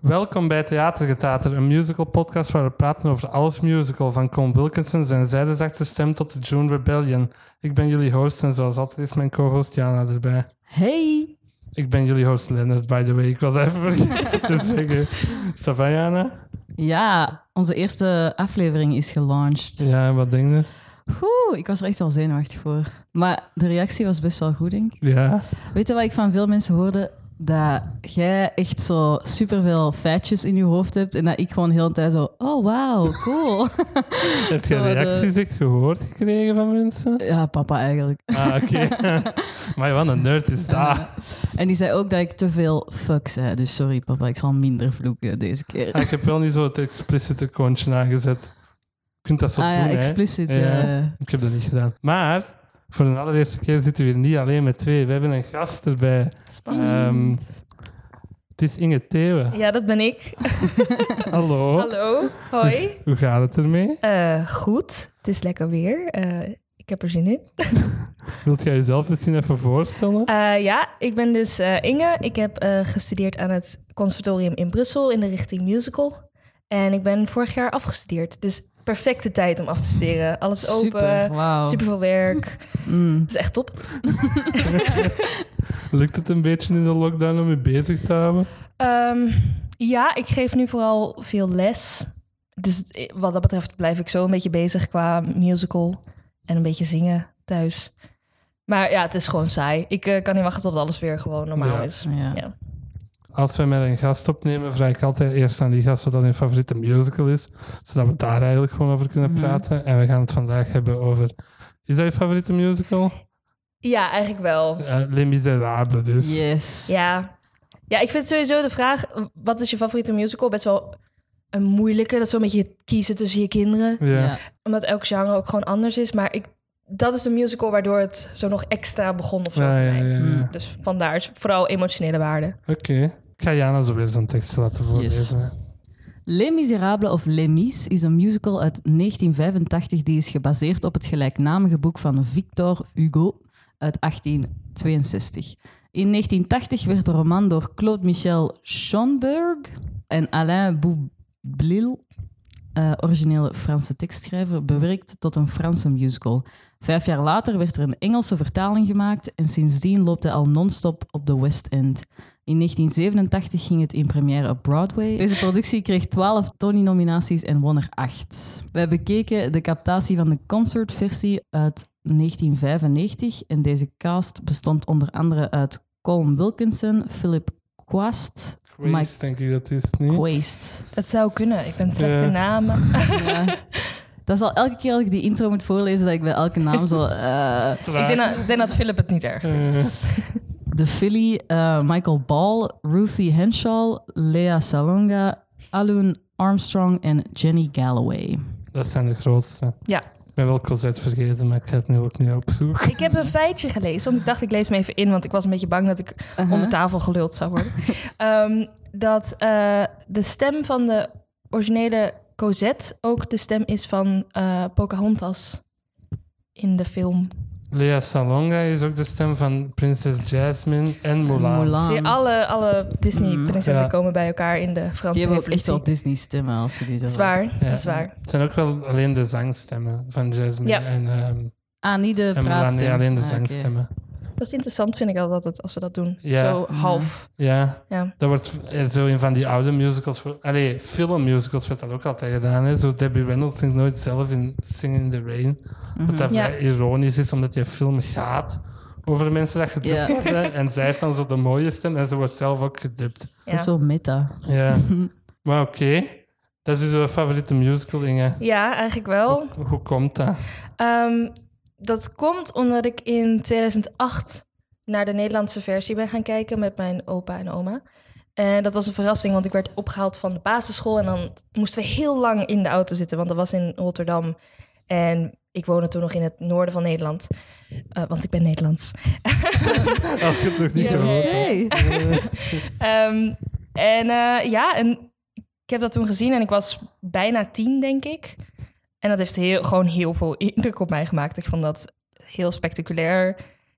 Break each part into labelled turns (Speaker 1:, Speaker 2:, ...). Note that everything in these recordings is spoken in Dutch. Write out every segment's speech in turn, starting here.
Speaker 1: Welkom bij Theatergetater, een musical podcast waar we praten over alles musical, van Con Wilkinson zijn zijdezachte stem tot de June Rebellion. Ik ben jullie host en zoals altijd is mijn co-host Jana erbij.
Speaker 2: Hey!
Speaker 1: Ik ben jullie host Lennart, by the way. Ik was even vergeten te zeggen. Savan Jana?
Speaker 2: Ja, onze eerste aflevering is dus- gelanceerd.
Speaker 1: Ja, wat denk je?
Speaker 2: Oeh, ik was er echt wel zenuwachtig voor. Maar de reactie was best wel goed, denk ik.
Speaker 1: Ja.
Speaker 2: Weet je wat ik van veel mensen hoorde? Dat jij echt zo superveel feitjes in je hoofd hebt en dat ik gewoon heel de tijd zo... Oh, wauw, cool.
Speaker 1: Heb je
Speaker 2: Zo de-
Speaker 1: reacties echt gehoord gekregen van mensen?
Speaker 2: ja, papa eigenlijk.
Speaker 1: Ah, oké. maar wat een nerd is dat.
Speaker 2: En die zei ook dat ik te veel fuck zei. Dus sorry, papa, ik zal minder vloeken deze keer.
Speaker 1: Ah, ik heb wel niet zo het expliciete koontje aangezet. Je kunt dat zo
Speaker 2: ah
Speaker 1: doen,
Speaker 2: ja,
Speaker 1: hè.
Speaker 2: explicit.
Speaker 1: Ja.
Speaker 2: eh.
Speaker 1: Ik heb dat niet gedaan. Maar voor de allereerste keer zitten we hier niet alleen met twee. We hebben een gast erbij. Ehm, het is Inge Thewe.
Speaker 3: Ja, dat ben ik.
Speaker 1: Hallo.
Speaker 3: Hallo, hoi.
Speaker 1: Hoe gaat het ermee?
Speaker 3: Eh, goed, het is lekker weer. Eh, ik heb er zin in.
Speaker 1: Wilt jij jezelf misschien even voorstellen?
Speaker 3: Eh, ja, ik ben dus eh, Inge. Ik heb eh, gestudeerd aan het conservatorium in Brussel in de richting musical. En ik ben vorig jaar afgestudeerd. Dus perfecte tijd om af te studeren. Alles
Speaker 2: super,
Speaker 3: open,
Speaker 2: wauw.
Speaker 3: super veel werk. Dat
Speaker 2: Mm.
Speaker 3: is echt top.
Speaker 1: Lukt het een beetje in de lockdown om je bezig te houden?
Speaker 3: Ehm, ja, ik geef nu vooral veel les. Dus eh, wat dat betreft blijf ik zo een beetje bezig qua musical en een beetje zingen thuis. Maar ja, het is gewoon saai. Ik eh, kan niet wachten tot alles weer gewoon normaal
Speaker 1: Ja.
Speaker 3: is.
Speaker 2: Ja.
Speaker 3: Ja.
Speaker 1: Als we met een gast opnemen, vraag ik altijd eerst aan die gast wat dan hun favoriete musical is. Zodat we daar eigenlijk gewoon over kunnen
Speaker 2: Mhm.
Speaker 1: praten. En we gaan het vandaag hebben over... Is dat je favoriete musical?
Speaker 3: Ja, eigenlijk wel.
Speaker 1: Eh Les Misérables dus.
Speaker 2: Yes.
Speaker 3: Ja. ja, ik vind sowieso de vraag, eh, wat is je favoriete musical? Best wel een moeilijke. Dat is zo'n beetje kiezen tussen je kinderen.
Speaker 1: Ja.
Speaker 2: Ja.
Speaker 3: Omdat elk genre ook gewoon anders is. Maar ik, dat is een musical waardoor het zo nog extra begon of zo
Speaker 1: Ja,
Speaker 3: voor
Speaker 1: ja,
Speaker 3: mij.
Speaker 1: ja, ja.
Speaker 2: Mm.
Speaker 3: Dus vandaar het is vooral emotionele waarde.
Speaker 1: Oké. Ik ga Jana zo weer zo'n tekst laten voorlezen.
Speaker 2: Les Miserables of Les Mis is een musical uit 1985 die is gebaseerd op het gelijknamige boek van Victor Hugo uit 1862. In 1980 werd de roman door Claude Michel Schonberg en Alain Boublil, eh, originele Franse tekstschrijver, bewerkt tot een Franse musical. Vijf jaar later werd er een Engelse vertaling gemaakt en sindsdien loopt hij al non-stop op de West End. In 1987 ging het in première op Broadway. Deze productie kreeg 12 Tony-nominaties en won er 8. Wij bekeken de captatie van de concertversie uit 1995. En deze cast bestond onder andere uit Colin Wilkinson, Philip Quast,
Speaker 1: Quaist,
Speaker 2: Mike-
Speaker 1: denk ik dat is het niet.
Speaker 2: Quaist.
Speaker 3: Dat zou kunnen. Ik ben slecht
Speaker 1: Ja.
Speaker 3: in namen.
Speaker 2: Ja. Dat is al elke keer als ik die intro moet voorlezen, dat ik bij elke naam zo... eh,
Speaker 3: Ik denk dat, ik denk dat Philip het niet erg vindt.
Speaker 1: Eh,
Speaker 2: De Philly, eh, Michael Ball, Ruthie Henshaw, Lea Salonga, Alun Armstrong en Jenny Galloway.
Speaker 1: dat zijn de grootste.
Speaker 3: Ja.
Speaker 1: Ik ben wel Cosette vergeten, maar ik ga het nu ook niet opzoeken.
Speaker 3: Ik heb een feitje gelezen, want ik dacht ik lees me even in, want ik was een beetje bang dat ik onder tafel geluld zou worden. Ehm, dat eh, de stem van de originele Cosette ook de stem is van eh, Pocahontas in de film.
Speaker 1: Lea Salonga is ook de stem van Prinses Jasmine en Mulan.
Speaker 2: Mulan.
Speaker 3: Zie je, alle, alle Disney-prinsessen
Speaker 1: Ja.
Speaker 3: komen bij elkaar in de Franse
Speaker 2: Hmm. Die hebben ook echt
Speaker 3: revolutie.
Speaker 2: wel Disney-stemmen als je die zo...
Speaker 3: Dat is waar,
Speaker 1: Ja.
Speaker 3: dat is waar.
Speaker 1: Het zijn ook wel alleen de zangstemmen van Jasmine
Speaker 3: Ja.
Speaker 1: en, ehm
Speaker 2: Ah, niet de
Speaker 1: en Mulan.
Speaker 2: praatstem.
Speaker 1: Nee, alleen de
Speaker 2: Ah, oké.
Speaker 1: zangstemmen.
Speaker 3: Dat is interessant, vind ik altijd, als ze dat doen.
Speaker 1: Ja.
Speaker 3: Zo half.
Speaker 1: Ja,
Speaker 2: Hmm.
Speaker 3: Ja.
Speaker 1: dat wordt eh, zo in van die oude musicals. voor- Allee, filmmusicals werd dat ook altijd gedaan. Hè? Zo Debbie Reynolds zingt nooit zelf in Singing in the Rain.
Speaker 2: Mhm.
Speaker 1: Wat dat
Speaker 3: Ja.
Speaker 1: vrij ironisch is, omdat die film gaat over mensen dat gedubt
Speaker 2: Ja.
Speaker 1: worden. En zij heeft dan zo de mooie stem en ze wordt zelf ook gedubt.
Speaker 2: Dat is
Speaker 3: Ja.
Speaker 2: zo meta.
Speaker 1: Ja. maar oké, dat is dus jouw favoriete musical, Inge.
Speaker 3: ja, eigenlijk wel.
Speaker 1: Hoe, hoe komt dat?
Speaker 3: Ehm, dat komt omdat ik in 2008 naar de Nederlandse versie ben gaan kijken met mijn opa en oma. En dat was een verrassing, want ik werd opgehaald van de basisschool. En dan moesten we heel lang in de auto zitten, want dat was in Rotterdam. En ik woonde toen nog in het noorden van Nederland. Eh, want ik ben Nederlands.
Speaker 1: Als je het nog niet
Speaker 3: Ja,
Speaker 1: gehoord
Speaker 3: nee.
Speaker 1: hebt.
Speaker 3: Ehm, en eh, ja, en ik heb dat toen gezien en ik was bijna tien, denk ik. En dat heeft heel, gewoon heel veel indruk op mij gemaakt. Ik vond dat heel spectaculair.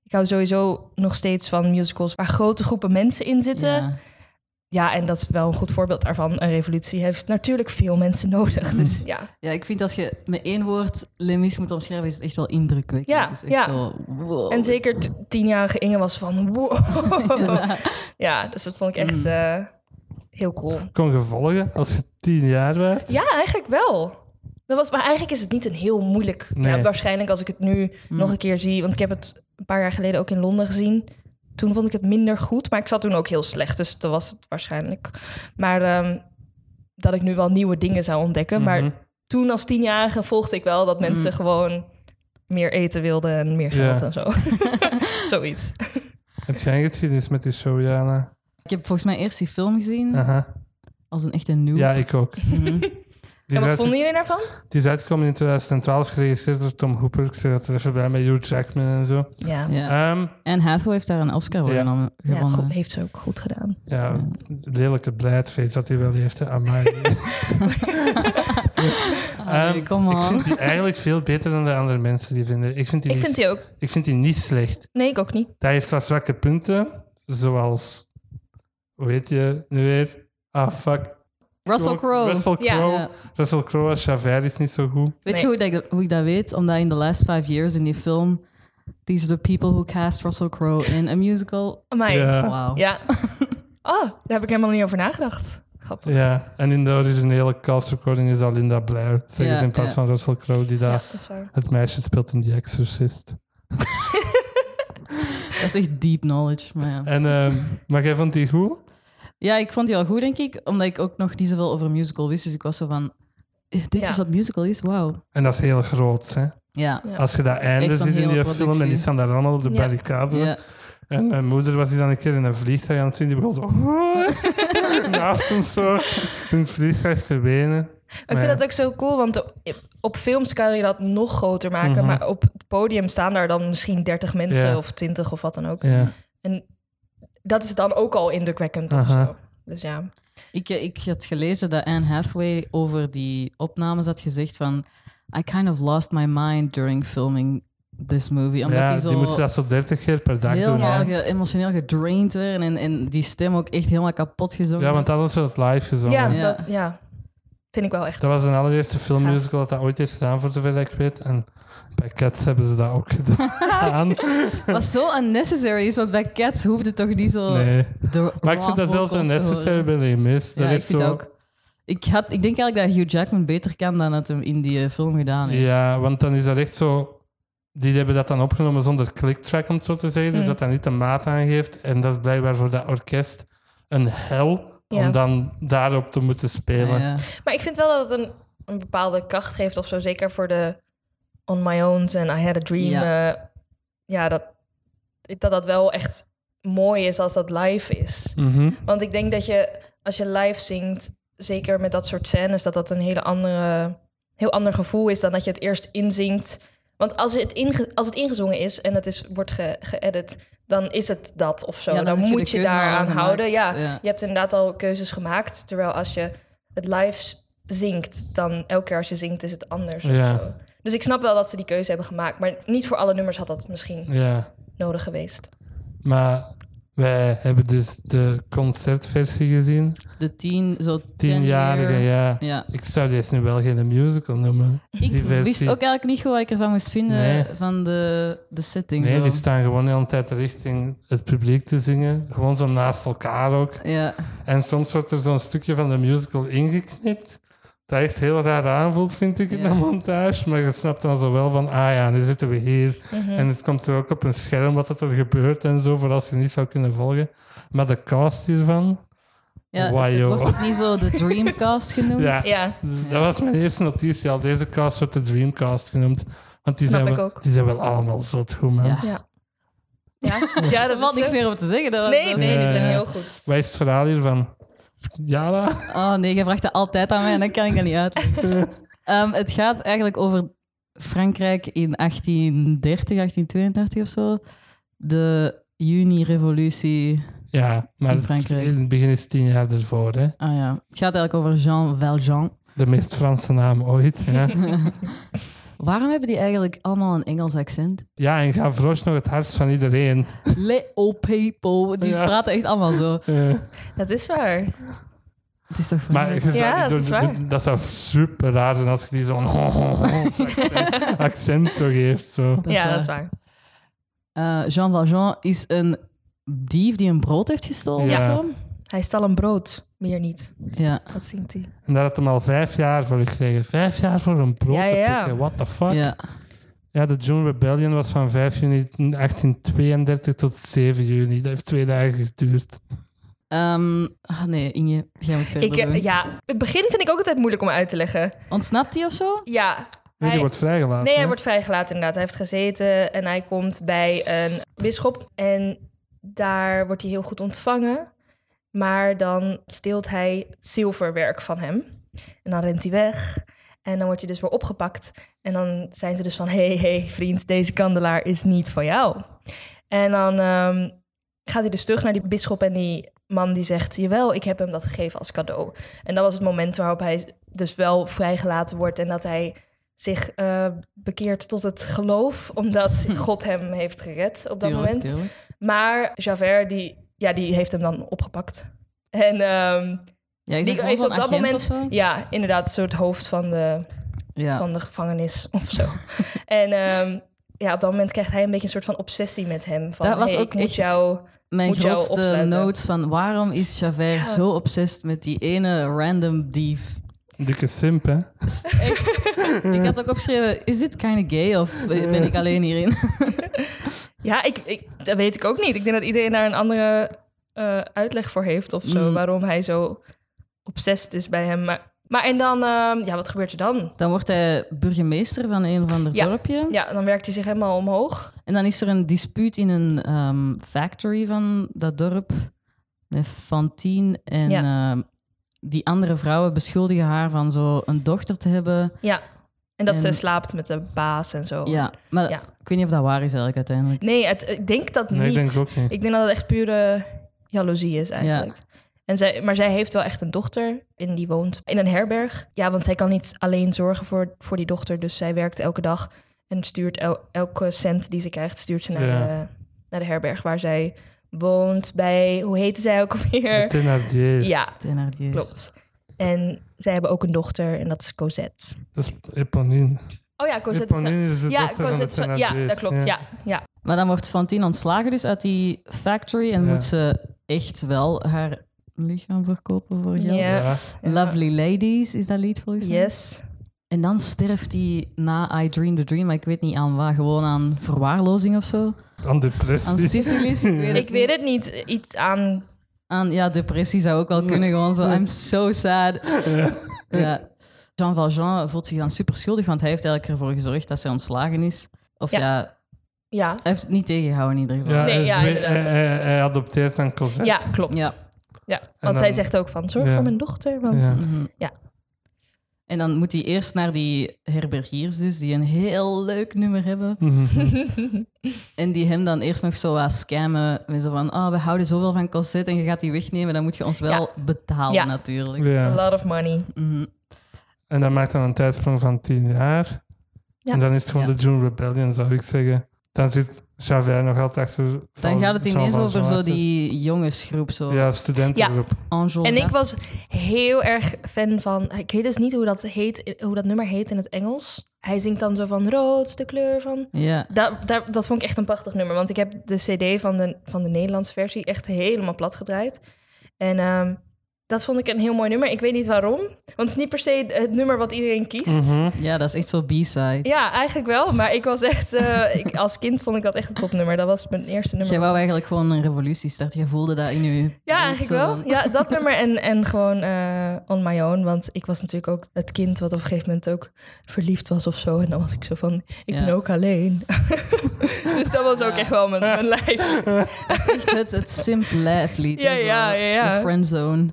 Speaker 3: Ik hou sowieso nog steeds van musicals waar grote groepen mensen in zitten.
Speaker 2: Ja.
Speaker 3: Ja, en dat is wel een goed voorbeeld daarvan. Een revolutie heeft natuurlijk veel mensen nodig. Dus ja,
Speaker 2: Ja, ik vind als je met één woord Lemis moet omschrijven, is het echt wel indrukwekkend.
Speaker 3: Ja,
Speaker 2: Het is echt
Speaker 3: ja.
Speaker 2: Wel, wow.
Speaker 3: en zeker t- tienjarige Inge was van wow.
Speaker 2: Ja.
Speaker 3: Ja, dus dat vond ik echt
Speaker 2: Mm.
Speaker 3: eh, heel cool.
Speaker 1: Kon je volgen als je tien jaar werd?
Speaker 3: Ja, eigenlijk wel. Dat was, maar eigenlijk is het niet een heel moeilijk. Ja,
Speaker 1: Nee.
Speaker 3: waarschijnlijk als ik het nu
Speaker 2: Mm.
Speaker 3: nog een keer zie. Want ik heb het een paar jaar geleden ook in Londen gezien. Toen vond ik het minder goed. Maar ik zat toen ook heel slecht. Dus dat was het waarschijnlijk. Maar ehm, dat ik nu wel nieuwe dingen zou ontdekken.
Speaker 1: Mhm.
Speaker 3: Maar toen als tienjarige volgde ik wel dat mensen
Speaker 2: Mm.
Speaker 3: gewoon meer eten wilden en meer
Speaker 1: Ja.
Speaker 3: geld en zo. Zoiets.
Speaker 1: Heb jij geschiedenis met die show, Jana?
Speaker 2: Ik heb volgens mij eerst die film
Speaker 3: Mm.
Speaker 2: gezien
Speaker 1: Aha.
Speaker 2: als een echte Mhm. nieuw.
Speaker 1: Ja, ik ook. Die
Speaker 3: En
Speaker 1: is,
Speaker 3: wat
Speaker 1: uit-
Speaker 3: vonden jullie daarvan?
Speaker 1: die is uitgekomen in 2012, geregisseerd door Tom Hooper. Ik zeg dat er even bij met Hugh Jackman en zo.
Speaker 3: Ja, ja.
Speaker 2: Ja.
Speaker 1: Ehm,
Speaker 2: En Hathaway heeft daar een Oscar voor
Speaker 1: Ja.
Speaker 2: genomen- gewonnen.
Speaker 3: goed, heeft ze ook goed gedaan.
Speaker 1: ja, lelijke blijheid dat hij wel heeft. hè. Amai.
Speaker 2: Allee,
Speaker 1: Ehm,
Speaker 2: kom
Speaker 1: ik
Speaker 2: Ah, on.
Speaker 1: vind die eigenlijk veel beter dan de andere mensen die vinden. Ik vind die,
Speaker 3: Ik
Speaker 1: niet,
Speaker 3: vind die ook.
Speaker 1: ik vind die niet slecht.
Speaker 3: Nee, ik ook niet.
Speaker 1: Hij heeft wat zwakke punten, zoals... Hoe heet je nu weer? Ah, fuck.
Speaker 2: Russell Crowe.
Speaker 1: Russell
Speaker 3: Ja.
Speaker 1: Crowe.
Speaker 2: Ja.
Speaker 1: Russell Crowe als Javert is niet zo goed.
Speaker 2: Weet je
Speaker 3: Nee.
Speaker 2: hoe, dat ik dat- hoe ik dat weet? Omdat in the last five years in die film... These are the people who cast Russell Crowe in a musical.
Speaker 3: Maar
Speaker 1: Ja.
Speaker 2: Wauw.
Speaker 3: Ja. Oh, daar heb ik helemaal niet over nagedacht. Grappig.
Speaker 1: Ja, en in de originele cast recording is al Linda Blair. Zeg
Speaker 2: Ja,
Speaker 1: eens in plaats
Speaker 2: ja.
Speaker 1: van Russell Crowe, die daar
Speaker 3: dat is waar.
Speaker 1: het meisje speelt in The Exorcist.
Speaker 2: Dat is echt deep knowledge. Maar ja.
Speaker 1: En, ehm, maar jij vond die goed?
Speaker 2: ja, ik vond die al goed, denk ik. Omdat ik ook nog niet zoveel over musical wist. Dus ik was zo van... eh, Dit
Speaker 3: Ja.
Speaker 2: is wat musical is? Wauw.
Speaker 1: En dat is heel groot, hè?
Speaker 2: Ja.
Speaker 3: Ja.
Speaker 1: Als je dat einde
Speaker 2: echt zo'n
Speaker 1: ziet in die
Speaker 2: hele
Speaker 1: film, en die
Speaker 2: productie.
Speaker 1: staan daar allemaal op de
Speaker 3: Ja.
Speaker 1: barricade.
Speaker 2: ja.
Speaker 1: En mijn moeder was die dan een keer in een vliegtuig aan het zien, die begon zo... naast ons zo, in het vliegtuig te wenen.
Speaker 3: Ik vind dat ook zo cool, want op films kan je dat nog groter maken.
Speaker 1: Mhm.
Speaker 3: Maar op het podium staan daar dan misschien 30 mensen
Speaker 1: Ja.
Speaker 3: of 20 of wat dan ook.
Speaker 1: Ja.
Speaker 3: Dat is dan ook al indrukwekkend of
Speaker 1: Aha.
Speaker 3: zo. Dus ja.
Speaker 2: Ik, eh, ik had gelezen dat Anne Hathaway over die opnames had gezegd van... I kind of lost my mind during filming this movie. Omdat
Speaker 1: ja,
Speaker 2: die
Speaker 1: die,
Speaker 2: zo
Speaker 1: moesten dat zo 30 keer per dag doen.
Speaker 2: helemaal
Speaker 1: hè.
Speaker 2: ge- emotioneel gedraind werden. En, en die stem ook echt helemaal kapot gezongen.
Speaker 1: Ja, want dat was het live gezongen.
Speaker 3: Ja,
Speaker 2: Ja.
Speaker 3: Dat, ja, vind ik wel echt.
Speaker 1: Dat was een allereerste filmmusical dat
Speaker 3: Gaaf.
Speaker 1: dat ooit heeft gedaan, voor zover ik weet. En bij Cats hebben ze dat ook gedaan.
Speaker 2: Wat zo unnecessary is, want bij Cats hoefde het toch niet zo...
Speaker 1: Nee.
Speaker 2: de
Speaker 1: Maar ik
Speaker 2: raw
Speaker 1: vind dat zelfs
Speaker 2: vocals te
Speaker 1: unnecessary
Speaker 2: horen.
Speaker 1: bij Lemis.
Speaker 2: Ja,
Speaker 1: dat
Speaker 2: ik
Speaker 1: heeft
Speaker 2: vind
Speaker 1: zo...
Speaker 2: ook. Ik, had, ik denk eigenlijk dat Hugh Jackman beter kan dan het hem in die eh, film gedaan heeft.
Speaker 1: Ja, want dan is dat echt zo... Die hebben dat dan opgenomen zonder clicktrack, om het zo te zeggen. Dus
Speaker 2: Hmm.
Speaker 3: Mm.
Speaker 1: dat dat niet de maat aangeeft. En dat is blijkbaar voor dat orkest een hel
Speaker 3: Ja.
Speaker 1: om dan daarop te moeten spelen.
Speaker 2: Ja.
Speaker 3: Maar ik vind wel dat het een, een bepaalde kracht geeft of zo. Zeker voor de On My Own's en I Had A Dream. Ja, ja dat, dat dat wel echt mooi is als dat live is.
Speaker 1: Mhm.
Speaker 3: Want ik denk dat je, als je live zingt, zeker met dat soort scènes, dat dat een hele andere, heel ander gevoel is dan dat je het eerst inzingt. Want als het, inge- als het ingezongen is en het is, wordt ge- geëdit, dan is het dat of zo.
Speaker 2: Ja,
Speaker 3: dan
Speaker 2: heb de
Speaker 3: moet je,
Speaker 2: keuze al
Speaker 3: daaraan
Speaker 2: gemaakt.
Speaker 3: houden. Ja, je hebt inderdaad al keuzes gemaakt. Terwijl als je het live s- zingt, dan elke keer als je zingt is het anders of
Speaker 1: Ja.
Speaker 3: zo. Dus ik snap wel dat ze die keuze hebben gemaakt. Maar niet voor alle nummers had dat misschien
Speaker 1: ja.
Speaker 3: nodig geweest.
Speaker 1: Maar wij hebben dus de concertversie gezien.
Speaker 2: De tien, zo ten
Speaker 1: Tienjarige,
Speaker 2: year-
Speaker 1: ja.
Speaker 2: Ja.
Speaker 1: Ik zou deze nu wel geen musical noemen.
Speaker 2: Ik
Speaker 1: Die versie.
Speaker 2: wist ook eigenlijk niet goed wat ik ervan moest vinden
Speaker 1: Nee.
Speaker 2: van de, de setting.
Speaker 1: Nee,
Speaker 2: zo.
Speaker 1: die staan gewoon de hele tijd richting het publiek te zingen. Gewoon zo naast elkaar ook.
Speaker 2: Ja,
Speaker 1: En soms wordt er zo'n stukje van de musical ingeknipt. Dat echt heel raar aanvoelt, vind ik, in
Speaker 2: Ja.
Speaker 1: de montage. Maar je snapt dan zo wel van, ah ja, nu zitten we hier. En het komt er ook op een scherm wat dat er gebeurt en zo, voor als je niet zou kunnen volgen. Maar de cast hiervan,
Speaker 2: ja
Speaker 1: Why,
Speaker 2: het, het
Speaker 1: joh.
Speaker 2: wordt ook niet zo de Dreamcast genoemd.
Speaker 1: ja,
Speaker 3: Ja,
Speaker 1: Dat was mijn eerste notitie al. Deze cast wordt de Dreamcast genoemd. Want die,
Speaker 3: Snap
Speaker 1: zijn
Speaker 3: ik
Speaker 1: wel,
Speaker 3: ook.
Speaker 1: die zijn wel allemaal zot goed, man.
Speaker 2: Ja.
Speaker 3: ja. Ja, ja
Speaker 2: Er
Speaker 3: dat
Speaker 2: valt
Speaker 3: is
Speaker 2: niks
Speaker 3: zo.
Speaker 2: meer over te zeggen. Dat,
Speaker 3: Nee,
Speaker 2: dat- eh,
Speaker 3: nee, die zijn
Speaker 1: Ja.
Speaker 3: heel goed.
Speaker 1: Wat is het verhaal hiervan? Jara?
Speaker 2: Oh nee, je vraagt dat altijd aan mij en dan kan ik dat niet uitleggen. Ehm, het gaat eigenlijk over Frankrijk in 1830, 1832 of zo. De juni-revolutie.
Speaker 1: Ja, maar
Speaker 2: In Frankrijk.
Speaker 1: in het begin is tien jaar ervoor. Hè?
Speaker 2: Ah ja, het gaat eigenlijk over Jean Valjean.
Speaker 1: De meest Franse naam ooit. Ja.
Speaker 2: Waarom hebben die eigenlijk allemaal een Engels accent?
Speaker 1: Ja, en Gavroche nog het hardst van iedereen.
Speaker 2: Little people. Die
Speaker 1: Ja.
Speaker 2: praten echt allemaal zo.
Speaker 1: Eh,
Speaker 3: Dat is waar.
Speaker 2: Het is toch
Speaker 1: maar je
Speaker 2: verrassend.
Speaker 1: zou
Speaker 3: Ja,
Speaker 1: niet
Speaker 3: dat is waar.
Speaker 1: dat zou super raar zijn als je die zo'n accent, accent zo geeft. Zo.
Speaker 2: Dat is
Speaker 3: ja,
Speaker 2: waar.
Speaker 3: dat is waar.
Speaker 2: Eh, Jean Valjean is een dief die een brood heeft gestolen
Speaker 1: Ja.
Speaker 2: of zo.
Speaker 3: Hij stal een brood, meer niet.
Speaker 2: Ja.
Speaker 3: Dat zingt hij.
Speaker 1: En daar had hem al vijf jaar voor gekregen. Vijf jaar voor een brood
Speaker 3: Ja,
Speaker 1: te
Speaker 3: ja.
Speaker 1: pikken. What the fuck?
Speaker 2: ja.
Speaker 1: Ja, de June Rebellion was van 5 juni 1832 tot 7 juni. Dat heeft twee dagen geduurd.
Speaker 2: Ehm, ah, nee, Inge, jij moet verder
Speaker 3: Ik,
Speaker 2: doen.
Speaker 3: eh, ja, het begin vind ik ook altijd moeilijk om uit te leggen.
Speaker 2: Ontsnapt hij of zo?
Speaker 3: Ja.
Speaker 1: Nee,
Speaker 3: hij-
Speaker 1: die wordt vrijgelaten.
Speaker 3: Nee, hij
Speaker 1: hè?
Speaker 3: wordt vrijgelaten inderdaad. Hij heeft gezeten en hij komt bij een bisschop. En daar wordt hij heel goed ontvangen. Maar dan steelt hij het zilverwerk van hem. En dan rent hij weg. En dan wordt hij dus weer opgepakt. En dan zijn ze dus van... hey, hey, vriend, deze kandelaar is niet van jou. En dan ehm, gaat hij dus terug naar die bisschop en die man die zegt... jawel, ik heb hem dat gegeven als cadeau. En dat was het moment waarop hij dus wel vrijgelaten wordt... en dat hij zich eh, bekeert tot het geloof... omdat God hem heeft gered op dat
Speaker 2: Tuurlijk,
Speaker 3: moment.
Speaker 2: tuurlijk.
Speaker 3: Maar Javert, die, ja, die heeft hem dan opgepakt. En ehm,
Speaker 2: Ja, ik zeg
Speaker 3: die
Speaker 2: gewoon
Speaker 3: heeft
Speaker 2: zo'n
Speaker 3: op dat
Speaker 2: agent of
Speaker 3: moment,
Speaker 2: zo.
Speaker 3: ja, inderdaad, een soort hoofd van de,
Speaker 2: Ja.
Speaker 3: van de gevangenis of zo. en ehm, ja, op dat moment krijgt hij een beetje een soort van obsessie met hem. Van,
Speaker 2: Dat was
Speaker 3: hey,
Speaker 2: ook
Speaker 3: ik moet
Speaker 2: echt-
Speaker 3: jou...
Speaker 2: Mijn
Speaker 3: Moet jou
Speaker 2: grootste
Speaker 3: opsluiten.
Speaker 2: notes van waarom is Javert
Speaker 3: Ja.
Speaker 2: zo obsessed met die ene random dief?
Speaker 1: Dikke simp, hè?
Speaker 2: Is Echt. ik had ook opgeschreven, is dit kind of gay of ben ik alleen hierin?
Speaker 3: Ja, ik, ik, dat weet ik ook niet. Ik denk dat iedereen daar een andere eh, uitleg voor heeft of zo.
Speaker 2: Mm.
Speaker 3: Waarom hij zo obsessed is bij hem. Maar, maar en dan, ehm, ja, wat gebeurt er dan?
Speaker 2: Dan wordt hij burgemeester van een of ander
Speaker 3: Ja.
Speaker 2: dorpje.
Speaker 3: Ja, dan werkt hij zich helemaal omhoog.
Speaker 2: En dan is er een dispuut in een ehm, factory van dat dorp. Met Fantine en ehm, die andere vrouwen beschuldigen haar van zo een dochter te hebben.
Speaker 3: Ja, en dat ze
Speaker 2: En-
Speaker 3: slaapt met de baas en zo.
Speaker 2: Ja, maar
Speaker 3: Oh. Ja.
Speaker 2: ik weet niet of dat waar is eigenlijk uiteindelijk.
Speaker 3: Nee, het, ik denk dat
Speaker 1: Nee,
Speaker 3: niet.
Speaker 1: ik denk ook niet.
Speaker 3: Ik denk dat het echt pure jaloezie is eigenlijk. En zij, maar zij heeft wel echt een dochter en die woont in een herberg. Ja, want zij kan niet alleen zorgen voor, voor die dochter. Dus zij werkt elke dag en stuurt el- elke cent die ze krijgt, stuurt ze naar,
Speaker 1: Ja.
Speaker 3: de, naar de herberg waar zij woont. Bij, hoe heette zij ook
Speaker 1: De
Speaker 3: alweer?
Speaker 1: Thénardiers.
Speaker 3: eh, Ja,
Speaker 2: Het NRDS.
Speaker 3: klopt. En zij hebben ook een dochter en dat is Cosette.
Speaker 1: Dat is Eponine.
Speaker 3: Oh ja, Cosette is...
Speaker 1: Eponine is de
Speaker 3: Ja,
Speaker 1: dochter van de
Speaker 3: Cosette van, ja,
Speaker 1: Thénardiers,
Speaker 3: dat klopt. Ja, ja.
Speaker 2: Maar dan wordt Fantine ontslagen dus uit die factory en
Speaker 1: Ja.
Speaker 2: moet ze echt wel haar lichaam verkopen voor geld.
Speaker 3: Ja.
Speaker 1: Ja.
Speaker 2: Lovely Ladies is dat lied volgens mij.
Speaker 3: Yes.
Speaker 2: En dan sterft hij na I Dream the Dream, maar ik weet niet aan waar, gewoon aan verwaarlozing of zo.
Speaker 1: Aan
Speaker 2: Aan
Speaker 1: depressie.
Speaker 2: syfilis, ik weet het
Speaker 3: Ik weet het niet. Iets aan.
Speaker 2: aan ja, depressie zou ook wel kunnen. Gewoon zo, I'm so sad. Ja. Jean Valjean voelt zich dan super schuldig, want hij heeft eigenlijk ervoor gezorgd dat zij ontslagen is. Of ja,
Speaker 3: Ja. Ja.
Speaker 2: hij heeft het niet tegengehouden in ieder geval.
Speaker 1: Ja,
Speaker 3: Nee,
Speaker 1: hij,
Speaker 3: ja,
Speaker 1: zwe-
Speaker 3: inderdaad.
Speaker 1: hij- hij- hij adopteert aan Cosette.
Speaker 3: Ja, klopt.
Speaker 2: Ja.
Speaker 3: Ja. want zij
Speaker 1: dan-
Speaker 3: zegt ook van zorg
Speaker 1: Ja.
Speaker 3: voor mijn dochter. Want
Speaker 1: Ja.
Speaker 2: Mhm.
Speaker 3: Ja.
Speaker 2: En dan moet hij eerst naar die herbergiers dus, die een heel leuk nummer hebben.
Speaker 1: Mhm.
Speaker 2: En die hem dan eerst nog zo wat scammen. Met zo van, ah we houden zoveel van Cosette en je gaat die wegnemen. Dan moet je ons wel betalen
Speaker 3: Ja.
Speaker 2: natuurlijk.
Speaker 1: ja.
Speaker 3: a lot of money.
Speaker 2: Mhm.
Speaker 1: En dat maakt dan een tijdsprong van tien jaar.
Speaker 3: Ja.
Speaker 1: En dan is het gewoon
Speaker 2: Ja.
Speaker 1: de June Rebellion, zou ik zeggen. Dan zit Javert nog altijd achter.
Speaker 2: Dan gaat het ineens over zo
Speaker 1: achter.
Speaker 2: die jongensgroep, zo
Speaker 1: Ja, studentengroep.
Speaker 2: Angel
Speaker 3: En ik
Speaker 2: Gas.
Speaker 3: was heel erg fan van. Ik weet dus niet hoe dat, heet, hoe dat nummer heet in het Engels. Hij zingt dan zo van rood, de kleur van.
Speaker 2: Ja,
Speaker 3: Dat, dat, dat vond ik echt een prachtig nummer. Want ik heb de CD van de, van de Nederlandse versie echt helemaal plat gedraaid. En ehm, dat vond ik een heel mooi nummer. Ik weet niet waarom. Want het is niet per se het nummer wat iedereen kiest.
Speaker 1: Mhm.
Speaker 2: ja, dat is echt zo B-side.
Speaker 3: Ja, eigenlijk wel. Maar ik was echt... eh, ik, als kind vond ik dat echt een topnummer. Dat was mijn eerste nummer.
Speaker 2: Dus Jij wou eigenlijk gewoon een revolutie starten. Je voelde dat in je...
Speaker 3: Ja,
Speaker 2: bloed,
Speaker 3: eigenlijk
Speaker 2: zo
Speaker 3: wel.
Speaker 2: van-
Speaker 3: Ja, dat nummer en, en gewoon eh, On My Own. Want ik was natuurlijk ook het kind wat op een gegeven moment ook verliefd was of zo. En dan was ik zo van, ik
Speaker 2: Ja.
Speaker 3: ben ook alleen. dus dat was ook echt wel mijn, mijn lijf.
Speaker 2: Echt het, het simp lijflied.
Speaker 3: Ja,
Speaker 2: hè, zo.
Speaker 3: ja, ja, ja.
Speaker 2: De friendzone.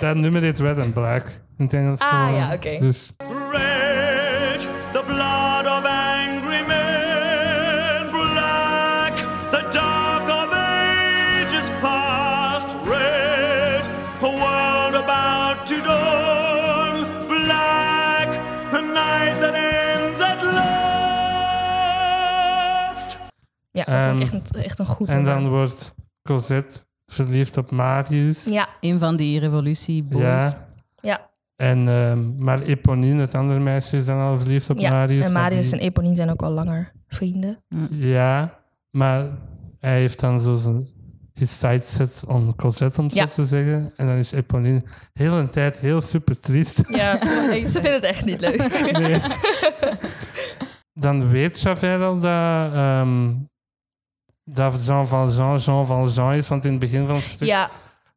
Speaker 1: Dat nummer heet Red and Black. In het Engels
Speaker 3: Ah,
Speaker 1: gewoon.
Speaker 3: ja, oké.
Speaker 1: Dus
Speaker 4: Red, the blood of angry men. Black, the dark of ages past. Red, a world about to dawn. Black, a night that ends at last.
Speaker 3: dat vond ik
Speaker 1: Ehm,
Speaker 3: echt een, echt een goed
Speaker 1: En
Speaker 3: nummer.
Speaker 1: dan wordt Cosette verliefd op Marius.
Speaker 3: Ja,
Speaker 2: Een van die revolutieboys.
Speaker 1: Ja.
Speaker 3: Ja.
Speaker 1: En, ehm, maar Eponine, het andere meisje, is dan al verliefd op
Speaker 3: Ja,
Speaker 1: Marius.
Speaker 3: en
Speaker 1: maar
Speaker 3: Marius
Speaker 1: die-
Speaker 3: en Eponine zijn ook al langer vrienden.
Speaker 1: Ja, maar hij heeft dan zo zijn his sights set on Cosette, om het
Speaker 3: Ja.
Speaker 1: zo te zeggen. En dan is Eponine heel een tijd heel super triest.
Speaker 3: Ja, ze, ze vinden het echt niet leuk.
Speaker 1: Nee. Dan weet Javert al dat, ehm, dat Jean Valjean Jean Valjean is, want in het begin van het stuk
Speaker 3: ja,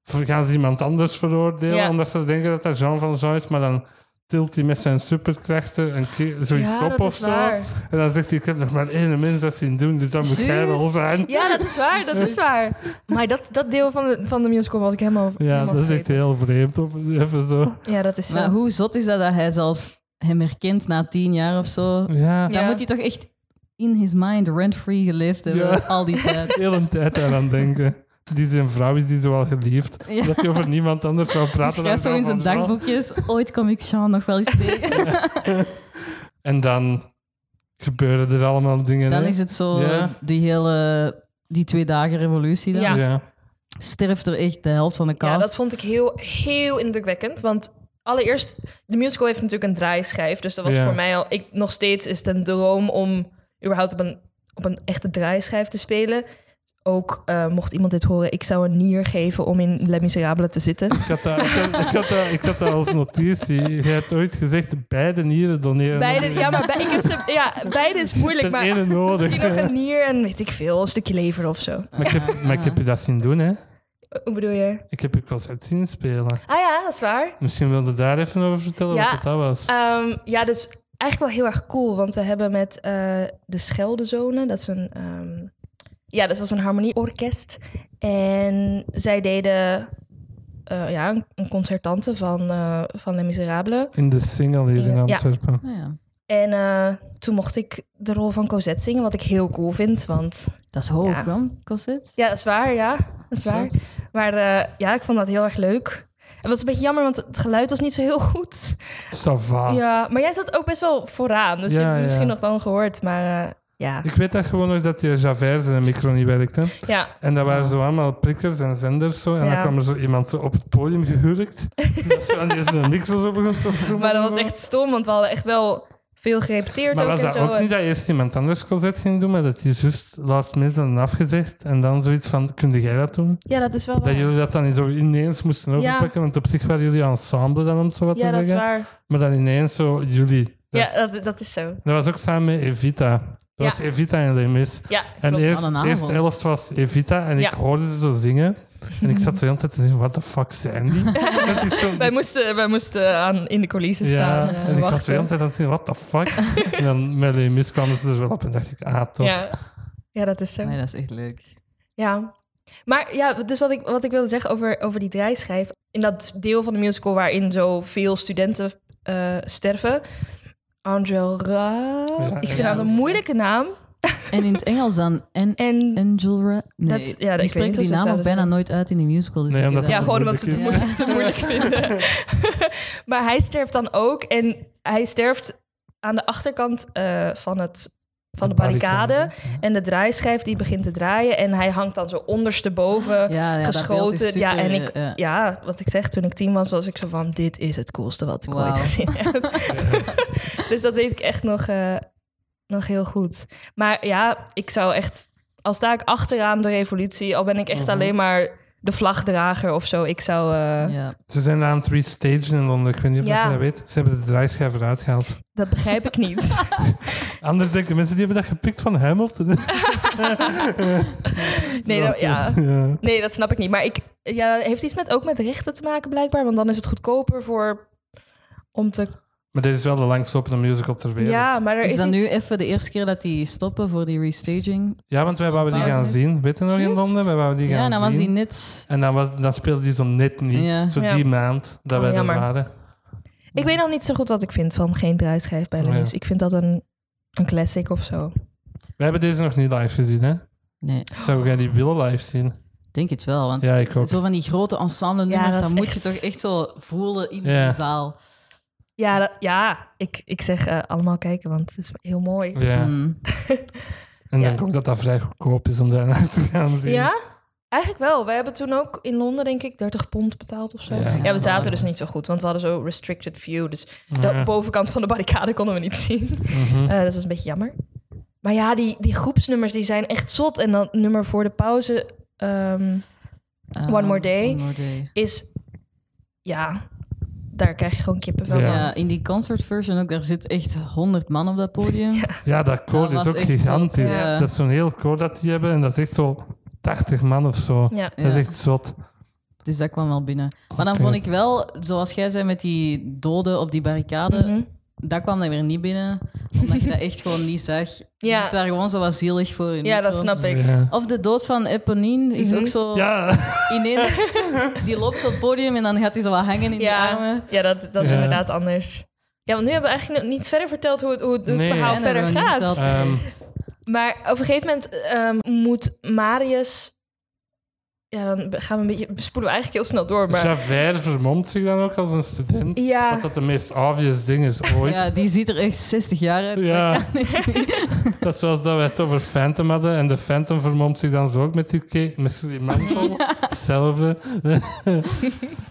Speaker 1: gaan ze iemand anders veroordelen,
Speaker 3: Ja.
Speaker 1: omdat ze denken dat dat Jean Valjean is, maar dan tilt hij met zijn superkrachten een keer zoiets
Speaker 3: ja,
Speaker 1: op
Speaker 3: dat
Speaker 1: of
Speaker 3: is
Speaker 1: zo.
Speaker 3: waar.
Speaker 1: En dan zegt hij, ik heb nog maar één mens dat zien doen, dus dat moet jij wel
Speaker 2: Juist.
Speaker 1: zijn.
Speaker 3: Ja, dat is waar, dat is waar. Dus- Maar dat, dat deel van de, van de musical was ik helemaal
Speaker 1: Ja,
Speaker 3: helemaal
Speaker 1: dat is echt
Speaker 3: vergeten.
Speaker 1: heel vreemd. Op, even zo.
Speaker 3: Ja, dat is zo.
Speaker 2: Maar hoe zot is dat dat hij zelfs hem herkent na tien jaar of zo?
Speaker 1: Ja,
Speaker 3: Ja.
Speaker 2: Dan moet hij toch echt in his mind rent-free geleefd hebben
Speaker 1: Ja.
Speaker 2: al die tijd.
Speaker 1: heel een tijd daaraan denken. Die zijn vrouw is die zo al geliefd.
Speaker 2: Ja.
Speaker 1: Dat hij over niemand anders zou
Speaker 2: Hij
Speaker 1: praten dan
Speaker 2: schrijft zo in
Speaker 1: Jean
Speaker 2: zijn
Speaker 1: Valjean.
Speaker 2: dagboekjes, ooit kom ik Sean nog wel eens tegen.
Speaker 1: En dan gebeuren er allemaal dingen.
Speaker 2: Dan
Speaker 1: hè?
Speaker 2: is het zo,
Speaker 1: Ja.
Speaker 2: die hele, die twee dagen revolutie dan.
Speaker 3: Ja.
Speaker 1: ja.
Speaker 2: Sterft er echt de helft van de cast.
Speaker 3: Ja, dat vond ik heel, heel indrukwekkend. Want allereerst, de musical heeft natuurlijk een draaischijf. Dus dat was
Speaker 1: Ja.
Speaker 3: voor mij al... Ik, nog steeds is het een droom om überhaupt op een, op een echte draaischijf te spelen. Ook eh, mocht iemand dit horen, ik zou een nier geven om in Les Miserables te zitten.
Speaker 1: Ik had, dat, ik, had, ik, had dat, ik had dat als notitie. Je hebt ooit gezegd, beide nieren doneren.
Speaker 3: Beide, ja, maar bij- ik heb ze, ja, beide is moeilijk,
Speaker 1: Ten
Speaker 3: maar
Speaker 1: ene nodig.
Speaker 3: misschien nog een nier en weet ik veel, een stukje lever of zo.
Speaker 1: Maar ik, heb, maar ik heb je dat zien doen, hè.
Speaker 3: Hoe bedoel je?
Speaker 1: Ik heb je concert zien spelen.
Speaker 3: Ah ja, dat is waar.
Speaker 1: Misschien wilde daar even over vertellen
Speaker 3: Ja.
Speaker 1: wat dat was.
Speaker 3: Ehm, ja, dus eigenlijk wel heel erg cool. Want we hebben met eh, de Scheldezone, dat is een... ehm, ja, dat was een harmonieorkest. En zij deden eh, ja, een, een concertante van, eh van Les Miserables.
Speaker 1: In de single hier in
Speaker 3: Ja.
Speaker 1: Antwerpen.
Speaker 2: Ah ja.
Speaker 3: En eh, toen mocht ik de rol van Cosette zingen, wat ik heel cool vind. Want
Speaker 2: Dat is hoog,
Speaker 3: Ja.
Speaker 2: man, Cosette.
Speaker 3: ja, dat is waar, ja. Dat is waar. Maar eh, ja, ik vond dat heel erg leuk. Het was een beetje jammer, want het geluid was niet zo heel goed.
Speaker 1: Sava.
Speaker 3: Ja, maar jij zat ook best wel vooraan. Dus
Speaker 1: Ah. Ja,
Speaker 3: je hebt het misschien
Speaker 1: ja.
Speaker 3: nog dan gehoord. Maar eh, ja.
Speaker 1: Ik weet dat gewoon nog dat die Javert zijn micro niet werkte.
Speaker 3: ja.
Speaker 1: En dat waren zo allemaal prikkers en zenders zo. En dan
Speaker 3: Ja.
Speaker 1: kwam er zo iemand zo op het podium gehurkt. En dat ze aan die zijn micro's op begon te vroegen.
Speaker 3: Maar dat was echt stom, want we hadden echt wel veel gerepeteerd
Speaker 1: Maar
Speaker 3: ook
Speaker 1: was
Speaker 3: en
Speaker 1: dat
Speaker 3: zo.
Speaker 1: ook niet dat eerst iemand anders Cosette ging doen, maar dat die zus laatst midden had afgezegd en dan zoiets van, kun jij dat doen?
Speaker 3: Ja, dat is wel
Speaker 1: Dat
Speaker 3: waar.
Speaker 1: jullie dat dan zo ineens moesten overpakken, want op zich waren jullie ensemble dan, om het zo wat
Speaker 3: Ja,
Speaker 1: te
Speaker 3: dat is
Speaker 1: zeggen.
Speaker 3: waar.
Speaker 1: Maar dan ineens zo jullie. Dat,
Speaker 3: Ja, dat, dat is zo.
Speaker 1: dat was ook samen met Evita. Dat
Speaker 3: Ja.
Speaker 1: was Evita en Lemus.
Speaker 3: Ja,
Speaker 1: En
Speaker 3: klopt.
Speaker 1: eerst,
Speaker 2: Wat een
Speaker 1: de eerste
Speaker 2: avond.
Speaker 1: helft was Evita en
Speaker 3: Ja.
Speaker 1: ik hoorde ze zo zingen. En ik zat zo de hele tijd te zeggen, what the fuck zijn die? dat is zo,
Speaker 3: Wij moesten, wij moesten aan, in de coulissen staan.
Speaker 1: dus- ja,
Speaker 3: eh,
Speaker 1: en ik was de hele
Speaker 3: wachten.
Speaker 1: tijd aan het zeggen, what the fuck? en dan met Lemus kwamen ze er wel op en dacht ik, ah, tof.
Speaker 3: Ja. ja, dat is zo.
Speaker 2: Nee, dat is echt leuk.
Speaker 3: Ja. Maar ja, dus wat ik, wat ik wilde zeggen over, over die draaischijf. In dat deel van de musical waarin zoveel studenten eh, sterven. Angel Ra.
Speaker 1: Ja,
Speaker 3: ik vind
Speaker 2: ja.
Speaker 3: dat een moeilijke naam.
Speaker 2: En in het Engels dan, en
Speaker 3: En
Speaker 2: Angel Ra- Nee,
Speaker 3: Dat is- ja, ik
Speaker 2: die
Speaker 3: weet
Speaker 2: spreken
Speaker 3: niet
Speaker 2: die
Speaker 3: of ze het
Speaker 2: naam ook bijna
Speaker 3: zouden zeggen.
Speaker 2: nooit uit in de musical. Dus
Speaker 1: Nee,
Speaker 2: ik
Speaker 1: omdat
Speaker 2: weet
Speaker 1: dat
Speaker 3: ja,
Speaker 2: dat
Speaker 3: gewoon
Speaker 1: moeilijk
Speaker 3: omdat
Speaker 1: is.
Speaker 3: ze het te moeilijk, te moeilijk vinden. maar hij sterft dan ook. En hij sterft aan de achterkant eh, van, het, van de, barricade. En de draaischijf die begint te draaien. En hij hangt dan zo ondersteboven.
Speaker 2: Ja, ja, dat beeld is
Speaker 3: geschoten. ja, en
Speaker 2: super,
Speaker 3: ik,
Speaker 2: ja.
Speaker 3: ja. wat ik zeg, toen ik tien was, was ik zo van: dit is het coolste wat ik
Speaker 2: Wauw.
Speaker 3: ooit gezien heb. dus dat weet ik echt nog, eh, nog heel goed. Maar ja, ik zou echt, al sta ik achteraan de revolutie, al ben ik
Speaker 2: Mhm.
Speaker 3: echt alleen maar de vlagdrager of zo, ik zou. eh,
Speaker 2: Ja.
Speaker 1: Ze zijn daar aan het restagen in Londen. Ik weet niet of
Speaker 3: Ja.
Speaker 1: je dat weet. Ze hebben de draaischijf eruit gehaald.
Speaker 3: Dat begrijp ik niet.
Speaker 1: Anders denken mensen, die hebben dat gepikt van Hamilton.
Speaker 3: nee, dat, ja.
Speaker 1: ja.
Speaker 3: nee, dat snap ik niet. Maar ik, ja, heeft iets met, ook met rechten te maken, blijkbaar. Want dan is het goedkoper voor. Om te...
Speaker 1: Maar dit is wel de langstlopende musical ter wereld.
Speaker 3: Ja,
Speaker 1: Ja,
Speaker 3: maar er is,
Speaker 2: Is dat
Speaker 3: iets-
Speaker 2: nu even de eerste keer dat die stoppen voor die restaging?
Speaker 1: want wij wouden die
Speaker 2: Pauze
Speaker 1: gaan
Speaker 3: dus
Speaker 2: is-
Speaker 1: zien. Weet je nog in
Speaker 2: Juist.
Speaker 1: Londen? Wij wouden die gaan
Speaker 2: Ja, dan was
Speaker 1: zien.
Speaker 2: die net...
Speaker 1: En dan, was, dan speelde die zo net niet.
Speaker 2: Ja.
Speaker 1: Zo
Speaker 3: Ja.
Speaker 1: die maand dat
Speaker 3: Oh,
Speaker 1: wij
Speaker 3: jammer.
Speaker 1: er waren.
Speaker 3: Ik weet nog niet zo goed wat ik vind van geen draaischijf bij
Speaker 1: Nee.
Speaker 3: Lemis. Ik vind dat een, een classic of zo.
Speaker 1: We hebben deze nog niet live gezien, hè?
Speaker 2: Nee,
Speaker 1: Zou jij die willen live zien?
Speaker 2: ik denk het wel, want
Speaker 1: Ja, ik ook.
Speaker 2: zo van die grote ensemble
Speaker 3: Ja,
Speaker 2: nummers,
Speaker 3: dat
Speaker 2: dan
Speaker 3: is
Speaker 2: moet je
Speaker 3: echt-
Speaker 2: toch echt zo voelen in
Speaker 1: Ja.
Speaker 2: de zaal.
Speaker 3: Ja,
Speaker 2: Hmm.
Speaker 3: dat- ja ik, ik zeg eh, allemaal kijken, want het is heel mooi.
Speaker 1: Ja.
Speaker 2: Mm.
Speaker 1: En
Speaker 3: Ja.
Speaker 1: denk ook dat dat vrij goedkoop is om daar naar te gaan zien.
Speaker 3: Ja? Eigenlijk wel. Wij hebben toen ook in Londen, denk ik, 30 pond betaald of zo.
Speaker 1: Ja,
Speaker 3: Ja,
Speaker 1: dat
Speaker 3: we
Speaker 1: is
Speaker 3: zaten
Speaker 1: waar. Oh
Speaker 3: dus niet zo goed, want we hadden zo restricted view. Dus
Speaker 1: Ja.
Speaker 3: de bovenkant van de barricade konden we niet zien.
Speaker 1: Mhm.
Speaker 3: Eh, dat was een beetje jammer. Maar ja, die, die groepsnummers die zijn echt zot. En dan nummer voor de pauze ehm,
Speaker 2: Eh,
Speaker 3: One More Day.
Speaker 2: One More Day.
Speaker 3: is... Ja, daar krijg je gewoon kippenvel
Speaker 1: Ja.
Speaker 2: Ja.
Speaker 3: van.
Speaker 2: in die concert version ook, daar zit echt 100 man op dat podium.
Speaker 1: Ja, dat koor
Speaker 2: Dat
Speaker 1: is
Speaker 2: was
Speaker 1: ook
Speaker 2: echt zot,
Speaker 1: gigantisch.
Speaker 3: ja.
Speaker 1: Dat is zo'n heel koor dat die hebben en dat is echt zo 80 man of zo.
Speaker 3: Ja.
Speaker 1: Dat is
Speaker 2: Ja.
Speaker 1: echt zot.
Speaker 2: Dus dat kwam wel binnen. Maar dan
Speaker 1: Oké.
Speaker 2: vond ik wel, zoals jij zei met die doden op die barricade,
Speaker 3: Mhm.
Speaker 2: dat kwam dan weer niet binnen, omdat je dat echt gewoon niet zag.
Speaker 3: Ja.
Speaker 2: Je zit daar gewoon zo wat zielig voor in.
Speaker 3: ja, dat
Speaker 2: Zo.
Speaker 3: snap ik.
Speaker 1: Ja.
Speaker 2: Of de dood van Eponine is
Speaker 3: Mhm.
Speaker 2: ook zo
Speaker 1: Ja.
Speaker 2: ineens. Die loopt op het podium en dan gaat hij zo wat hangen in de
Speaker 3: Ja,
Speaker 2: armen.
Speaker 3: ja dat, dat is
Speaker 1: Ja.
Speaker 3: inderdaad anders. Ja, want nu hebben we eigenlijk nog niet verder verteld hoe het, hoe het
Speaker 1: Nee.
Speaker 3: verhaal
Speaker 2: En
Speaker 3: verder
Speaker 2: hebben we niet
Speaker 3: gaat.
Speaker 2: verteld.
Speaker 1: Ehm,
Speaker 3: Maar op een gegeven moment ehm, moet Marius... Ja, dan be- gaan we een beetje... Spoelen we eigenlijk heel snel door, maar...
Speaker 1: Javert vermomt zich dan ook als een student.
Speaker 3: Ja,
Speaker 1: Wat dat de meest obvious ding is ooit.
Speaker 2: Ja, die ziet er echt 60 jaar uit.
Speaker 1: Ja.
Speaker 2: Dat kan echt niet.
Speaker 1: Dat is zoals dat we het over Phantom hadden. En de Phantom vermomt zich dan zo ook met die, ke- met die mantel. Hetzelfde.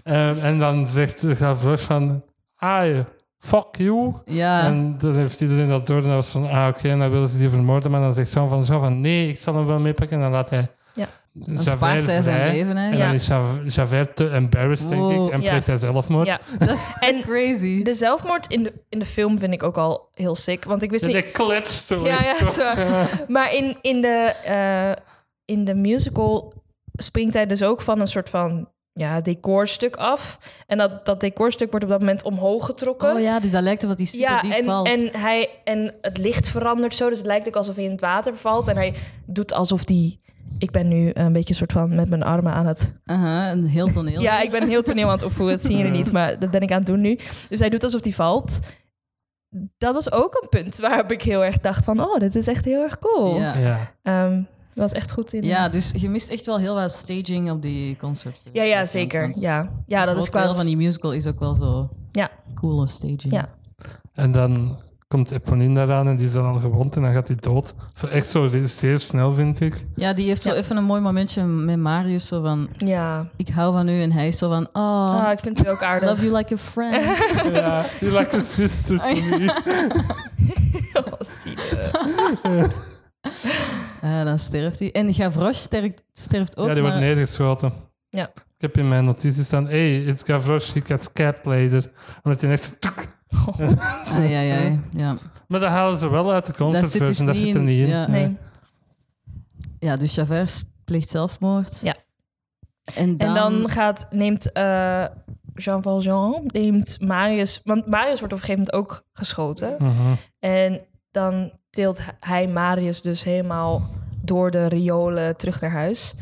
Speaker 1: Ehm, en dan zegt Gavroche van... Ai, fuck you.
Speaker 2: Ja.
Speaker 1: En dan heeft iedereen dat door. En dan was van, ah oké, en dan willen ze die vermoorden. Maar dan zegt Jean van, Jean van, nee, ik zal hem wel meepakken. En dan laat hij
Speaker 3: Ja.
Speaker 2: Dan
Speaker 1: Javert
Speaker 2: spaart hij zijn
Speaker 1: vrij.
Speaker 2: leven
Speaker 1: En
Speaker 2: eigenlijk.
Speaker 1: dan
Speaker 3: Ja.
Speaker 1: is Jav- Javert te embarrassed, denk ik.
Speaker 2: Wow.
Speaker 1: En
Speaker 3: Ja.
Speaker 1: pleegt hij zelfmoord.
Speaker 3: ja.
Speaker 2: Dat is
Speaker 3: En-
Speaker 2: crazy.
Speaker 3: De zelfmoord in de, in de film vind ik ook al heel sick. Want ik wist
Speaker 1: En
Speaker 3: niet...
Speaker 1: hij kletst zo.
Speaker 3: Ja, ja,
Speaker 1: Zo.
Speaker 3: zo. Maar in, in, de, eh, in de musical springt hij dus ook van een soort van ja, decorstuk af. En dat, dat decorstuk wordt op dat moment omhoog getrokken.
Speaker 2: Oh ja, dus dat lijkt erop dat hij super
Speaker 3: Ja,
Speaker 2: diep
Speaker 3: en,
Speaker 2: valt.
Speaker 3: en, hij, en het licht verandert zo. Dus het lijkt ook alsof hij in het water valt. En hij doet alsof die... Ik ben nu een beetje soort van met mijn armen aan het...
Speaker 2: Aha, een heel toneel.
Speaker 3: Ja, ik ben een heel toneel aan het opvoeren. Dat zien jullie niet, maar dat ben ik aan het doen nu. Dus hij doet alsof hij valt. Dat was ook een punt waarop ik heel erg dacht van... Oh, dit is echt heel erg cool.
Speaker 2: Ja.
Speaker 1: Ja.
Speaker 3: Ehm, dat was echt goed in... eh,
Speaker 2: Ja, dus je mist echt wel heel wat staging op die concert.
Speaker 3: ja, ja, zeker. Ja, ja dat is
Speaker 2: wel
Speaker 3: qua...
Speaker 2: van die musical is ook wel zo
Speaker 3: Ja.
Speaker 2: coole staging.
Speaker 3: Ja.
Speaker 1: En dan komt Eponine daaraan en die is dan al gewond en dan gaat hij dood. Zo echt zo zeer snel, vind ik.
Speaker 2: Ja, die heeft zo
Speaker 3: Ja.
Speaker 2: even een mooi momentje met Marius. Zo van,
Speaker 3: Ja,
Speaker 2: ik hou van u. En hij is zo van, oh,
Speaker 3: ah, ik vind het ook
Speaker 2: I love
Speaker 3: aardig.
Speaker 2: you like a friend.
Speaker 1: Ja, you like a sister to me.
Speaker 3: Oh, zielig.
Speaker 2: Ah, dan sterft hij. En Gavroche sterft, sterft ook.
Speaker 1: Ja, die wordt
Speaker 2: maar-
Speaker 1: neergeschoten.
Speaker 3: Ja.
Speaker 1: Ik heb in mijn notities staan, hey, it's Gavroche, he gets capped later. Omdat hij echt... tuk.
Speaker 2: Ah, ja, ja, ja. ja.
Speaker 1: Maar dat halen ze wel uit de concert
Speaker 2: Dat zit dus
Speaker 1: version, dat
Speaker 2: niet
Speaker 1: zit er
Speaker 2: in,
Speaker 1: niet in.
Speaker 2: ja.
Speaker 3: Nee.
Speaker 2: Ja, dus Javert pleegt zelfmoord.
Speaker 3: Ja.
Speaker 2: En dan,
Speaker 3: En dan gaat, neemt eh, Jean Valjean, neemt Marius... Want Marius wordt op een gegeven moment ook geschoten.
Speaker 1: Mhm.
Speaker 3: En dan tilt hij Marius dus helemaal door de riolen terug naar huis.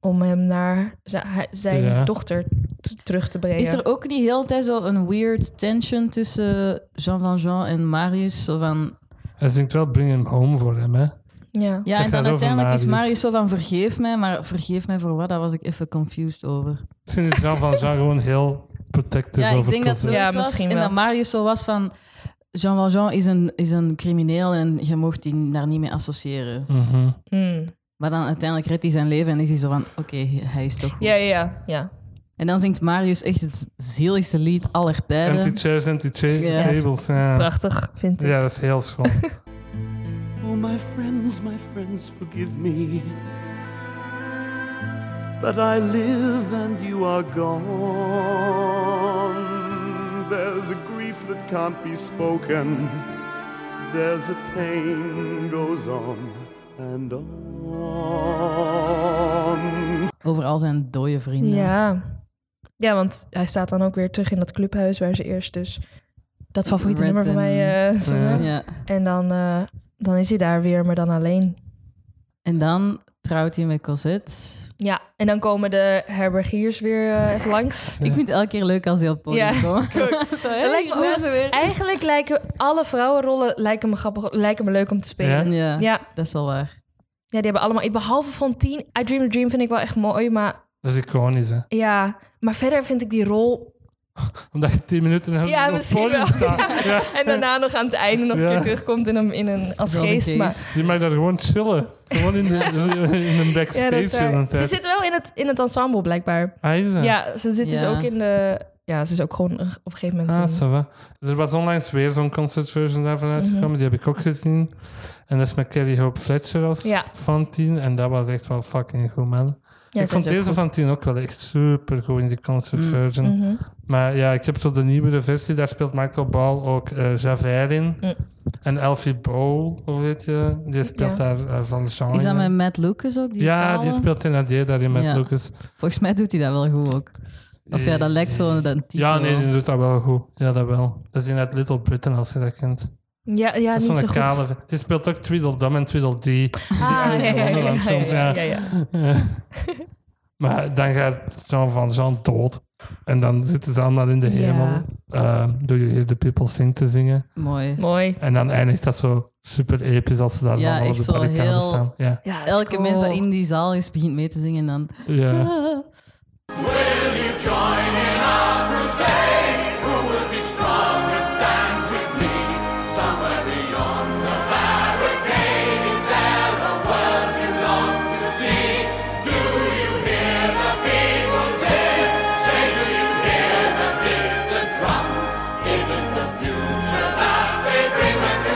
Speaker 3: Om hem naar zi- hij- zijn
Speaker 1: Ja.
Speaker 3: dochter t- terug te brengen.
Speaker 2: is er ook niet heel de tijd zo een weird tension tussen Jean Valjean en Marius? Zo van,
Speaker 1: Hij zingt wel Bring Him Home voor hem, hè.
Speaker 3: Ja.
Speaker 2: ja,
Speaker 1: Dat
Speaker 2: en
Speaker 1: gaat
Speaker 2: dan
Speaker 1: over
Speaker 2: uiteindelijk is
Speaker 1: Marius.
Speaker 2: Marius zo van vergeef mij, maar vergeef mij voor wat? Daar was ik even confused over.
Speaker 1: Misschien is Jean Valjean gewoon heel protective
Speaker 2: ja,
Speaker 1: over
Speaker 2: ik denk dat
Speaker 1: Cosette.
Speaker 2: zo
Speaker 3: Ja,
Speaker 2: was.
Speaker 3: misschien
Speaker 2: En dat
Speaker 3: wel.
Speaker 2: Marius zo was van... Jean Valjean is een, is een crimineel en je mocht die daar niet mee associëren.
Speaker 1: Mhm.
Speaker 3: Hmm.
Speaker 2: Maar dan uiteindelijk redt hij zijn leven en is hij zo van... Oké, hij is toch goed.
Speaker 3: ja, ja, ja, ja.
Speaker 2: En dan zingt Marius echt het zieligste lied aller
Speaker 1: Empty
Speaker 2: tijden.
Speaker 1: chairs, empty cha-
Speaker 2: Ja.
Speaker 1: tables. Ja.
Speaker 3: Prachtig, vind ik.
Speaker 1: ja, dat is heel schoon.
Speaker 5: Oh, my friends, my friends, forgive me that I live and you are gone. There's a grief that can't be spoken, there's a pain goes on and on.
Speaker 2: Over al zijn dode vrienden.
Speaker 3: Ja. ja, want hij staat dan ook weer terug in dat clubhuis waar ze eerst dus dat favoriete
Speaker 2: Red
Speaker 3: nummer van
Speaker 2: en-
Speaker 3: mij eh, zongen.
Speaker 2: Ja.
Speaker 3: En dan, eh, dan is hij daar weer, maar dan alleen.
Speaker 2: En dan trouwt hij met Cosette.
Speaker 3: Ja, en dan komen de herbergiers weer eh, even langs.
Speaker 2: Ik vind het elke keer leuk als hij op het podium
Speaker 3: Ja,
Speaker 2: komt. Zo, hey,
Speaker 3: lijkt me
Speaker 2: daar
Speaker 3: ook-
Speaker 2: zijn we weer.
Speaker 3: Eigenlijk lijken alle vrouwenrollen lijken me, grappig, lijken me leuk om te spelen.
Speaker 2: Ja,
Speaker 3: Ja. Ja,
Speaker 2: dat is wel waar.
Speaker 3: die hebben allemaal... ik- Behalve Fantine. I Dream a Dream vind ik wel echt mooi, maar
Speaker 1: Dat is iconisch, hè.
Speaker 3: ja... Maar verder vind ik die rol
Speaker 1: Omdat je tien minuten in
Speaker 3: Ja,
Speaker 1: op het
Speaker 3: misschien
Speaker 1: podium
Speaker 3: wel.
Speaker 1: staat. Ja.
Speaker 3: En daarna nog aan het einde nog een
Speaker 1: Ja.
Speaker 3: keer terugkomt in een, in een, als
Speaker 2: Als een
Speaker 3: geest. Maar,
Speaker 2: geest.
Speaker 1: Die mag daar gewoon chillen. Gewoon in, de, in een
Speaker 3: ja,
Speaker 1: backstage.
Speaker 3: dat is waar.
Speaker 1: in een
Speaker 3: Ze
Speaker 1: tijd.
Speaker 3: zit wel in het, in het ensemble blijkbaar.
Speaker 1: Ah, is
Speaker 3: Ja,
Speaker 1: dat?
Speaker 3: ze zit dus
Speaker 2: Ja.
Speaker 3: ook in de... Ja, ze is ook gewoon op een gegeven moment...
Speaker 1: Ah,
Speaker 3: in-
Speaker 1: ça va. Er was onlangs weer zo'n concertversion daarvan
Speaker 3: Mhm.
Speaker 1: uitgekomen. Die heb ik ook gezien. En dat is met Kelly Hope Fletcher als
Speaker 3: Ja.
Speaker 1: Fantine. En dat was echt wel fucking goed, man.
Speaker 3: ja,
Speaker 1: ik
Speaker 3: ze
Speaker 1: vond
Speaker 3: is ook
Speaker 1: deze
Speaker 3: goed.
Speaker 1: Fantine ook wel echt super goed in die concertversion.
Speaker 3: Mhm.
Speaker 1: Maar ja, ik heb zo de nieuwere versie. Daar speelt Michael Ball ook eh Javert in.
Speaker 3: Mm.
Speaker 1: En Elfie Bowl, hoe weet je? Die speelt daar eh, van de genre.
Speaker 2: Is dat met Matt Lucas ook? Die
Speaker 1: Ja,
Speaker 2: kale?
Speaker 1: die speelt Thénardier daarin met
Speaker 2: Ja.
Speaker 1: Lucas.
Speaker 2: Volgens mij doet hij dat wel goed ook. Of ja, dat lijkt zo een type.
Speaker 1: Eh, Ja, nee,
Speaker 2: wel.
Speaker 1: die doet dat wel goed. Ja, dat wel. Dat is inderdaad Little Britain, als je dat kent.
Speaker 3: Ja, ja
Speaker 1: dat is
Speaker 3: niet zo
Speaker 1: zo'n
Speaker 3: goed.
Speaker 1: kale. Die speelt ook Tweedledum en Tweedledee.
Speaker 3: Ah,
Speaker 1: Die
Speaker 3: ja, ja, ja,
Speaker 1: Nederland
Speaker 3: ja,
Speaker 1: soms,
Speaker 3: ja,
Speaker 1: ja.
Speaker 3: ja, ja.
Speaker 1: maar dan gaat Jean van Jean dood. En dan zitten ze allemaal in de
Speaker 3: Ja.
Speaker 1: hemel. eh, Doe je hier de People Sing te zingen.
Speaker 2: Mooi.
Speaker 3: Mooi.
Speaker 1: En dan eindigt dat zo super episch als ze daar
Speaker 2: Ja,
Speaker 1: allemaal op
Speaker 2: echt
Speaker 1: de
Speaker 2: zo
Speaker 1: barricade
Speaker 2: heel-
Speaker 1: staan. Ja.
Speaker 3: Ja, dat is
Speaker 2: Elke
Speaker 3: cool.
Speaker 2: mens dat in die zaal is, begint mee te zingen en dan...
Speaker 1: ja.
Speaker 2: Ah.
Speaker 1: Heb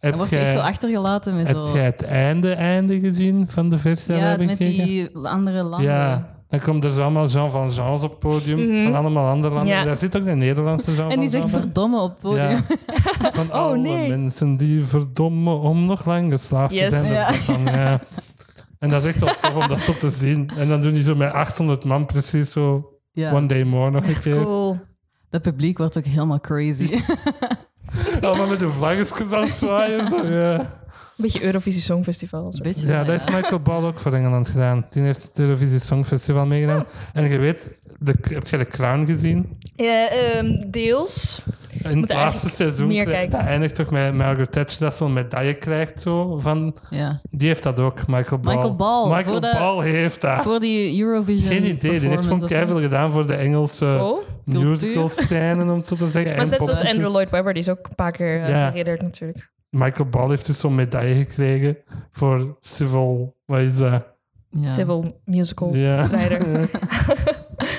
Speaker 2: Dan wordt je
Speaker 1: jij-
Speaker 2: echt zo achtergelaten met
Speaker 1: Heb
Speaker 2: zo...
Speaker 1: jij het einde, einde gezien van de versie?
Speaker 2: Ja,
Speaker 1: dat we
Speaker 2: met
Speaker 1: gekeken?
Speaker 2: die andere landen.
Speaker 1: Ja, dan komt er zo allemaal Jean van Jeans op het podium. Van allemaal andere landen.
Speaker 3: Ja.
Speaker 1: Daar zit ook de Nederlandse Jean
Speaker 2: En
Speaker 1: van
Speaker 2: die zegt
Speaker 1: Jean bij.
Speaker 2: verdomme op het podium.
Speaker 1: Ja. Van alle
Speaker 3: nee.
Speaker 1: mensen die verdomme om nog langer slaaf
Speaker 3: Yes.
Speaker 1: te zijn.
Speaker 2: Ja.
Speaker 1: Dat is dan, ja. En dat is echt wel tof om dat zo te zien. En dan doen die zo met 800 man precies zo
Speaker 2: Ja.
Speaker 1: One Day More nog een
Speaker 3: Echt
Speaker 1: keer.
Speaker 3: cool.
Speaker 2: Dat publiek wordt ook helemaal crazy.
Speaker 1: Allemaal met de vlaggetjes aan het zwaaien. Zo, ja.
Speaker 3: Beetje Eurovisie Songfestival. Zo.
Speaker 2: Beetje
Speaker 1: Ja,
Speaker 2: wel,
Speaker 1: dat heeft Michael Ball ook voor Engeland gedaan. Die heeft het Televisie Songfestival meegedaan. En je weet, de, heb jij de Crown gezien?
Speaker 3: Ja, ehm, deels.
Speaker 1: In het laatste
Speaker 3: Moeten eigenlijk
Speaker 1: seizoen
Speaker 3: meer
Speaker 1: kri-
Speaker 3: kijken.
Speaker 1: dat eindigt toch met Margaret Thatcher dat zo'n medaille krijgt. Zo, van,
Speaker 2: Ja.
Speaker 1: die heeft dat ook, Michael Ball.
Speaker 2: Michael Ball,
Speaker 1: Michael
Speaker 2: voor de-
Speaker 1: Ball heeft dat.
Speaker 2: Voor die Eurovision
Speaker 1: Geen idee, die heeft gewoon
Speaker 2: performance of-
Speaker 1: keiveel gedaan voor de Engelse
Speaker 3: Oh.
Speaker 1: musical scène, om het zo te zeggen.
Speaker 3: Maar het is
Speaker 1: En
Speaker 3: net zoals
Speaker 1: pop-
Speaker 3: Andrew Lloyd Webber, die is ook een paar keer eh,
Speaker 1: Ja.
Speaker 3: verridderd natuurlijk.
Speaker 1: Michael Ball heeft dus zo'n medaille gekregen voor civil... Wat is dat?
Speaker 2: Ja.
Speaker 3: Civil musical
Speaker 1: Ja.
Speaker 3: Oh, strijder.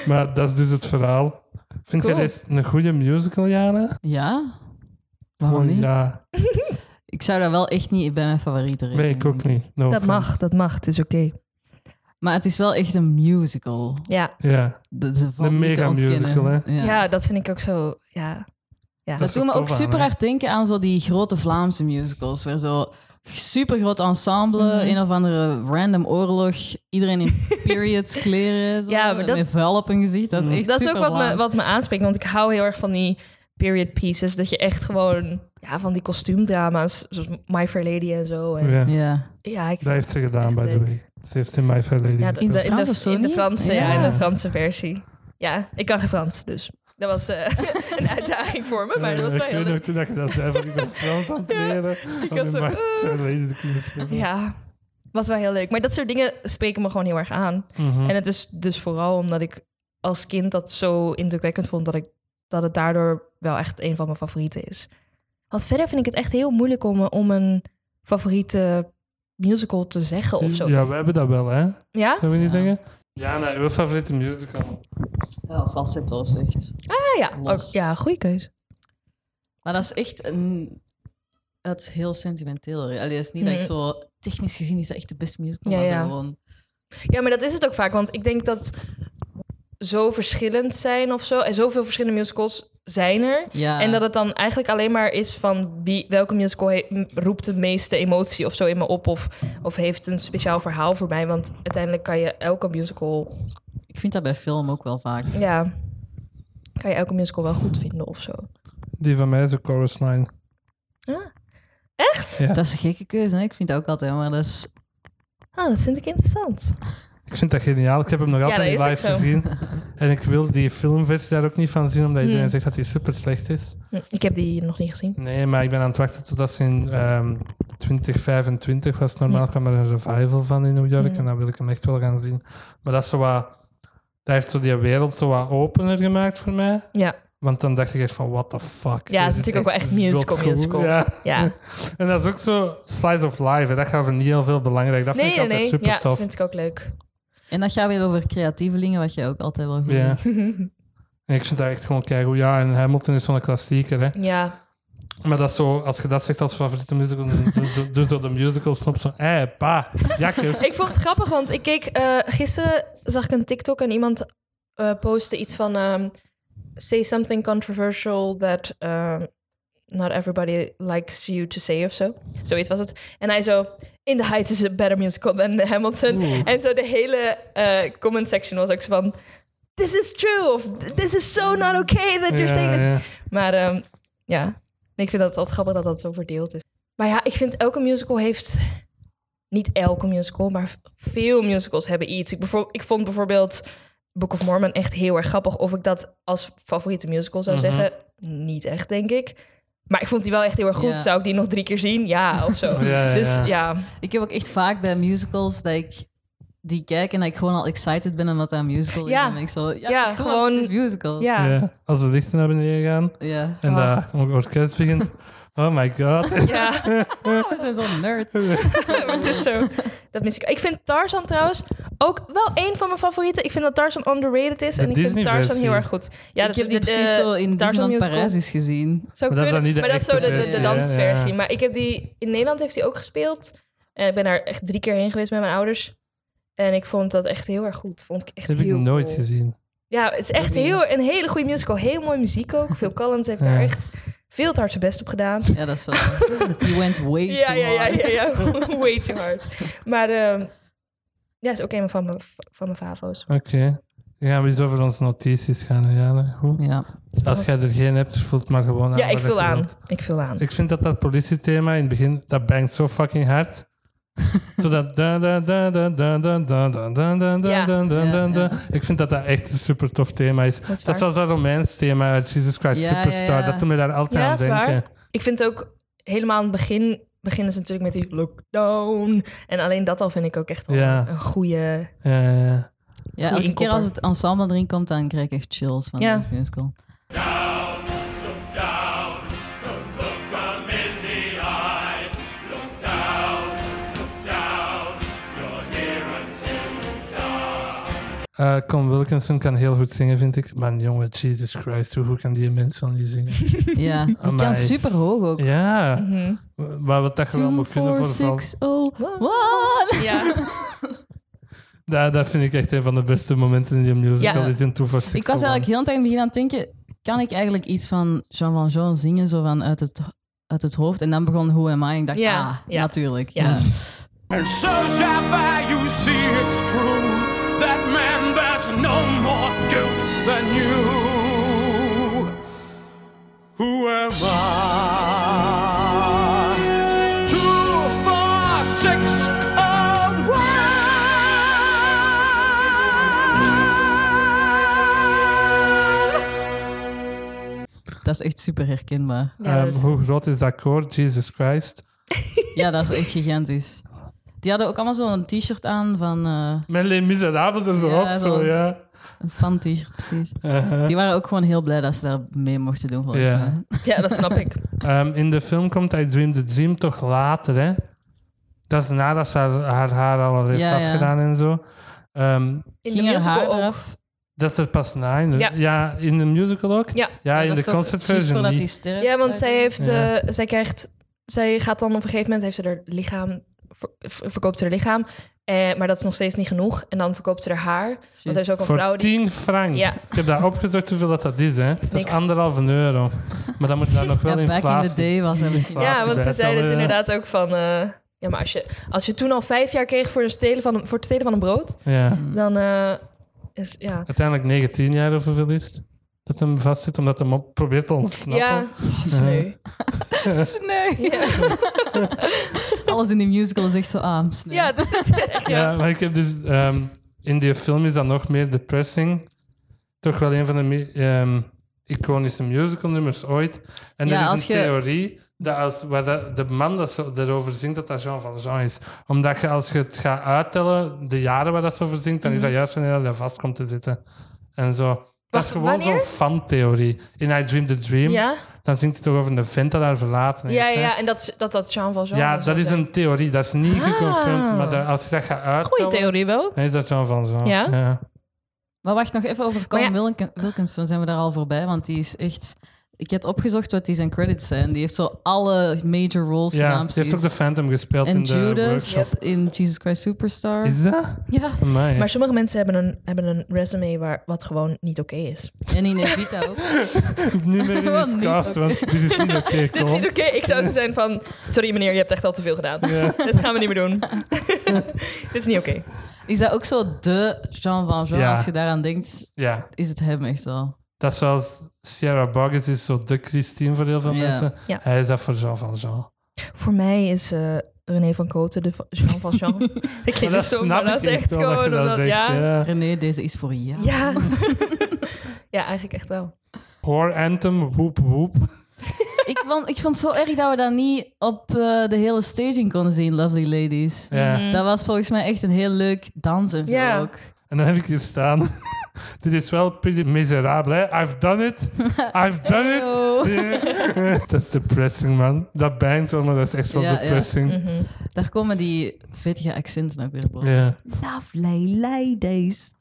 Speaker 1: Maar dat is dus het verhaal. Vind
Speaker 3: Cool.
Speaker 1: jij dit een goede musical, Jana?
Speaker 2: Ja? Waarom
Speaker 1: Gewoon
Speaker 2: niet?
Speaker 1: Ja.
Speaker 2: Ik zou dat wel echt niet bij mijn favorieten rekenen.
Speaker 1: Nee, ik ook
Speaker 2: denk
Speaker 1: niet. No
Speaker 3: Dat
Speaker 1: offense.
Speaker 3: mag, dat mag. Het is oké.
Speaker 2: Maar het is wel echt een musical.
Speaker 3: Ja.
Speaker 1: Ja.
Speaker 2: Dat is valt
Speaker 1: Een
Speaker 2: niet te
Speaker 1: mega
Speaker 2: ontkennen.
Speaker 1: musical, hè?
Speaker 2: Ja.
Speaker 3: Ja. dat vind ik ook zo... Ja. Ja.
Speaker 1: Dat
Speaker 2: Dat
Speaker 1: is
Speaker 2: doet me
Speaker 1: er
Speaker 2: ook
Speaker 1: tof aan,
Speaker 2: super
Speaker 1: hè?
Speaker 2: hard denken aan zo die grote Vlaamse musicals. Waar zo super groot ensemble,
Speaker 3: Mhm.
Speaker 2: een of andere random oorlog, iedereen in periods kleren. Zo,
Speaker 3: Ja, maar dat- Mhm.
Speaker 2: Met vuil op hun gezicht. Dat is echt
Speaker 3: Dat is ook
Speaker 2: super
Speaker 3: wat me,
Speaker 2: Vlaams.
Speaker 3: wat me aanspreekt, want ik hou heel erg van die period pieces. Dat je echt gewoon... Ja, van die kostuumdrama's, zoals My Fair Lady en zo. En,
Speaker 1: Ja.
Speaker 2: Ja.
Speaker 3: Ja, ik...
Speaker 1: Dat heeft ze gedaan,
Speaker 3: Echt
Speaker 1: by the
Speaker 3: leuk.
Speaker 1: way. Ze heeft in My Fair Lady
Speaker 3: Ja, in
Speaker 1: gespeeld.
Speaker 3: de, in
Speaker 2: Frans
Speaker 3: de,
Speaker 2: of zo
Speaker 3: in de
Speaker 2: niet?
Speaker 3: Franse, ja.
Speaker 2: Ja.
Speaker 3: in de Franse versie. Ja, ik kan geen Frans, dus dat was eh, een uitdaging voor me, maar dat was wel
Speaker 1: Eh, ik
Speaker 3: heel
Speaker 1: weet nog
Speaker 3: leuk.
Speaker 1: toen dat je dat zei, van, ik ben Frans aan het leren. om
Speaker 3: was
Speaker 1: in
Speaker 3: zo,
Speaker 1: My
Speaker 3: eh.
Speaker 1: Fair Lady te kunnen spelen.
Speaker 3: Ja, was wel heel leuk. Maar dat soort dingen spreken me gewoon heel erg aan.
Speaker 1: Mhm.
Speaker 3: En het is dus vooral omdat ik als kind dat zo indrukwekkend vond dat, ik, dat het daardoor wel echt een van mijn favorieten is. Want verder vind ik het echt heel moeilijk om, om een favoriete musical te zeggen of zo. Ja?
Speaker 1: Hm, Ja, we hebben dat wel, hè? Zullen we niet
Speaker 2: Ja.
Speaker 1: zeggen? Ja, nou, uw favoriete musical.
Speaker 2: Ja, falsetto echt.
Speaker 3: Ah ja, ook,
Speaker 2: Los.
Speaker 3: ja goede keus.
Speaker 2: Maar dat is echt een... Dat is heel sentimenteel. Allee, dat is niet dat ik zo... Technisch gezien is dat echt de beste musical.
Speaker 3: Mhm. Ja,
Speaker 2: maar zo
Speaker 3: ja.
Speaker 2: gewoon...
Speaker 3: Ja, maar dat is het ook vaak, want ik denk dat zo verschillend zijn of zo, en zoveel verschillende musicals zijn er,
Speaker 2: Ja.
Speaker 3: En dat het dan eigenlijk alleen maar is van wie, welke musical he- m- roept de meeste emotie of zo in me op. Of, of heeft een speciaal verhaal voor mij. Want uiteindelijk kan je elke musical.
Speaker 2: Ik vind dat bij film ook wel vaak.
Speaker 3: Ja, kan je elke musical wel goed vinden of zo.
Speaker 1: Die van mij is een chorus line.
Speaker 3: Echt?
Speaker 1: Ja.
Speaker 2: Dat is een gekke keuze, hè? Ik vind dat ook altijd, maar dat is...
Speaker 3: Ah, dat vind ik interessant.
Speaker 1: Ik vind dat geniaal. Ik heb hem nog altijd
Speaker 3: dat
Speaker 1: niet
Speaker 3: is ook
Speaker 1: live
Speaker 3: zo.
Speaker 1: gezien. En ik wil die filmversie daar ook niet van zien, omdat iedereen
Speaker 3: Hmm.
Speaker 1: zegt dat die super slecht is.
Speaker 3: Hm, Ik heb die nog niet gezien.
Speaker 1: Nee, maar ik ben aan het wachten totdat ze in ehm, 2025 was. het Normaal
Speaker 3: Ja.
Speaker 1: kwam er een revival van in New York
Speaker 3: Ja.
Speaker 1: en dan wil ik hem echt wel gaan zien. Maar dat, is zo wat, dat heeft zo die wereld zo wat opener gemaakt voor mij.
Speaker 3: Ja,
Speaker 1: Want dan dacht ik echt van, what the fuck.
Speaker 3: Ja, het is
Speaker 1: Dit
Speaker 3: natuurlijk ook wel echt musical,
Speaker 1: zotgoed.
Speaker 3: musical.
Speaker 1: Ja.
Speaker 3: ja.
Speaker 1: En dat is ook zo slice of life. Hè. Dat gaat voor niet heel veel belangrijk. Dat
Speaker 3: nee,
Speaker 1: vind ik
Speaker 3: nee,
Speaker 1: altijd
Speaker 3: nee.
Speaker 1: super
Speaker 3: Ja,
Speaker 1: tof.
Speaker 3: vind ik ook leuk.
Speaker 2: En dat gaat weer over creatievelingen, wat jij ook altijd wel goed
Speaker 1: Ja.
Speaker 2: vindt.
Speaker 1: En ik vind dat echt gewoon keigoed. Ja, en Hamilton is zo'n klassieker. Hè.
Speaker 3: ja,
Speaker 1: Maar dat is zo, als je dat zegt als favoriete musical, dan doet- doet- doet dat de musical snap zo... Hé, pa, jakkes.
Speaker 3: Ik vond het grappig, want ik keek eh, gisteren zag ik een TikTok en iemand eh postte iets van ehm, say something controversial that ehm, not everybody likes you to say of zo. Zoiets was het. En hij zo In the Heights is a better musical than Hamilton. En zo de hele eh, comment section was ook zo van This is true of This is so not okay that you're
Speaker 1: Ja,
Speaker 3: saying this.
Speaker 1: ja.
Speaker 3: Maar ehm, ja, En ik vind dat altijd grappig dat dat zo verdeeld is. Maar ja, ik vind elke musical heeft... Niet elke musical, maar veel musicals hebben iets. Ik, bijvoor- ik vond bijvoorbeeld Book of Mormon echt heel erg grappig. Of ik dat als favoriete musical zou
Speaker 1: Mhm.
Speaker 3: zeggen? Niet echt, denk ik. Maar ik vond die wel echt heel erg goed.
Speaker 2: Ja.
Speaker 3: Zou ik die nog drie keer zien? Ja, of zo.
Speaker 1: Oh, Ja, ja,
Speaker 3: dus
Speaker 1: ja.
Speaker 3: ja.
Speaker 2: Ik heb ook echt vaak bij musicals dat ik die kijk en dat ik gewoon al excited ben omdat dat een musical is.
Speaker 3: Ja.
Speaker 2: En ik zo, ja,
Speaker 3: Ja,
Speaker 2: het is gewoon...
Speaker 3: gewoon-
Speaker 2: Het is musical.
Speaker 3: Ja. ja.
Speaker 1: Ja, als de lichten naar beneden gaan
Speaker 2: Ja.
Speaker 1: en
Speaker 3: Ah.
Speaker 1: daar ook orkest begint. Oh my god.
Speaker 2: we zijn zo'n nerd.
Speaker 3: maar het is zo. Dat mis ik. Ik vind Tarzan trouwens ook wel een van mijn favorieten. Ik vind dat Tarzan underrated is.
Speaker 1: De
Speaker 3: en ik vind Tarzan
Speaker 1: Disney-versie.
Speaker 3: heel erg goed. Ja,
Speaker 2: ik
Speaker 3: dat-
Speaker 2: heb die
Speaker 3: de- de-
Speaker 2: precies zo in
Speaker 3: Tarzan
Speaker 2: Disneyland
Speaker 3: musical.
Speaker 2: Parijs is gezien.
Speaker 1: Maar dat
Speaker 3: Zou
Speaker 1: is dan
Speaker 3: kunnen.
Speaker 1: niet de
Speaker 3: maar dat is zo de,
Speaker 1: echte
Speaker 3: de, de
Speaker 1: versie, hè?
Speaker 3: dansversie.
Speaker 1: Ja.
Speaker 3: Maar ik heb die in Nederland heeft die ook gespeeld. En ik ben daar echt drie keer heen geweest met mijn ouders. En ik vond dat echt heel erg goed. Vond ik echt
Speaker 1: Dat heb ik
Speaker 3: heel
Speaker 1: nooit
Speaker 3: cool.
Speaker 1: gezien.
Speaker 3: Ja, het is echt heel, een hele goede musical. Heel mooi muziek ook. Phil Collins heeft daar
Speaker 1: Ja.
Speaker 3: echt veel te hard zijn best op gedaan.
Speaker 2: Ja, dat is zo. You went way too
Speaker 3: Ja, ja, ja,
Speaker 2: hard.
Speaker 3: ja, ja. Way too hard. Maar ehm, ja, is ook een van mijn, van mijn favo's.
Speaker 1: Oké. Dan gaan we eens over onze notities gaan. hè, Jana. Goed.
Speaker 2: Ja.
Speaker 1: Als jij er geen hebt, vult maar gewoon aan.
Speaker 3: Ja, ik
Speaker 1: wat
Speaker 3: vul
Speaker 1: je
Speaker 3: aan.
Speaker 1: wilt.
Speaker 3: Ik vul aan.
Speaker 1: Ik vind dat dat politiethema in het begin, dat bangt zo fucking hard. Zodat. dun, dun, dun, dun, dun, dun, dun, dun, dun, dun,
Speaker 3: Ja.
Speaker 1: dun, dun,
Speaker 2: Ja,
Speaker 1: dun, dun.
Speaker 2: ja.
Speaker 1: Ik vind dat dat echt een super tof thema is.
Speaker 3: Dat is
Speaker 1: Dat is
Speaker 3: waar.
Speaker 1: als dat Romeins thema uit Jesus Christ
Speaker 2: Ja, ja,
Speaker 1: Superstar.
Speaker 2: ja.
Speaker 1: Dat doet me daar altijd
Speaker 3: Ja,
Speaker 1: aan
Speaker 3: dat is waar.
Speaker 1: denken.
Speaker 3: Ik vind ook helemaal aan het begin beginnen ze natuurlijk met die lockdown. En alleen dat al vind ik ook echt al
Speaker 1: Ja.
Speaker 3: een goede.
Speaker 1: Ja, ja, ja.
Speaker 2: ja
Speaker 3: Goeie
Speaker 2: elke keer
Speaker 3: inkopper.
Speaker 2: als het ensemble erin komt, dan krijg ik echt chills van
Speaker 3: Ja.
Speaker 2: deze musical.
Speaker 1: Eh, Con Wilkinson kan heel goed zingen, vind ik. Maar jongen, Jesus Christ, hoe goed kan die mens wel niet zingen?
Speaker 2: Ja, die
Speaker 1: Amai.
Speaker 2: kan super hoog ook.
Speaker 1: ja,
Speaker 3: Mhm.
Speaker 1: maar wat dat je wel
Speaker 2: Two,
Speaker 1: moet kunnen
Speaker 2: four,
Speaker 1: voor val-
Speaker 2: six, oh, one.
Speaker 3: Ja.
Speaker 1: Ja, dat vind ik echt een van de beste momenten in die musical.
Speaker 2: Ja.
Speaker 1: Is in Two for Six
Speaker 2: Ik was eigenlijk heel de tijd in het begin aan het denken, kan ik eigenlijk iets van Jean Valjean zingen, zo van uit het, uit het hoofd? En dan begon Who Am I? En ik dacht,
Speaker 3: Ja,
Speaker 2: ah,
Speaker 3: ja.
Speaker 2: natuurlijk.
Speaker 3: Ja.
Speaker 2: Ja.
Speaker 4: And so shall I, you see it's true. That man, there's no more guilt than you. Who am I? Two, four, six, oh, one.
Speaker 2: Dat is echt super herkenbaar.
Speaker 3: Ja, dat is-
Speaker 1: Ehm, hoe groot is dat koor? Jesus Christ.
Speaker 2: Ja, dat is echt gigantisch. Die hadden ook allemaal zo'n t-shirt aan van... eh,
Speaker 1: Met Les Miserables er zo
Speaker 2: Ja,
Speaker 1: op, zo,
Speaker 2: zo.
Speaker 1: ja.
Speaker 2: Een fan-t-shirt, precies.
Speaker 1: Uh-huh.
Speaker 2: Die waren ook gewoon heel blij dat ze daar mee mochten doen, volgens
Speaker 1: Ja.
Speaker 2: mij.
Speaker 3: ja, dat snap ik.
Speaker 1: Ehm, in de film komt I Dream the Dream toch later, hè? Dat is nadat ze haar haar, haar al heeft
Speaker 2: Ja, ja.
Speaker 1: afgedaan en zo. Ehm,
Speaker 3: In
Speaker 2: Ging
Speaker 3: de
Speaker 2: haar
Speaker 3: musical
Speaker 2: haar
Speaker 3: ook.
Speaker 2: eraf?
Speaker 1: dat is er pas na. In de, ja.
Speaker 3: Ja.
Speaker 1: in de musical ook?
Speaker 3: Ja.
Speaker 1: Ja, in
Speaker 2: dat
Speaker 1: de
Speaker 2: is toch precies
Speaker 1: concertversion
Speaker 2: voordat
Speaker 1: niet.
Speaker 2: hij sterft.
Speaker 3: Ja, want zij heeft,
Speaker 1: Ja.
Speaker 3: eh, zij krijgt, zij gaat dan op een gegeven moment heeft ze haar lichaam ver- ver- verkoopt ze haar lichaam, eh, maar dat is nog steeds niet genoeg. En dan verkoopt ze haar haar, want er is ook een
Speaker 1: Voor
Speaker 3: vrouw die.
Speaker 1: 10 frank.
Speaker 3: Ja.
Speaker 1: Ik heb daar opgezocht hoeveel dat, dat is. Hè. Dat is
Speaker 3: niks.
Speaker 1: anderhalve euro. Maar dan moet daar nog wel
Speaker 2: Ja, back in
Speaker 1: inflatie.
Speaker 2: the day was hij misschien.
Speaker 1: inflatie
Speaker 3: Ja, want
Speaker 1: bij
Speaker 3: ze zei dus
Speaker 1: tellen, ja.
Speaker 3: inderdaad ook van, eh, ja, maar als je, als je toen al vijf jaar kreeg voor, een stelen van, een- voor het stelen van een brood,
Speaker 1: Ja.
Speaker 3: dan eh, is ja.
Speaker 1: Uiteindelijk 19 jaar of hoeveel is het? Dat hem vastzit omdat hem op probeert te ontsnappen.
Speaker 3: Ja, oh, sneu.
Speaker 2: Nee,
Speaker 3: Ja.
Speaker 2: al alles in die musical is echt zo ah, sneu.
Speaker 3: Ja, dat is het echt. Ja.
Speaker 1: Ja, maar ik heb dus... ehm, in die film is dat nog meer depressing. Toch wel een van de me- ehm, iconische musicalnummers ooit. En
Speaker 2: Ja,
Speaker 1: er
Speaker 2: als
Speaker 1: is een
Speaker 2: je-
Speaker 1: theorie dat als, waar dat- de man dat zo, erover zingt, dat dat Jean Valjean is. Omdat je, als je het gaat uittellen, de jaren waar dat zo over zingt, dan is
Speaker 3: Mhm.
Speaker 1: dat juist wanneer hij vast komt te zitten. En zo. dat is
Speaker 3: Wacht,
Speaker 1: gewoon zo'n
Speaker 3: wanneer?
Speaker 1: fan-theorie. In I Dream the Dream,
Speaker 3: Ja?
Speaker 1: dan zingt hij toch over een vent dat haar verlaten
Speaker 3: ja,
Speaker 1: heeft, hè?
Speaker 3: ja, en dat, dat dat Ah. Jean Valjean
Speaker 1: Ja, dat is een theorie. Dat is niet geconfirmed, maar dat- als je dat gaat uittellen...
Speaker 3: goede theorie wel.
Speaker 1: Nee, dat zou van zo.
Speaker 3: Ja?
Speaker 2: Maar wacht nog even over
Speaker 3: Maar
Speaker 2: Colin Wilkin- Wilkinson. Zijn we daar al voorbij? Want die is echt. Ik heb opgezocht wat die zijn credits zijn. Die heeft zo alle major roles
Speaker 1: Ja,
Speaker 2: gedaan.
Speaker 1: die heeft ook de
Speaker 2: precies.
Speaker 1: Phantom gespeeld
Speaker 2: En
Speaker 1: in de
Speaker 2: Judas
Speaker 1: workshop.
Speaker 2: in Jesus Christ Superstar.
Speaker 1: Is dat?
Speaker 2: Ja,
Speaker 1: Amai.
Speaker 3: Maar sommige mensen hebben een, hebben een resume waar, wat gewoon niet oké is.
Speaker 2: en in Evita ook.
Speaker 1: niet meer in
Speaker 2: Wat
Speaker 1: het
Speaker 2: niet,
Speaker 1: cast, want dit is niet oké,
Speaker 3: Dit is
Speaker 1: cool.
Speaker 3: niet oké. Ik zou zo zijn van... Sorry meneer, je hebt echt al te veel gedaan.
Speaker 1: Ja.
Speaker 3: Dit gaan we niet meer doen. Dit is niet oké.
Speaker 2: Is dat ook zo de Jean Valjean?
Speaker 1: Ja.
Speaker 2: Als je daaraan denkt,
Speaker 1: Ja,
Speaker 2: is het hem echt wel.
Speaker 1: dat is zoals Sierra Burgess is zo de Christine voor heel veel
Speaker 2: Ja.
Speaker 1: mensen.
Speaker 3: Ja.
Speaker 1: Hij is dat voor Jean van Jean.
Speaker 3: Voor mij is eh, René van Koten de Va- Jean Valjean. dat
Speaker 1: Maar
Speaker 3: klinkt dus zo, maar dat is echt
Speaker 1: wel, dat
Speaker 3: gewoon...
Speaker 1: je dat
Speaker 3: omdat-
Speaker 1: zegt,
Speaker 3: ja. Ja.
Speaker 1: ja.
Speaker 2: René, deze is voor jou.
Speaker 3: Ja. eigenlijk echt wel.
Speaker 1: Horror Anthem, woep woep.
Speaker 2: Ik, vond, ik vond het zo erg dat we dat niet op eh, de hele staging konden zien, Lovely Ladies.
Speaker 1: Ja.
Speaker 3: Mhm.
Speaker 2: Dat was volgens mij echt een heel leuk dans en zo
Speaker 3: Ja.
Speaker 2: ook.
Speaker 1: En dan heb ik hier staan. Dit is wel pretty miserabel, hè? I've done it. I've done it. dat is depressing, man. Dat bijnt wel, maar dat is echt wel
Speaker 2: Ja, ja.
Speaker 1: depressing. Ja.
Speaker 3: Mhm.
Speaker 2: Daar komen die vettige accenten ook weer boven. Lovely ladies.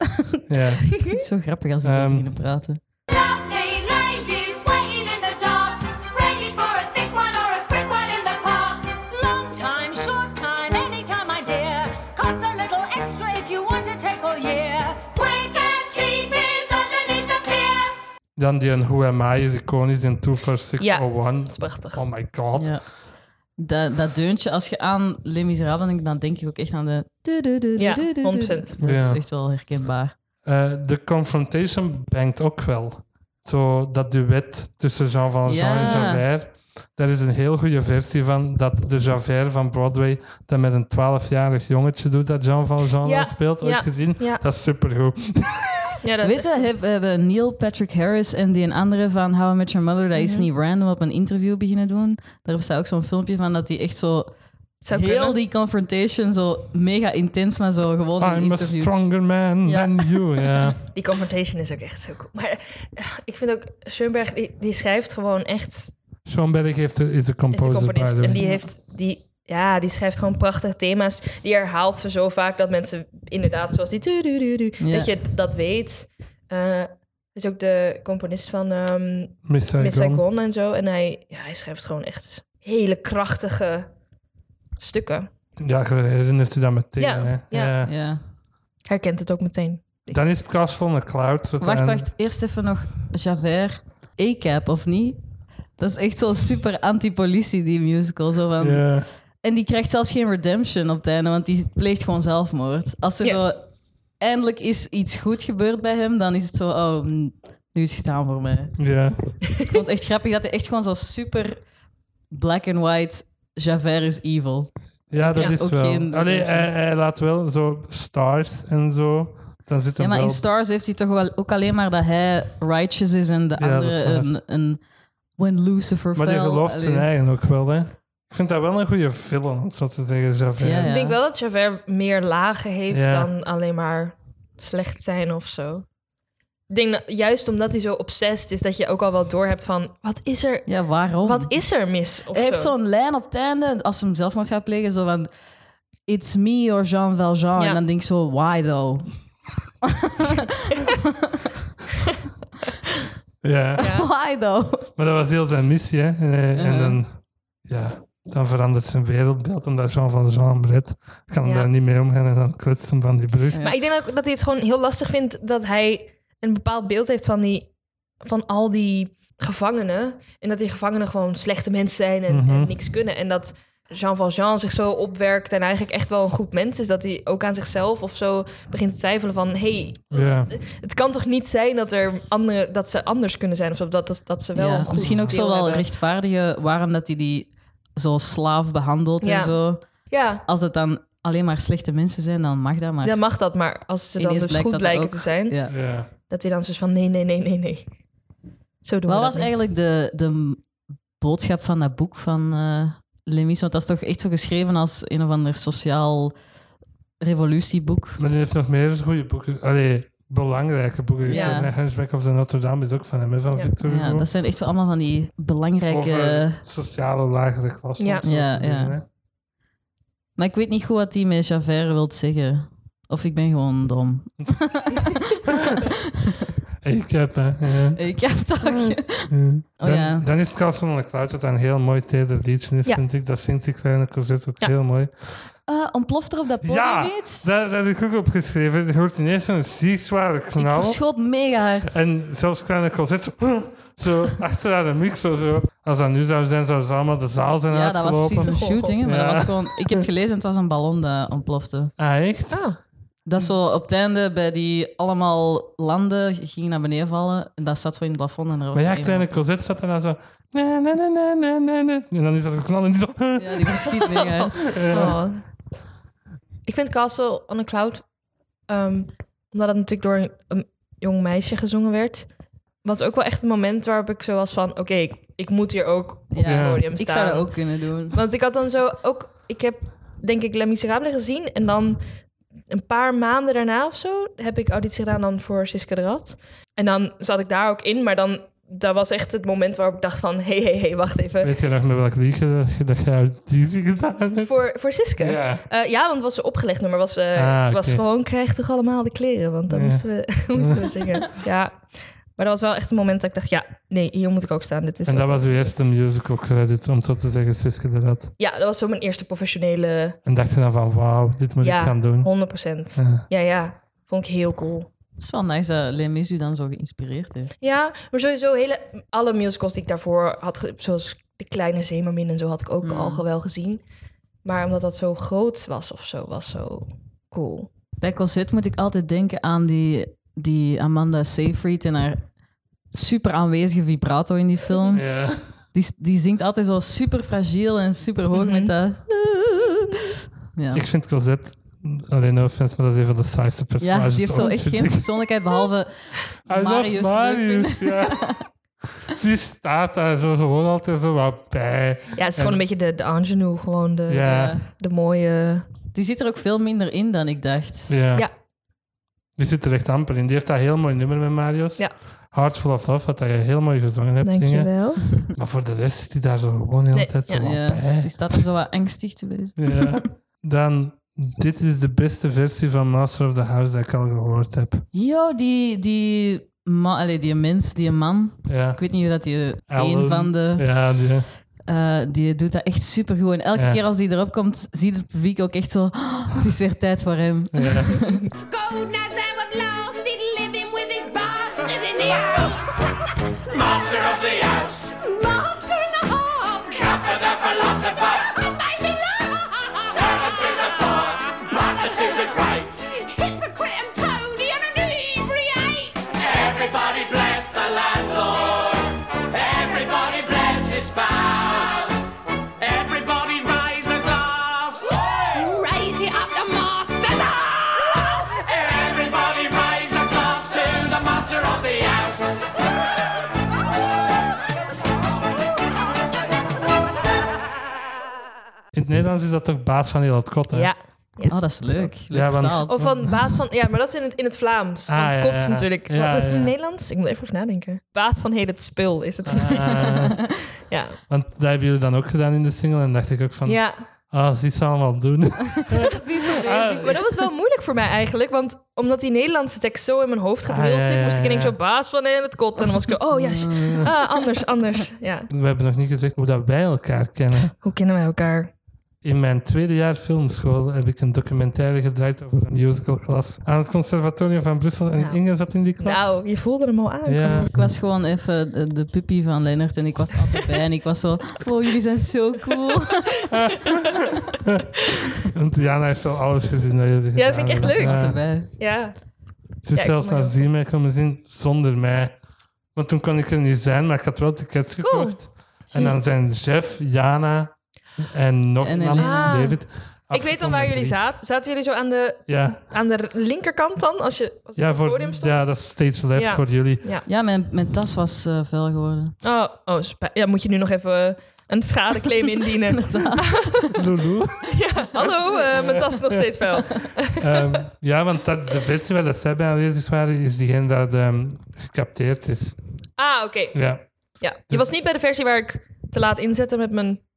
Speaker 1: ja.
Speaker 2: Het is zo grappig als die zo
Speaker 1: Ehm.
Speaker 2: beginnen praten.
Speaker 6: Lovely ladies waiting in the dark, ready for a thick one or a quick one in the park. Long time, short time, anytime, my dear. Cost a little extra if you want to take all year. Wake up, cheap is underneath the pier.
Speaker 1: Dan die een Who Am I is iconisch in 24601.
Speaker 3: Dat is prachtig.
Speaker 1: Oh my god.
Speaker 2: Ja. Dat, dat deuntje, als je aan Les Miserables denkt, dan denk ik ook echt aan de...
Speaker 3: Ja,
Speaker 2: Dat
Speaker 3: 100%.
Speaker 1: Ja.
Speaker 2: is echt wel herkenbaar.
Speaker 1: Eh, de Confrontation bangt ook wel. Zo dat duet tussen Jean Valjean
Speaker 2: Ja.
Speaker 1: en Javert. Daar is een heel goede versie van dat de Javert van Broadway dat met een 12-jarig jongetje doet dat Jean Valjean
Speaker 3: Ja,
Speaker 1: al speelt. Ooit
Speaker 3: ja,
Speaker 1: gezien?
Speaker 3: ja.
Speaker 1: Dat is supergoed.
Speaker 3: Ja, dat is
Speaker 2: Weet
Speaker 3: echt-
Speaker 2: je, heb- we hebben Neil Patrick Harris en die een andere van How I Met Your Mother, dat is
Speaker 3: Mhm.
Speaker 2: niet random op een interview beginnen doen. Daar staat ook zo'n filmpje van dat hij echt zo
Speaker 3: zou
Speaker 2: heel
Speaker 3: kunnen.
Speaker 2: die confrontation zo mega intens, maar zo gewoon in een
Speaker 1: I'm a
Speaker 2: interview.
Speaker 1: stronger man
Speaker 2: Ja.
Speaker 1: than you. Ja.
Speaker 3: Die confrontation is ook echt zo cool. Maar eh, ik vind ook, Schoenberg, die, die schrijft gewoon echt...
Speaker 1: Schoenberg heeft de- is de
Speaker 3: Is de
Speaker 1: composer, by
Speaker 3: componist.
Speaker 1: the
Speaker 3: En
Speaker 1: way.
Speaker 3: die heeft... Die, ja, die schrijft gewoon prachtige thema's. Die herhaalt ze zo vaak dat mensen inderdaad, zoals die... du- du- du- du,
Speaker 2: Ja.
Speaker 3: Dat je dat weet. Eh, is ook de componist van ehm
Speaker 1: Miss
Speaker 3: Miss
Speaker 1: Saigon.
Speaker 3: Saigon en zo. En hij, ja, hij schrijft gewoon echt hele krachtige stukken.
Speaker 1: Ja, je herinnert je dat meteen.
Speaker 3: Ja,
Speaker 1: hè?
Speaker 3: ja.
Speaker 2: Ja.
Speaker 3: Herkent het ook meteen.
Speaker 1: Dan is het Castle on the Cloud. eh, wat
Speaker 2: Wacht,
Speaker 1: dan-
Speaker 2: wacht. Eerst even nog Javert. A-cap of niet? Dat is echt zo super anti-politie, die musical. Zo van.
Speaker 1: Ja.
Speaker 2: En die krijgt zelfs geen redemption op het einde, want die pleegt gewoon zelfmoord. Als er
Speaker 3: Ja.
Speaker 2: zo eindelijk is iets goed gebeurd bij hem, dan is het zo, oh, mm, nu is het gedaan voor mij.
Speaker 1: Ja.
Speaker 2: Ik vond het echt grappig dat hij echt gewoon zo super black and white, Javert is evil.
Speaker 1: Ja, dat
Speaker 2: Ja,
Speaker 1: is
Speaker 2: ook
Speaker 1: wel.
Speaker 2: geen-
Speaker 1: Allee, hij, hij laat wel zo stars en zo. Dan zit
Speaker 2: Ja,
Speaker 1: hem
Speaker 2: maar in
Speaker 1: wel-
Speaker 2: Stars heeft hij toch wel ook alleen maar dat hij righteous is en de
Speaker 1: Ja, dat is
Speaker 2: andere
Speaker 1: waar.
Speaker 2: een, een when Lucifer
Speaker 1: Maar die
Speaker 2: fell.
Speaker 1: gelooft zijn
Speaker 2: Allee.
Speaker 1: eigen ook wel, hè? Ik vind dat wel een goede film, om het zo te zeggen. Javert.
Speaker 2: Ja, ja.
Speaker 3: Ik denk wel dat Javert meer lagen heeft
Speaker 1: Ja.
Speaker 3: dan alleen maar slecht zijn of zo. Ik denk dat, juist omdat hij zo obsessed is, dat je ook al wel doorhebt van... Wat is er,
Speaker 2: Ja, waarom?
Speaker 3: wat is er mis? Of
Speaker 2: Hij heeft
Speaker 3: zo.
Speaker 2: zo'n lijn op het einde, als ze hem zelfmoord gaat plegen, zo van... It's me or Jean Valjean.
Speaker 3: Ja.
Speaker 2: En dan denk ik zo, why though?
Speaker 1: Ja.
Speaker 3: Ja.
Speaker 2: Why though?
Speaker 1: Maar dat was heel zijn missie, hè? En, eh, en
Speaker 2: Ja.
Speaker 1: dan, ja, dan verandert zijn wereldbeeld omdat Jean van Jean Bret kan
Speaker 3: Ja.
Speaker 1: daar niet mee omgaan en dan klutst hem van die brug.
Speaker 2: Ja.
Speaker 3: Maar ik denk ook dat hij het gewoon heel lastig vindt dat hij een bepaald beeld heeft van, die, van al die gevangenen. En dat die gevangenen gewoon slechte mensen zijn en, en
Speaker 1: Mhm.
Speaker 3: niks kunnen. En dat Jean Valjean zich zo opwerkt en eigenlijk echt wel een goed mens is. Dat hij ook aan zichzelf of zo begint te twijfelen van... hey,
Speaker 1: Ja.
Speaker 3: het kan toch niet zijn dat, er andere, dat ze anders kunnen zijn? Of zo, dat, dat, dat ze wel
Speaker 2: Ja,
Speaker 3: een goed
Speaker 2: misschien ook
Speaker 3: deel
Speaker 2: zo wel
Speaker 3: hebben.
Speaker 2: rechtvaardigen waarom dat hij die zo slaaf behandelt
Speaker 3: Ja.
Speaker 2: en zo.
Speaker 3: Ja,
Speaker 2: Als het dan alleen maar slechte mensen zijn, dan mag dat. Maar
Speaker 3: dan mag dat. Maar als ze dan
Speaker 2: ineens
Speaker 3: dus
Speaker 2: blijkt
Speaker 3: goed
Speaker 2: dat
Speaker 3: blijken
Speaker 2: ook-
Speaker 3: te zijn,
Speaker 2: Ja.
Speaker 1: Ja.
Speaker 3: dat hij dan zoiets van nee, nee, nee, nee, nee. Zo doen
Speaker 2: Wat
Speaker 3: we
Speaker 2: was
Speaker 3: dat niet.
Speaker 2: eigenlijk de, de boodschap van dat boek van eh Lemis? Want dat is toch echt zo geschreven als een of ander sociaal revolutieboek.
Speaker 1: Maar die heeft nog meer goede boeken. Allee, belangrijke boeken.
Speaker 3: Ja.
Speaker 1: geschreven. hè. Hunchback of the Notre Dame is ook van hem, hè, van
Speaker 3: Ja.
Speaker 1: Victor
Speaker 2: Ja,
Speaker 1: Hugo.
Speaker 2: dat zijn echt zo allemaal van die belangrijke...
Speaker 1: Over sociale lagere klassen.
Speaker 3: Ja.
Speaker 1: om zo te
Speaker 2: Ja,
Speaker 1: zeggen,
Speaker 2: ja.
Speaker 1: hè.
Speaker 2: Maar ik weet niet goed wat die met Javert wilt zeggen. Of ik ben gewoon dom.
Speaker 1: Ik heb, hè. ja.
Speaker 2: Ik heb toch... Oh,
Speaker 1: dan,
Speaker 2: ja.
Speaker 1: dan is het Castle on the Cloud, wat een heel mooi teder liedje is,
Speaker 3: Ja.
Speaker 1: vind ik. Dat zingt die kleine Cosette ook
Speaker 3: Ja.
Speaker 1: heel mooi.
Speaker 2: Eh, ontploft er op dat podium
Speaker 1: Ja!
Speaker 2: iets?
Speaker 1: Daar, daar heb ik ook opgeschreven. Je hoort ineens zo'n ziek zware
Speaker 2: Ik
Speaker 1: knal.
Speaker 2: verschoot mega hard.
Speaker 1: En zelfs kleine Cosette zo, zo achter haar micro. Zo. Als dat nu zou zijn, zou ze allemaal de zaal zijn
Speaker 2: Ja, dat was
Speaker 1: uitgelopen.
Speaker 2: precies een shooting. hè, Maar
Speaker 1: Ja.
Speaker 2: dat was gewoon... Ik heb het gelezen en het was een ballon dat ontplofte.
Speaker 1: Ah, echt?
Speaker 3: Ah,
Speaker 2: Dat zo op het einde bij die allemaal landen ging naar beneden vallen. En dat zat zo in het plafond. En er was
Speaker 1: Maar ja,
Speaker 2: zo één
Speaker 1: kleine
Speaker 2: man.
Speaker 1: Cosette zat daarna zo... Na, na, na, na, na, na, na. En dan is dat een knal en die zo...
Speaker 2: Ja, die verschiet mega hard. Eh.
Speaker 3: oh. Ik vind Castle on a Cloud, ehm, omdat het natuurlijk door een, een jong meisje gezongen werd, was ook wel echt een moment waarop ik zo was van, oké, ik, ik moet hier ook op het
Speaker 2: Ja.
Speaker 3: podium
Speaker 2: Ik
Speaker 3: staan.
Speaker 2: zou dat ook kunnen doen.
Speaker 3: Want ik had dan zo ook... Ik heb, denk ik, Les Miserables gezien. En dan een paar maanden daarna of zo... heb ik auditie gedaan dan voor Siska de Rat. En dan zat ik daar ook in. Maar dan... Dat was echt het moment waarop ik dacht van... Hé, hé, hé, wacht even.
Speaker 1: Weet je nog met welk liedje dat je, dat je auditie gedaan hebt?
Speaker 3: Voor, voor Siska? Ja.
Speaker 1: Ja.
Speaker 3: ja, want het was een opgelegd nummer. Was, eh,
Speaker 1: Ah, oké.
Speaker 3: was gewoon, krijg toch allemaal de kleren. Want dan
Speaker 1: Ja.
Speaker 3: moesten, we, moesten we zingen. Ja. Maar dat was wel echt een moment dat ik dacht... Ja, nee, hier moet ik ook staan. Dit is
Speaker 1: En
Speaker 3: wel-
Speaker 1: dat was uw eerste musical credit, om zo te zeggen, Siske de Rat.
Speaker 3: Ja, dat was zo mijn eerste professionele...
Speaker 1: En dacht je dan van, wauw, dit moet
Speaker 3: Ja.
Speaker 1: ik gaan doen.
Speaker 3: 100 procent.
Speaker 1: Ja.
Speaker 3: Ja, ja. Vond ik heel cool.
Speaker 2: Het is wel nice dat Lemis u dan zo geïnspireerd heeft.
Speaker 3: Ja, maar sowieso hele, alle musicals die ik daarvoor had, ge- zoals De Kleine Zemermin en zo, had ik ook
Speaker 2: Mm.
Speaker 3: al ge- wel gezien. Maar omdat dat zo groot was of zo, was zo cool.
Speaker 2: Bij Cosette moet ik altijd denken aan die, die Amanda Seyfried en haar super aanwezige vibrato in die film.
Speaker 1: Ja.
Speaker 2: Die, die zingt altijd zo super fragiel en super hoog
Speaker 3: Mhm.
Speaker 2: met dat... Ja.
Speaker 1: Ik vind Cosette, alleen no offense, maar dat is een van de saaiste personages.
Speaker 2: ja, die heeft zo
Speaker 1: ooit,
Speaker 2: echt
Speaker 1: vind
Speaker 2: geen
Speaker 1: ik.
Speaker 2: persoonlijkheid behalve
Speaker 1: I love
Speaker 2: Marius leuk vinden.
Speaker 1: Marius, ja. Die staat daar zo gewoon altijd zo wat bij.
Speaker 3: Ja, het is gewoon een beetje de, de ingenue, gewoon de,
Speaker 1: Ja,
Speaker 2: Ja.
Speaker 3: de mooie...
Speaker 2: Die zit er ook veel minder in dan ik dacht.
Speaker 1: ja.
Speaker 3: Ja.
Speaker 1: Die zit er echt amper in. Die heeft dat heel mooi nummer met Marius.
Speaker 3: Ja.
Speaker 1: Hearts Full of Love, wat dat je heel mooi gezongen hebt. dingen.
Speaker 3: Dankjewel.
Speaker 1: Maar voor de rest zit hij daar zo gewoon de hele
Speaker 3: Nee,
Speaker 1: tijd zo
Speaker 3: ja.
Speaker 1: wat
Speaker 2: Ja,
Speaker 1: bij.
Speaker 2: die staat er zo wat angstig te wezen.
Speaker 1: Ja. Dan, dit is de beste versie van Master of the House dat ik al gehoord heb.
Speaker 2: Yo, die, die, ma, allee, die mens, die man.
Speaker 1: Ja.
Speaker 2: Ik weet niet hoe dat die...
Speaker 1: Ellen.
Speaker 2: Een van de...
Speaker 1: Ja, die,
Speaker 2: Eh, die doet dat echt supergoed. En elke
Speaker 1: Ja.
Speaker 2: keer als die erop komt, ziet het publiek ook echt zo... "Oh, het is weer tijd voor hem.
Speaker 1: ja.
Speaker 6: Gold now that I've lost it, living with this bastard in the house.
Speaker 4: Master of the house,
Speaker 6: Monster in the home.
Speaker 4: Kappa the philosopher,
Speaker 6: I might be lost.
Speaker 4: Kappa to the poor, Brother to the great.
Speaker 6: Hypocrite and toady and an inebriate.
Speaker 4: Everybody bless the landlord. Everybody bless his spouse. Everybody raise a glass.
Speaker 6: Raise it up the master's house.
Speaker 4: Everybody raise a glass to the master of the house.
Speaker 1: In het Nederlands is dat toch baas van heel het kot, hè?
Speaker 3: Ja.
Speaker 2: Oh, dat is leuk. Leuk
Speaker 1: Ja, want-
Speaker 2: vertaald.
Speaker 3: Of van baas van... Ja, maar dat is in het, in het Vlaams.
Speaker 1: Ah,
Speaker 3: Want
Speaker 1: ja,
Speaker 3: kots
Speaker 1: ja.
Speaker 3: natuurlijk.
Speaker 1: Ja,
Speaker 3: Wat is het in
Speaker 1: ja.
Speaker 3: het Nederlands? Ik moet even over nadenken. Baas van heel het spul is het.
Speaker 1: Ah,
Speaker 3: Ja.
Speaker 1: want dat hebben jullie dan ook gedaan in de single. En dacht ik ook van, ah,
Speaker 3: ja.
Speaker 1: zie ze allemaal doen. Ah,
Speaker 3: Maar dat was wel moeilijk voor mij eigenlijk. Want omdat die Nederlandse tekst zo in mijn hoofd
Speaker 1: Ah,
Speaker 3: gedrild
Speaker 1: ja, ja,
Speaker 3: zit, moest ik ineens
Speaker 1: ja. Mm.
Speaker 3: zo baas van in het kot. En dan was ik zo, oh ja, sh- ah, anders, anders. Ja.
Speaker 1: we hebben nog niet gezegd hoe dat wij elkaar kennen.
Speaker 3: Hoe kennen wij elkaar?
Speaker 1: In mijn tweede jaar filmschool heb ik een documentaire gedraaid over een musicalklas aan het Conservatorium van Brussel. En
Speaker 3: Nou.
Speaker 1: Inge zat in die klas.
Speaker 3: Nou, je voelde hem al aan.
Speaker 1: ja.
Speaker 2: Ik was gewoon even de- de puppy van Lennart en ik was er altijd bij. En ik was zo... Wow, jullie zijn zo cool.
Speaker 1: Want Diana heeft wel alles gezien dat jullie
Speaker 3: Ja, dat
Speaker 1: gedaan
Speaker 3: vind ik echt
Speaker 1: hebben.
Speaker 3: leuk.
Speaker 1: Ja.
Speaker 2: Erbij.
Speaker 3: Ja.
Speaker 1: Ze is
Speaker 3: Ja, ik
Speaker 1: zelfs
Speaker 3: kom er
Speaker 1: naar
Speaker 3: ook.
Speaker 1: Ziermijk komen zien zonder mij. Want toen kon ik er niet zijn, maar ik had wel tickets gekocht. En dan
Speaker 3: Juist.
Speaker 1: zijn Jeff, Jana en nog
Speaker 2: En
Speaker 1: iemand,
Speaker 2: Elena.
Speaker 1: David,
Speaker 3: Ah. Ik weet dan waar jullie zaten. Zaten jullie zo aan de,
Speaker 1: Ja,
Speaker 3: aan de linkerkant dan? Als je, als je
Speaker 1: ja,
Speaker 3: op het
Speaker 1: voor,
Speaker 3: podium stond?
Speaker 1: ja, dat is stage left
Speaker 3: Ja.
Speaker 1: voor jullie.
Speaker 2: Ja, mijn, mijn tas was eh vuil geworden.
Speaker 3: Oh, oh spij- ja, moet je nu nog even eh, een schadeclaim indienen.
Speaker 1: Lulu.
Speaker 3: Hallo, eh, mijn tas is nog steeds vuil.
Speaker 1: Ehm, ja, want dat, de versie waar dat zij bij aanwezig waren, is diegene dat ehm, gecapteerd is.
Speaker 3: Ah, oké.
Speaker 1: Ja.
Speaker 3: Ja. Je was niet bij de versie waar ik te laat inzette met mijn,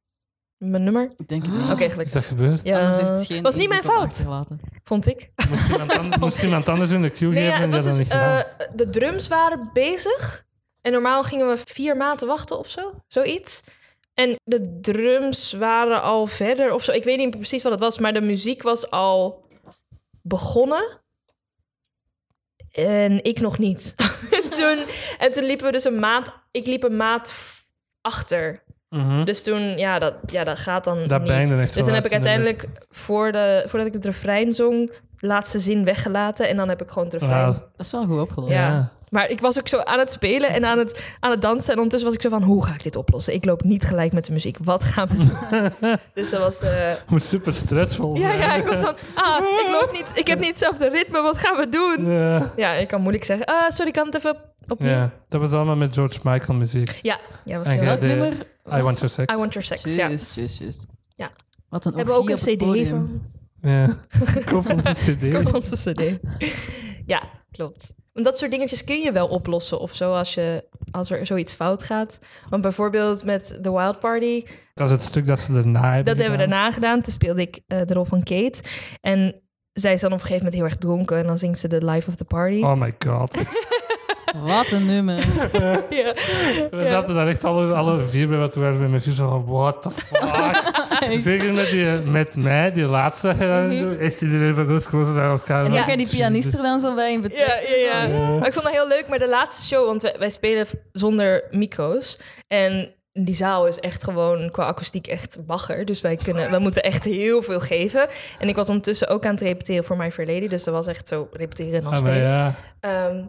Speaker 3: mijn nummer.
Speaker 2: Ik denk het niet.
Speaker 3: Oké,
Speaker 1: Is
Speaker 3: gelukkig.
Speaker 1: dat gebeurd?
Speaker 3: Ah. Ja.
Speaker 2: Oh. Anders heeft het geen
Speaker 3: was niet mijn
Speaker 2: invloed op
Speaker 3: fout,
Speaker 2: achterlaten.
Speaker 3: vond ik.
Speaker 1: Moest iemand, anders, moest iemand anders in de queue
Speaker 3: Nee, ja,
Speaker 1: geven
Speaker 3: het
Speaker 1: en dat
Speaker 3: was
Speaker 1: dan
Speaker 3: dus,
Speaker 1: niet gedaan?
Speaker 3: eh, de drums waren bezig. En normaal gingen we vier maanden wachten of zo. Zoiets. En de drums waren al verder of zo. Ik weet niet precies wat het was, maar de muziek was al begonnen. En ik nog niet. en, toen, en toen liepen we dus een maat... Ik liep een maat v- achter.
Speaker 1: Mhm.
Speaker 3: Dus toen, ja, dat, ja, dat gaat dan
Speaker 1: Dat
Speaker 3: niet.
Speaker 1: bijna echt wel
Speaker 3: Dus dan heb ik
Speaker 1: uit in de
Speaker 3: uiteindelijk, voor de, voordat ik het refrein zong, de laatste zin weggelaten. En dan heb ik gewoon het refrein.
Speaker 1: Ah,
Speaker 2: Dat is wel goed opgelost.
Speaker 3: Ja.
Speaker 1: Ja.
Speaker 3: Maar ik was ook zo aan het spelen en aan het, aan het dansen. En ondertussen was ik zo van, hoe ga ik dit oplossen? Ik loop niet gelijk met de muziek. Wat gaan we doen? dus dat was... eh,
Speaker 1: moet super stressvol
Speaker 3: ja,
Speaker 1: zijn.
Speaker 3: ja, ik was van, ah, ik loop niet. Ik heb niet hetzelfde ritme. Wat gaan we doen?
Speaker 1: Ja.
Speaker 3: Ja, ik kan moeilijk zeggen, ah, sorry, ik kan het even opnieuw? Ja,
Speaker 1: Ja, dat was allemaal met George Michael muziek.
Speaker 3: ja, was
Speaker 1: En
Speaker 3: heel
Speaker 1: jij
Speaker 3: leuk.
Speaker 1: deed
Speaker 2: nummer
Speaker 1: I Want Your Sex.
Speaker 3: I Want Your Sex, ja.
Speaker 2: Juist, juist, juist.
Speaker 3: Ja.
Speaker 2: Wat een
Speaker 3: Hebben we ook een
Speaker 2: orgie op het
Speaker 3: cd
Speaker 2: podium.
Speaker 3: van?
Speaker 1: Ja. Koop onze cd.
Speaker 3: Koop onze cd. ja, klopt. Want dat soort dingetjes kun je wel oplossen of zo als, je, als er zoiets fout gaat. Want bijvoorbeeld met The Wild Party...
Speaker 1: Dat is het stuk dat ze daarna hebben
Speaker 3: Dat hebben we
Speaker 1: gedaan.
Speaker 3: daarna gedaan. Toen speelde ik eh, de rol van Kate. En zij is dan op een gegeven moment heel erg dronken. En dan zingt ze de Life of the Party.
Speaker 1: Oh my god.
Speaker 2: Wat een nummer.
Speaker 3: Ja.
Speaker 1: We zaten daar echt alle, alle vier bij wat we waren met mijn vier zo van, what the fuck? Zeker met, die, met mij, die laatste. eh,
Speaker 3: Mhm.
Speaker 1: Echt iedereen van ons gewoon zo naar elkaar.
Speaker 2: En dan
Speaker 1: Ja.
Speaker 2: ga die pianist er dan zo bij in
Speaker 3: Ja,
Speaker 2: betrekken.
Speaker 3: ja, ja. Maar ik vond dat heel leuk. Maar de laatste show, want wij, wij spelen v- zonder micro's. En die zaal is echt gewoon qua akoestiek echt bagger. Dus wij, kunnen, wij moeten echt heel veel geven. En ik was ondertussen ook aan het repeteren voor My Fair Lady. Dus dat was echt zo repeteren en dan
Speaker 1: Ah, maar
Speaker 3: spelen.
Speaker 1: ja.
Speaker 3: Ehm,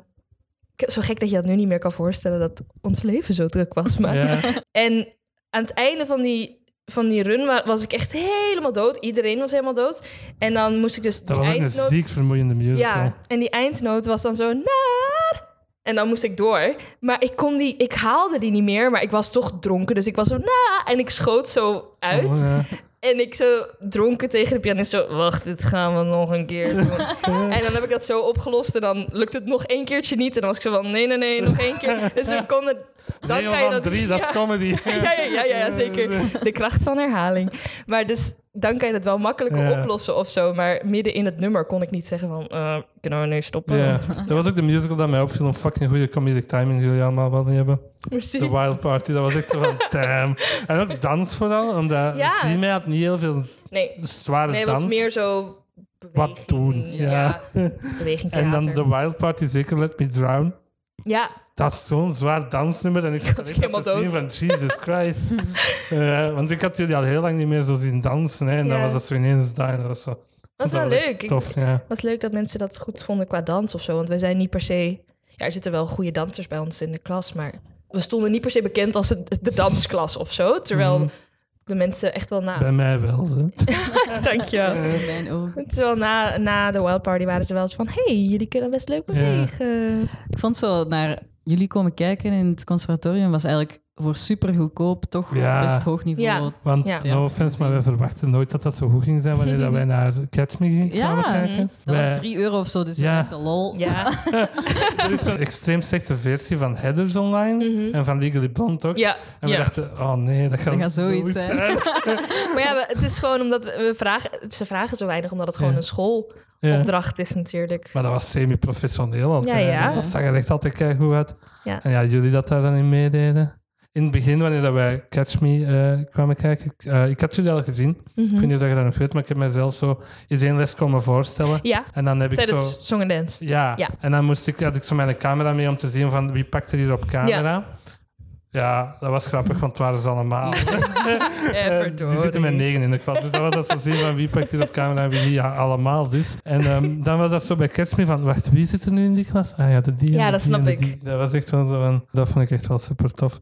Speaker 3: ik- zo gek dat je dat nu niet meer kan voorstellen dat ons leven zo druk was. Maar
Speaker 1: ja.
Speaker 3: En aan het einde van die, van die run wa- was ik echt helemaal dood. Iedereen was helemaal dood. En dan moest ik dus
Speaker 1: Dat
Speaker 3: die
Speaker 1: was ook een
Speaker 3: eindnoot...
Speaker 1: ziek vermoeiende musical.
Speaker 3: ja, en die eindnoot was dan zo... Naar. En dan moest ik door. Maar ik, kon die, ik haalde die niet meer, maar ik was toch dronken. Dus ik was zo... Na. En ik schoot zo uit.
Speaker 1: Oh, ja.
Speaker 3: En ik zo dronken tegen de pianist zo... Wacht, dit gaan we nog een keer doen. en dan heb ik dat zo opgelost. En dan lukt het nog één keertje niet. En dan was ik zo van... Nee, nee, nee, nog één keer. Dus we konden... Dan
Speaker 1: Deel
Speaker 3: kan je
Speaker 1: van
Speaker 3: dat...
Speaker 1: drie, dat is
Speaker 3: Ja.
Speaker 1: comedy.
Speaker 3: Ja, ja, ja, ja, ja, zeker. De kracht van herhaling. Maar dus dan kan je het wel makkelijker
Speaker 1: Ja.
Speaker 3: oplossen of zo. Maar midden in het nummer kon ik niet zeggen van... eh, kunnen we nu stoppen?
Speaker 1: Ja. Dat was ook de musical dat mij opviel. Een fucking goede comedic timing die jullie allemaal wel niet hebben.
Speaker 3: Muziek.
Speaker 1: De Wild Party, dat was echt zo van damn. En ook dans vooral, omdat
Speaker 3: Ja.
Speaker 1: zie mij had niet heel veel
Speaker 3: Nee,
Speaker 1: zware
Speaker 3: nee het
Speaker 1: dans.
Speaker 3: was meer zo... beweging,
Speaker 1: Wat doen, ja.
Speaker 3: Beweging
Speaker 1: en dan
Speaker 3: theater.
Speaker 1: de Wild Party, zeker Let Me Drown.
Speaker 3: Ja,
Speaker 1: Dat is zo'n zwaar dansnummer. En ik had
Speaker 3: was
Speaker 1: echt
Speaker 3: helemaal
Speaker 1: te zien van
Speaker 3: dood.
Speaker 1: Jesus Christ. Eh, want ik had jullie al heel lang niet meer zo zien dansen. Hè, en dan
Speaker 3: Ja.
Speaker 1: was dat zo ineens daar. en Dat was, zo,
Speaker 3: dat is wel
Speaker 1: echt
Speaker 3: leuk. Ik-
Speaker 1: Tof, ja.
Speaker 3: Wat leuk dat mensen dat goed vonden qua dans of zo. Want wij zijn niet per se... Ja, er zitten wel goede dansers bij ons in de klas, maar... We stonden niet per se bekend als de, de dansklas of zo. Terwijl
Speaker 1: Mm.
Speaker 3: de mensen echt wel na...
Speaker 1: Bij mij wel. Hè.
Speaker 3: Dank je.
Speaker 2: In mijn ogen.
Speaker 3: Terwijl na, na de Wild Party waren ze wel eens van... hey, jullie kunnen best leuk bewegen.
Speaker 2: Ik vond zo naar jullie komen kijken in het conservatorium was eigenlijk voor super goedkoop toch
Speaker 1: Ja.
Speaker 2: best hoog niveau.
Speaker 3: Ja.
Speaker 1: Want,
Speaker 3: Ja.
Speaker 1: no offense, maar wij verwachten nooit dat dat zo goed ging zijn wanneer dat wij naar Catch Me gingen
Speaker 2: Ja,
Speaker 1: kwamen
Speaker 3: hm.
Speaker 1: kijken.
Speaker 2: Dat
Speaker 1: Wij-
Speaker 2: was 3 euro of zo, dus
Speaker 1: Ja.
Speaker 2: ja. echt een lol.
Speaker 3: Ja.
Speaker 1: er is zo'n extreem slechte versie van Headers online en van Legally Blonde ook.
Speaker 3: Mhm. ja.
Speaker 1: En we
Speaker 3: ja.
Speaker 1: dachten, oh nee, dat gaat,
Speaker 2: Dat gaat zoiets zijn.
Speaker 3: Maar ja, we- het is gewoon omdat we we vragen... Ze vragen zo weinig, omdat het gewoon
Speaker 1: Ja.
Speaker 3: een schoolopdracht
Speaker 1: Ja.
Speaker 3: is natuurlijk.
Speaker 1: Maar dat was semi-professioneel altijd.
Speaker 3: Ja, ja.
Speaker 1: Dat zag er echt altijd keigoed uit.
Speaker 3: Ja.
Speaker 1: En ja, jullie dat daar dan in meededen. In het begin, wanneer dat wij Catch Me eh, kwamen kijken, ik- eh, ik had jullie al gezien. Ik
Speaker 3: Mhm.
Speaker 1: weet niet of dat je dat nog weet, maar ik heb mezelf zo eens één les komen voorstellen.
Speaker 3: Ja,
Speaker 1: En dan heb ik
Speaker 3: tijdens
Speaker 1: zo...
Speaker 3: Song and Dance.
Speaker 1: Ja.
Speaker 3: Ja.
Speaker 1: en dan moest ik, had ik zo mijn camera mee om te zien van wie pakt er hier op camera. Ja, dat was grappig, want het waren ze allemaal. Eh, Die zitten met negen in de klas. Dus dat was dat zo zien van wie pakt hier op camera en wie niet. Ja, allemaal dus. En ehm, dan was dat zo bij Kerstmee van, wacht, wie zit er nu in die klas? Ah ja, de die en
Speaker 3: Ja,
Speaker 1: de
Speaker 3: dat
Speaker 1: die en
Speaker 3: snap
Speaker 1: de
Speaker 3: ik.
Speaker 1: die. Dat was echt wel zo van, dat vond ik echt wel super tof.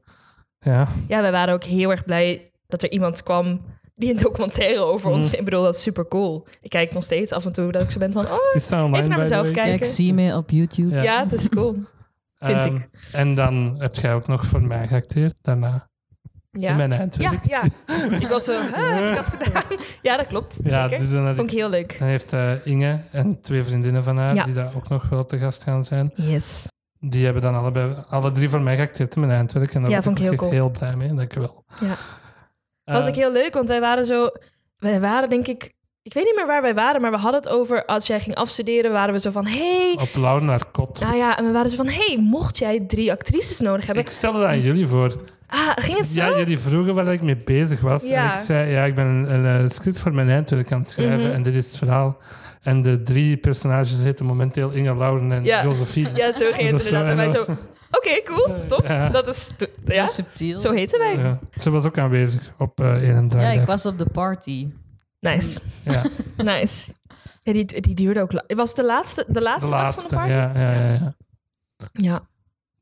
Speaker 1: Ja,
Speaker 3: Ja, we waren ook heel erg blij dat er iemand kwam... die een documentaire over ons.
Speaker 1: Mhm.
Speaker 3: Ik bedoel, dat is super cool. Ik kijk nog steeds af en toe dat ik zo ben van, oh,
Speaker 1: Die staan online
Speaker 3: Even naar
Speaker 1: by the
Speaker 3: mezelf
Speaker 1: way.
Speaker 2: Kijk,
Speaker 3: kijken.
Speaker 2: zie me op YouTube.
Speaker 1: Ja.
Speaker 3: ja, dat is cool. vind
Speaker 1: Ehm,
Speaker 3: ik.
Speaker 1: En dan heb jij ook nog voor mij geacteerd daarna. In
Speaker 3: Ja,
Speaker 1: mijn eind, weet
Speaker 3: ja,
Speaker 1: ik.
Speaker 3: ja. Ik was zo, "Huh, heb ik dat gedaan? Ja, dat klopt.
Speaker 1: Ja,
Speaker 3: zeker.
Speaker 1: dus dan, had
Speaker 3: Vond ik
Speaker 1: ik,
Speaker 3: heel leuk.
Speaker 1: dan heeft eh, Inge en twee vriendinnen van haar,
Speaker 3: Ja.
Speaker 1: die daar ook nog wel te gast gaan zijn,
Speaker 3: Yes.
Speaker 1: die hebben dan allebei, alle drie voor mij geacteerd in mijn eindwerk. En daar
Speaker 3: Ja,
Speaker 1: was
Speaker 3: vond ik
Speaker 1: ook
Speaker 3: heel
Speaker 1: echt
Speaker 3: cool.
Speaker 1: heel blij mee, dankjewel.
Speaker 3: Ja.
Speaker 1: Eh,
Speaker 3: was ik heel leuk, want wij waren zo... Wij waren denk ik... Ik weet niet meer waar wij waren, maar we hadden het over... Als jij ging afstuderen, waren we zo van... Hey,
Speaker 1: Op lauw naar kot.
Speaker 3: nou ja, en we waren zo van... Hey, mocht jij drie actrices nodig hebben...
Speaker 1: ik stelde dat aan jullie voor.
Speaker 3: Ah, ging het zo?
Speaker 1: Ja, jullie vroegen waar ik mee bezig was. En
Speaker 3: Ja.
Speaker 1: ik zei, ja, ik ben een, een, eh, script voor mijn eindwerk aan het schrijven
Speaker 3: Mhm.
Speaker 1: en dit is het verhaal. En de drie personages heten momenteel Inge, Lauren en
Speaker 3: Ja.
Speaker 1: Josephine.
Speaker 3: Ja, zo ging het
Speaker 1: Dat is wel-
Speaker 3: inderdaad. En wij zo... Oké, cool, tof.
Speaker 1: Ja.
Speaker 3: Dat is... Ja,
Speaker 2: subtiel.
Speaker 3: zo heten wij.
Speaker 1: Ja. Ze was ook aanwezig op eh 1 en 3.
Speaker 2: Ja, ik was op de party.
Speaker 3: Nice,
Speaker 1: Ja,
Speaker 3: nice. Ja, die, die duurde ook lang. Was het de laatste, de
Speaker 1: de
Speaker 3: laatste, dag van
Speaker 1: laatste.
Speaker 3: de party?
Speaker 1: Ja, ja, ja, ja.
Speaker 3: Ja.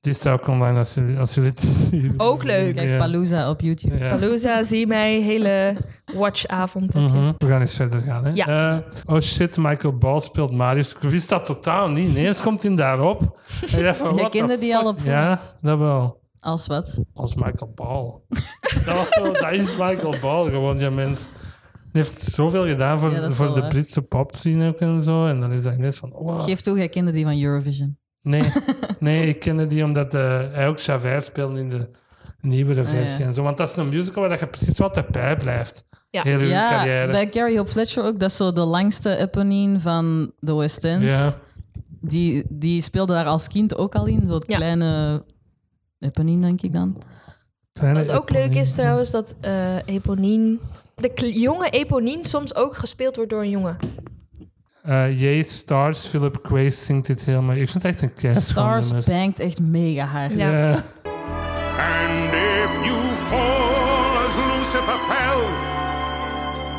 Speaker 1: Die staat ook online als jullie, als jullie het-
Speaker 3: Ook leuk.
Speaker 2: Kijk,
Speaker 1: Ja.
Speaker 2: Palooza op YouTube.
Speaker 1: Ja.
Speaker 3: Palooza, zie mij, hele watchavond. heb je.
Speaker 1: Mhm. We gaan eens verder gaan. Hè?
Speaker 3: Ja.
Speaker 1: Eh, oh shit, Michael Ball speelt Marius. Ik wist dat totaal niet. Ineens komt hij daarop. En je dacht van,
Speaker 2: Jij
Speaker 1: what the
Speaker 2: kende die
Speaker 1: fuck?
Speaker 2: al op
Speaker 1: Ja, dat wel.
Speaker 2: Als wat?
Speaker 1: Als Michael Ball. dat, was zo, dat is Michael Ball gewoon, ja mens. Die heeft zoveel gedaan voor,
Speaker 2: Ja, dat is
Speaker 1: voor
Speaker 2: wel
Speaker 1: de
Speaker 2: waar.
Speaker 1: Britse popscene ook en zo. En dan is dat ineens van, wow.
Speaker 2: Geef toe, jij kende die van Eurovision.
Speaker 1: Nee, nee ik kende die omdat eh, hij ook Javert speelde in de
Speaker 3: Ah,
Speaker 1: nieuwere versie
Speaker 2: ja.
Speaker 1: en zo. Want dat is een musical waar dat je precies wat erbij blijft.
Speaker 3: Ja.
Speaker 1: Heel je
Speaker 2: ja,
Speaker 1: carrière.
Speaker 2: bij Gary Hope Fletcher ook. Dat is zo de langste eponine van de West End.
Speaker 1: Ja.
Speaker 2: Die, die speelde daar als kind ook al in. Zo'n
Speaker 3: Ja.
Speaker 2: kleine eponine, denk ik dan.
Speaker 1: Kleine
Speaker 3: Wat ook leuk
Speaker 1: eponiem.
Speaker 3: is trouwens, dat eh Eponien... De kl- jonge Eponien soms ook gespeeld wordt door een jongen.
Speaker 1: Eh, Jay Stars, Philip Quays zingt dit helemaal. Ik vind het echt een kerstschoon
Speaker 2: Stars
Speaker 1: nummer.
Speaker 2: bangt echt mega hard.
Speaker 3: Ja.
Speaker 1: Ja.
Speaker 4: And if you fall as Lucifer fell,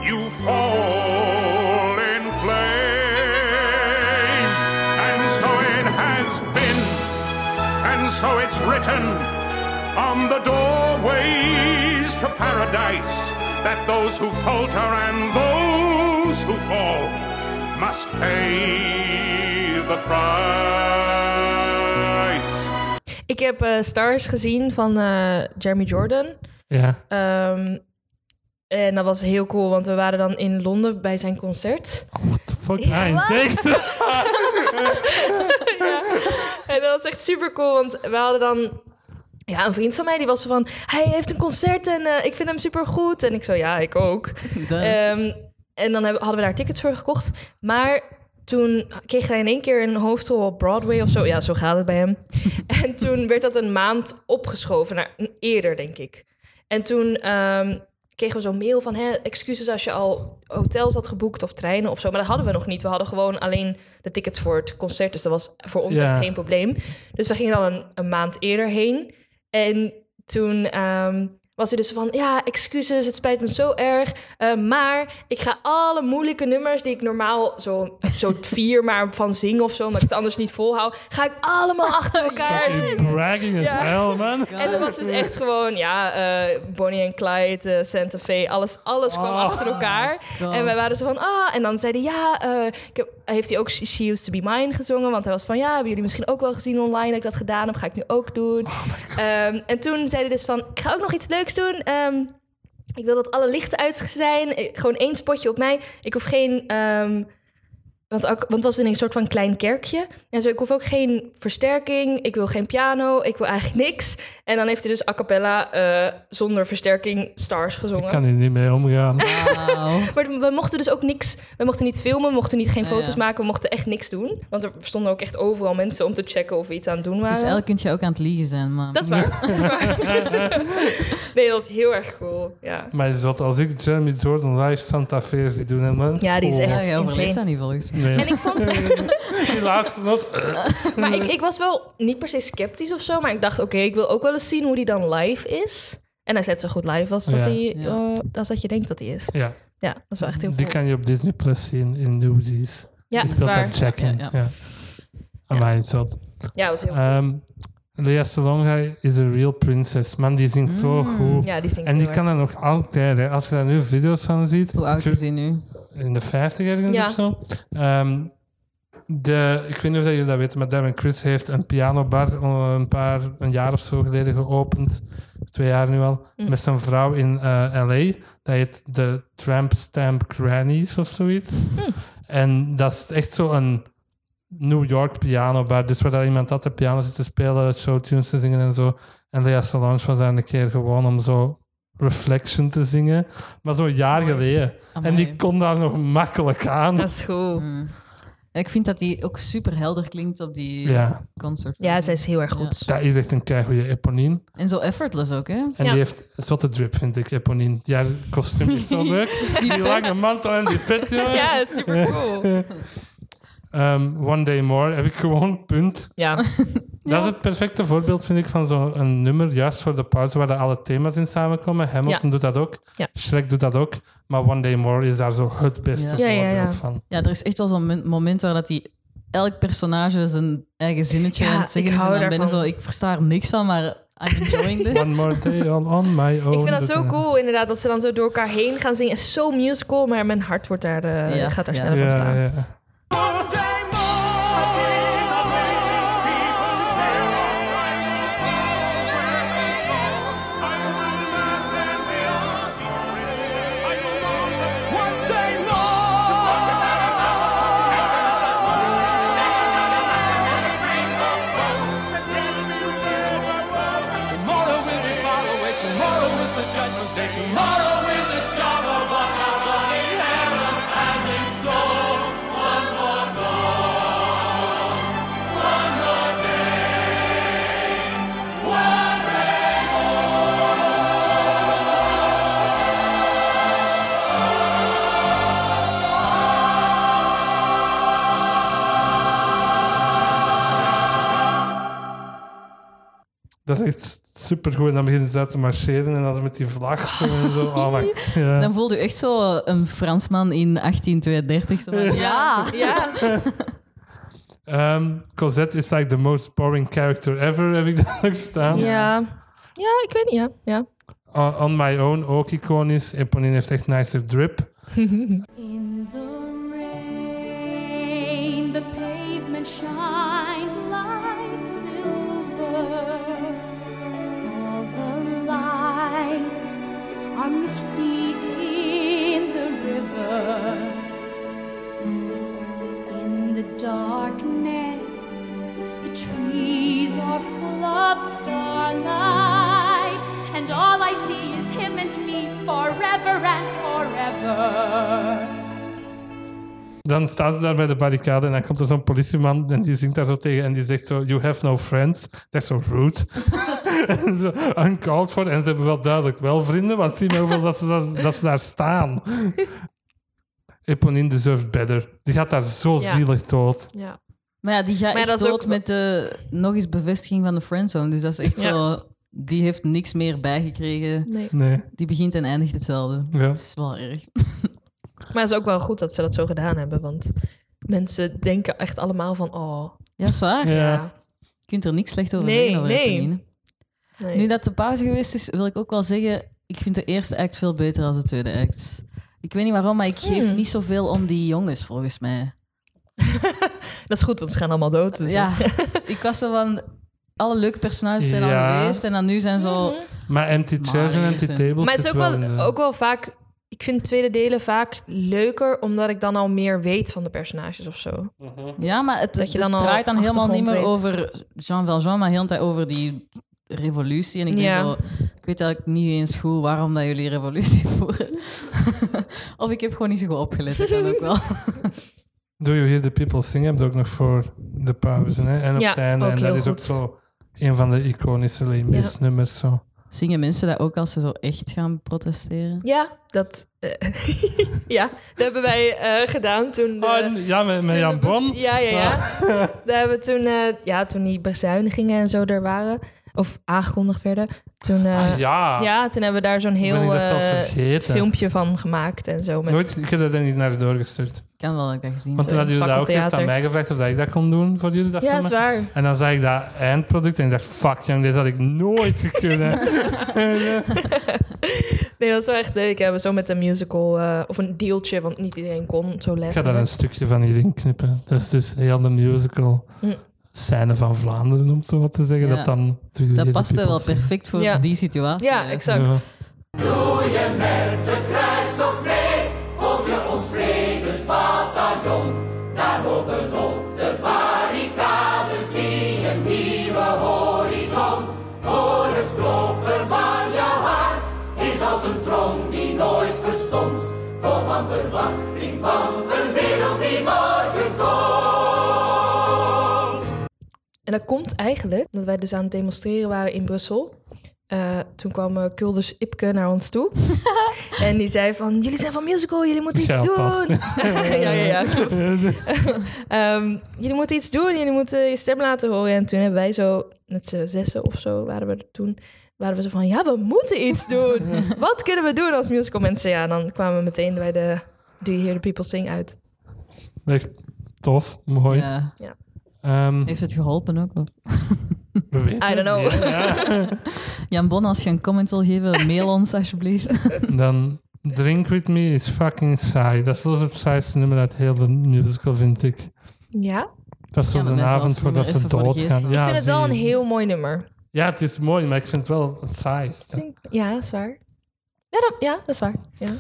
Speaker 4: you fall in flame. And so it has been, and so it's written on the doorways to paradise that those who falter and those who fall must pay the price.
Speaker 3: Ik heb eh, Stars gezien van eh, Jeremy Jordan.
Speaker 1: ja.
Speaker 3: Ehm, en dat was heel cool, want we waren dan in Londen bij zijn concert.
Speaker 1: Oh, what the fuck? Ah, in het echt?
Speaker 3: En dat was echt super cool, want we hadden dan... Ja, een vriend van mij die was zo van... Hij heeft een concert en eh, ik vind hem super goed. En ik zo, ja, ik ook.
Speaker 2: Dat-
Speaker 3: Ehm, en dan hebben- hadden we daar tickets voor gekocht. Maar toen kreeg hij in één keer een hoofdrol op Broadway of zo. Ja, zo gaat het bij hem. en toen werd dat een maand opgeschoven naar eerder, denk ik. En toen ehm, kregen we zo'n mail van... Hè, excuses als je al hotels had geboekt of treinen of zo. Maar dat hadden we nog niet. We hadden gewoon alleen de tickets voor het concert. Dus dat was voor ons
Speaker 1: Ja.
Speaker 3: echt geen probleem. Dus we gingen dan een, een maand eerder heen. En toen ehm, was hij dus van... Ja, excuses, het spijt me zo erg. eh, maar ik ga alle moeilijke nummers die ik normaal zo, zo vier maar van zing of zo... omdat ik het anders niet volhoud, ga ik allemaal achter elkaar zingen.
Speaker 1: Bragging as
Speaker 3: Ja.
Speaker 1: hell, man.
Speaker 3: En dat was dus echt gewoon, ja, eh, Bonnie en Clyde, eh, Santa Fe, alles, alles kwam
Speaker 1: Oh.
Speaker 3: achter elkaar.
Speaker 2: God.
Speaker 3: En wij waren zo van, ah, en dan zeiden ja, eh, ik heb, heeft hij ook She Used To Be Mine gezongen? Want hij was van, ja, hebben jullie misschien ook wel gezien online dat ik dat gedaan heb? Ga ik nu ook doen. Ehm, en toen zei hij dus van, ik ga ook nog iets leuks doen. Ehm, ik wil dat alle lichten uit zijn. Eh, Gewoon één spotje op mij. Ik hoef geen... ehm, want, ook, want het was in een soort van klein kerkje. En zo, ik hoef ook geen versterking. Ik wil geen piano. Ik wil eigenlijk niks. En dan heeft hij dus a cappella eh, zonder versterking stars gezongen.
Speaker 1: Ik kan hier niet mee omgaan.
Speaker 2: Wauw.
Speaker 3: Maar we mochten dus ook niks. We mochten niet filmen, we mochten niet geen
Speaker 2: Ja,
Speaker 3: foto's
Speaker 2: ja.
Speaker 3: maken, we mochten echt niks doen. Want er stonden ook echt overal mensen om te checken of we iets aan het doen waren.
Speaker 2: Dus elk kun je ook aan het liegen zijn, man.
Speaker 3: Dat is waar. dat is waar. nee, dat is heel erg cool. Ja,
Speaker 1: Maar zot, als ik Jeremy Jordan live Santa Fe zie doen, hè, man.
Speaker 3: ja die is
Speaker 1: Oh.
Speaker 3: echt
Speaker 2: Ja, jij overleeft
Speaker 3: insane.
Speaker 2: dat niet volgens mij.
Speaker 1: Nee.
Speaker 3: En ik vond,
Speaker 1: Die laatste nog.
Speaker 3: maar
Speaker 1: Mm.
Speaker 3: ik, ik was wel niet per se sceptisch of zo, maar ik dacht, oké, ik wil ook wel eens zien hoe die dan live is. En hij is net zo goed live als dat,
Speaker 1: Ja.
Speaker 3: hij,
Speaker 2: Ja.
Speaker 3: eh, als dat je denkt dat hij is.
Speaker 1: Ja,
Speaker 3: Ja, dat is wel echt heel
Speaker 1: die
Speaker 3: cool.
Speaker 1: kan je op Disney Plus zien in Newsies.
Speaker 3: Ja,
Speaker 1: Die
Speaker 3: dat is
Speaker 1: speelt
Speaker 3: waar.
Speaker 1: dat checken.
Speaker 2: Ja,
Speaker 1: Ja. Amai, zot.
Speaker 3: Ja, dat is heel
Speaker 1: Ehm, Lea Salonga is a real princess. Man, die zingt zo goed.
Speaker 3: Ja, die zingt
Speaker 1: en die
Speaker 3: heel
Speaker 1: kan
Speaker 3: erg
Speaker 1: dat nog
Speaker 3: goed.
Speaker 1: altijd. Hè. Als je daar nu video's van ziet.
Speaker 2: Hoe oud
Speaker 1: ik-
Speaker 2: is hij nu?
Speaker 1: in de 50 ergens
Speaker 3: Ja.
Speaker 1: of zo. Ehm, de, ik weet niet of dat jullie dat weten, maar Darren Chris heeft een pianobar eh, een, paar, een jaar of zo geleden geopend. Twee jaar nu al.
Speaker 2: Mm.
Speaker 1: Met zijn vrouw in eh, LA. Dat heet de Tramp Stamp Grannies of zoiets.
Speaker 2: Mm.
Speaker 1: En dat is echt zo'n New York pianobar. Dus waar daar iemand altijd piano zit te spelen, showtunes te zingen en zo. En Lea Solange was daar een keer gewoon om zo Reflection te zingen. Maar zo'n jaar geleden.
Speaker 2: Amai.
Speaker 1: En die kon daar nog makkelijk aan.
Speaker 3: Dat is goed.
Speaker 2: Ja, ik vind dat hij ook super helder klinkt op die eh,
Speaker 1: Ja.
Speaker 2: concert.
Speaker 3: Ja, zij is heel erg goed.
Speaker 1: Dat is echt een keigoede Eponine.
Speaker 2: En zo effortless ook, hè?
Speaker 1: En
Speaker 3: Ja.
Speaker 1: die heeft een zotte drip, vind ik, Eponine. Die haar kostuum is zo leuk. die lange mantel en die pet, jongen.
Speaker 3: Ja, super cool.
Speaker 1: Ehm, One Day More heb ik gewoon punt.
Speaker 3: Ja,
Speaker 1: Dat is het perfecte voorbeeld, vind ik, van zo'n nummer. Juist voor de pauze waar de alle thema's in samenkomen. Hamilton
Speaker 3: Ja.
Speaker 1: doet dat ook.
Speaker 3: Ja.
Speaker 1: Shrek doet dat ook. Maar One Day More is daar zo het beste
Speaker 2: Ja.
Speaker 3: Ja, ja,
Speaker 1: voorbeeld
Speaker 3: ja.
Speaker 1: van.
Speaker 2: Ja, er is echt wel zo'n mon- moment waar dat die elk personage zijn eigen zinnetje
Speaker 3: Ja,
Speaker 2: aan het zeggen
Speaker 3: ik
Speaker 2: is. En
Speaker 3: hou
Speaker 2: dan ben je
Speaker 3: daarvan.
Speaker 2: zo, ik versta er niks van, maar I'm enjoying this.
Speaker 1: One More Day all on my own.
Speaker 3: ik vind dat zo
Speaker 1: eh,
Speaker 3: cool inderdaad, dat ze dan zo door elkaar heen gaan zingen. Is zo musical, maar mijn hart wordt daar, eh,
Speaker 2: Ja,
Speaker 3: gaat daar
Speaker 2: ja.
Speaker 3: sneller van
Speaker 1: Ja,
Speaker 3: slaan.
Speaker 1: ja.
Speaker 4: Tomorrow will be far away. Tomorrow is the judgment day. Tomorrow we'll discover what our bloody heaven has in store. One more dawn. One more day. One day more.
Speaker 1: Dat is echt supergoed. En dan beginnen ze uit te marcheren en dan ze met die vlag zo en zo. Oh my ja.
Speaker 2: Dan voelde je echt zo een Fransman in 1832. Zo van, ja!
Speaker 3: Ja,
Speaker 1: Ehm, Cosette is like the most boring character ever, heb ik daar ook staan.
Speaker 3: ja. Ja, ik weet niet. Ja, ja.
Speaker 1: On, On My Own ook iconisch. Eponine heeft echt nicer drip.
Speaker 7: In the rain, the pavement shines like silver. All the lights are misty in the river. In the darkness, the trees are full of starlight, and all I see is him and me forever and forever.
Speaker 1: Dan staan ze daar bij de barricade en dan komt er zo'n politieman en die zingt daar zo tegen en die zegt zo, you have no friends. Dat is zo rude. En zo, Uncalled for. En ze hebben wel duidelijk wel vrienden, want zie maar hoeveel dat, ze daar, dat ze daar staan. Eponine deserves better. Die gaat daar zo
Speaker 3: Ja.
Speaker 1: zielig dood.
Speaker 3: ja.
Speaker 2: Maar ja, die gaat
Speaker 3: Maar
Speaker 2: echt
Speaker 3: dat is
Speaker 2: dood
Speaker 3: ook-
Speaker 2: met de nog eens bevestiging van de friendzone. Dus dat is echt
Speaker 3: Ja.
Speaker 2: zo... Die heeft niks meer bijgekregen.
Speaker 3: Nee.
Speaker 1: Nee.
Speaker 2: Die begint en eindigt hetzelfde.
Speaker 1: Ja.
Speaker 2: Dat is wel erg.
Speaker 3: Maar het is ook wel goed dat ze dat zo gedaan hebben, want mensen denken echt allemaal van, oh,
Speaker 2: Ja, zwaar.
Speaker 1: Ja.
Speaker 3: ja.
Speaker 2: Je kunt er niks slecht over
Speaker 3: Nee,
Speaker 2: zeggen. over
Speaker 3: nee.
Speaker 2: Eponine.
Speaker 3: Nee.
Speaker 2: Nu dat de pauze geweest is, wil ik ook wel zeggen... Ik vind de eerste act veel beter dan de tweede act. Ik weet niet waarom, maar ik geef
Speaker 3: Hmm.
Speaker 2: niet zoveel om die jongens, volgens mij.
Speaker 3: Dat is goed, want ze gaan allemaal dood. Dus
Speaker 2: ja,
Speaker 3: dat is-
Speaker 2: ik was zo van... Alle leuke personages zijn al
Speaker 1: Ja.
Speaker 2: geweest en dan nu zijn zo...
Speaker 3: Mhm.
Speaker 1: Maar empty chairs en
Speaker 2: Maar-
Speaker 1: empty tables.
Speaker 3: Maar het is ook
Speaker 1: zit in
Speaker 3: wel,
Speaker 1: de-
Speaker 3: ook wel vaak... Ik vind tweede delen vaak leuker, omdat ik dan al meer weet van de personages of zo.
Speaker 2: Ja, maar het,
Speaker 3: Dat je
Speaker 2: het
Speaker 3: dan al
Speaker 2: draait dan helemaal niet meer
Speaker 3: achtergrond
Speaker 2: over Jean Valjean, maar heel de tijd over die revolutie. En ik, ben
Speaker 3: Ja.
Speaker 2: zo, ik weet eigenlijk niet eens goed waarom dat jullie revolutie voeren. of ik heb gewoon niet zo goed opgelet, dat kan ook wel.
Speaker 1: Do You Hear The People Sing heb je ook nog voor de pauze. Hè? En op
Speaker 3: Ja,
Speaker 1: het einde.
Speaker 3: ook
Speaker 1: En dat
Speaker 3: heel
Speaker 1: is ook
Speaker 3: goed.
Speaker 1: zo een van de iconische Lemis nummers. Zo.
Speaker 2: Zingen mensen dat ook als ze zo echt gaan protesteren?
Speaker 3: Ja, dat... eh, ja, dat hebben wij eh, gedaan toen... de-
Speaker 1: Oh, en- ja, met, met
Speaker 3: toen
Speaker 1: Jan
Speaker 3: de bev-
Speaker 1: Bon.
Speaker 3: Ja, ja, ja. Daar hebben we toen, eh, ja, toen die bezuinigingen en zo er waren, Of aangekondigd werden. Toen, eh,
Speaker 1: Ah,
Speaker 3: ja.
Speaker 1: ja,
Speaker 3: toen hebben we daar zo'n
Speaker 1: ben ik
Speaker 3: heel
Speaker 1: dat zelfs
Speaker 3: eh,
Speaker 1: vergeten.
Speaker 3: filmpje van gemaakt en zo. Met,
Speaker 1: Nooit, ik heb dat niet naar de doorgestuurd.
Speaker 2: Ik kan wel dat ik dat gezien
Speaker 1: Want toen
Speaker 2: heb.
Speaker 1: hadden jullie
Speaker 3: het
Speaker 1: dat ook eerst aan
Speaker 3: theater.
Speaker 1: mij gevraagd of dat ik dat kon doen voor jullie. Dat
Speaker 3: ja, dat
Speaker 1: filmen.
Speaker 3: is waar.
Speaker 1: En dan zag ik dat eindproduct en ik dacht, fuck jong, dit had ik nooit gekund.
Speaker 3: Nee, dat is wel echt leuk. Hebben we zo met een musical eh, of een deeltje, want niet iedereen kon zo les.
Speaker 1: ik ga daar een stukje van hierin knippen. Dat is dus heel de musical
Speaker 3: Hm.
Speaker 1: scène van Vlaanderen, om het zo wat te zeggen.
Speaker 2: Ja.
Speaker 1: Dat dan...
Speaker 2: Dat paste wel perfect voor
Speaker 3: Ja.
Speaker 2: die situatie.
Speaker 3: Ja, exact.
Speaker 1: Ja.
Speaker 3: En dat komt eigenlijk dat wij dus aan het demonstreren waren in Brussel. Eh, toen kwam eh, Kulders Ipke naar ons toe. en die zei van, jullie zijn van musical, jullie moeten iets
Speaker 1: Ja, pas.
Speaker 3: doen. ja, ja, ja, klopt. Ehm, jullie moeten iets doen, jullie moeten je stem laten horen. En toen hebben wij zo, met z'n zessen of zo, waren we er toen... waren we zo van, ja, we moeten iets doen. Wat kunnen we doen als musical mensen? Ja, en dan kwamen we meteen bij de Do You Hear The People Sing uit.
Speaker 1: Echt tof, mooi.
Speaker 2: Ja.
Speaker 1: Ehm,
Speaker 2: Heeft het geholpen ook? wel?
Speaker 1: we weten
Speaker 3: I don't know.
Speaker 1: het niet, ja.
Speaker 2: Jan Bon, als je een comment wil geven, mail ons alsjeblieft.
Speaker 1: Dan Drink With Me is fucking saai. Dat is zelfs het saaiste nummer uit heel de musical, vind ik.
Speaker 3: Ja,
Speaker 1: Dat is
Speaker 2: Ja,
Speaker 1: zo
Speaker 2: maar
Speaker 1: de
Speaker 2: mensen
Speaker 1: avond
Speaker 2: als
Speaker 1: voordat
Speaker 2: nummer
Speaker 1: ze
Speaker 2: even voor de
Speaker 1: doodgaan.
Speaker 2: geest.
Speaker 1: Ja,
Speaker 3: ik vind het wel een
Speaker 1: zie je.
Speaker 3: heel mooi nummer.
Speaker 1: Ja, het is mooi, maar ik vind het wel het saaist.
Speaker 3: Ja, dat is waar. Ja, dat, ja, dat is waar. Ja,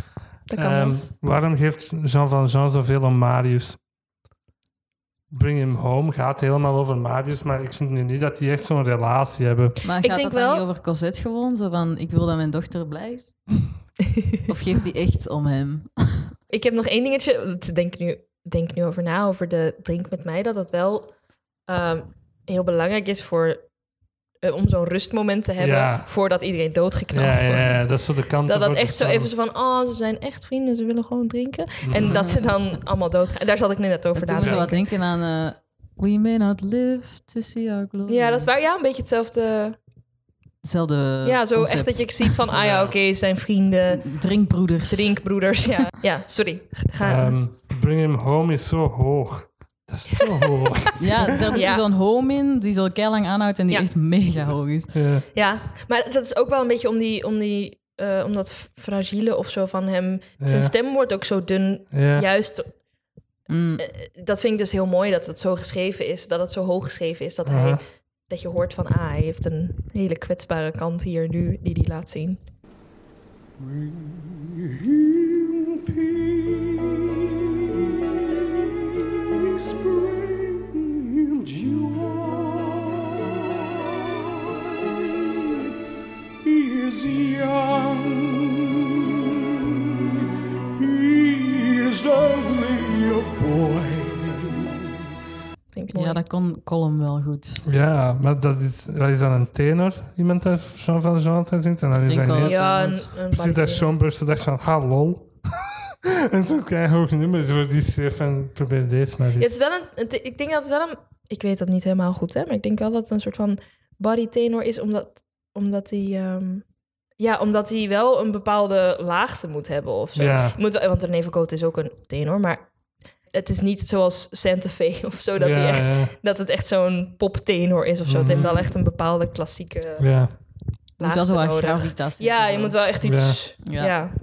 Speaker 3: dat kan wel.
Speaker 1: Ehm, waarom geeft Jean van Jean zoveel om Marius? Bring Him Home gaat helemaal over Marius, maar ik vind nu niet dat die echt zo'n relatie hebben.
Speaker 2: Maar gaat
Speaker 3: Ik denk
Speaker 2: dat dan
Speaker 3: wel-
Speaker 2: niet over Cosette gewoon? Zo van, ik wil dat mijn dochter blij is? of geeft die echt om hem?
Speaker 3: Ik heb nog één dingetje. want Ik denk nu, denk nu over na, over de drink met mij. Dat dat wel ehm, heel belangrijk is voor, eh, om zo'n rustmoment te hebben.
Speaker 1: Ja.
Speaker 3: Voordat iedereen doodgeknald
Speaker 1: Ja, ja, ja,
Speaker 3: wordt.
Speaker 1: dat is zo de kant
Speaker 3: Dat dat echt zo even zo van, oh, ze zijn echt vrienden, ze willen gewoon drinken. En dat ze dan allemaal doodgaan. En Daar zat ik net over
Speaker 2: En
Speaker 3: na
Speaker 2: toen
Speaker 3: te
Speaker 2: we zo wat
Speaker 3: denken.
Speaker 2: denken aan... eh, We may not live to see our glory.
Speaker 3: Ja, dat is waar. Ja, een beetje hetzelfde.
Speaker 2: Hetzelfde
Speaker 3: ja, zo
Speaker 2: concept.
Speaker 3: echt dat je ziet van, ah ja, oké, ze zijn vrienden,
Speaker 2: Drinkbroeders.
Speaker 3: drinkbroeders. Ja, ja sorry. Ga,
Speaker 1: Ehm, Bring Him Home is zo hoog. Dat is zo hoog.
Speaker 2: Ja, daar doet
Speaker 3: Ja.
Speaker 2: je zo'n home in die zo lang aanhoudt en die
Speaker 3: Ja.
Speaker 2: echt mega hoog is.
Speaker 1: Ja.
Speaker 3: Ja, maar dat is ook wel een beetje om, die, om, die, eh, om dat fragiele of zo van hem. Zijn
Speaker 1: Ja.
Speaker 3: stem wordt ook zo dun.
Speaker 1: Ja.
Speaker 3: Juist,
Speaker 2: Mm.
Speaker 3: dat vind ik dus heel mooi dat het zo geschreven is. Dat het zo hoog geschreven is. Dat, hij,
Speaker 1: Aha.
Speaker 3: dat je hoort van, ah, hij heeft een hele kwetsbare kant hier nu die hij laat zien. Vind ik mooi.
Speaker 2: Ja, dat kon Colm wel goed.
Speaker 1: Ja, maar dat is, dat is dan een tenor, iemand dat Jean van Jean altijd zingt. En dan is
Speaker 2: denk
Speaker 1: hij
Speaker 2: wel.
Speaker 1: ineens
Speaker 3: Ja, een,
Speaker 2: dat-
Speaker 3: een
Speaker 1: precies dat
Speaker 3: baritone.
Speaker 1: Sean Burst dacht van, ha lol. en zo'n klein hoog nummer voor die schreef en probeer deze maar
Speaker 3: Ja,
Speaker 1: eens.
Speaker 3: het is wel een, het- ik denk dat het wel een... Ik weet dat niet helemaal goed, hè. Maar ik denk wel dat het een soort van baritonor is, omdat, omdat hij... ehm, ja, omdat hij wel een bepaalde laagte moet hebben of zo.
Speaker 1: Ja.
Speaker 3: Je Moet wel, want René van Koot is ook een tenor, maar het is niet zoals Santa Fe of zo, dat, hij
Speaker 1: ja,
Speaker 3: echt,
Speaker 1: ja,
Speaker 3: dat het echt zo'n poptenor is of zo. Het
Speaker 1: Mhm.
Speaker 3: heeft wel echt een bepaalde klassieke
Speaker 1: ja.
Speaker 2: Je moet wel zo
Speaker 3: laagte
Speaker 2: wat
Speaker 3: nodig.
Speaker 2: gravitas
Speaker 3: Ja,
Speaker 2: hebben,
Speaker 3: je
Speaker 2: zo.
Speaker 3: moet wel echt iets ja.
Speaker 2: Ja.
Speaker 1: Dan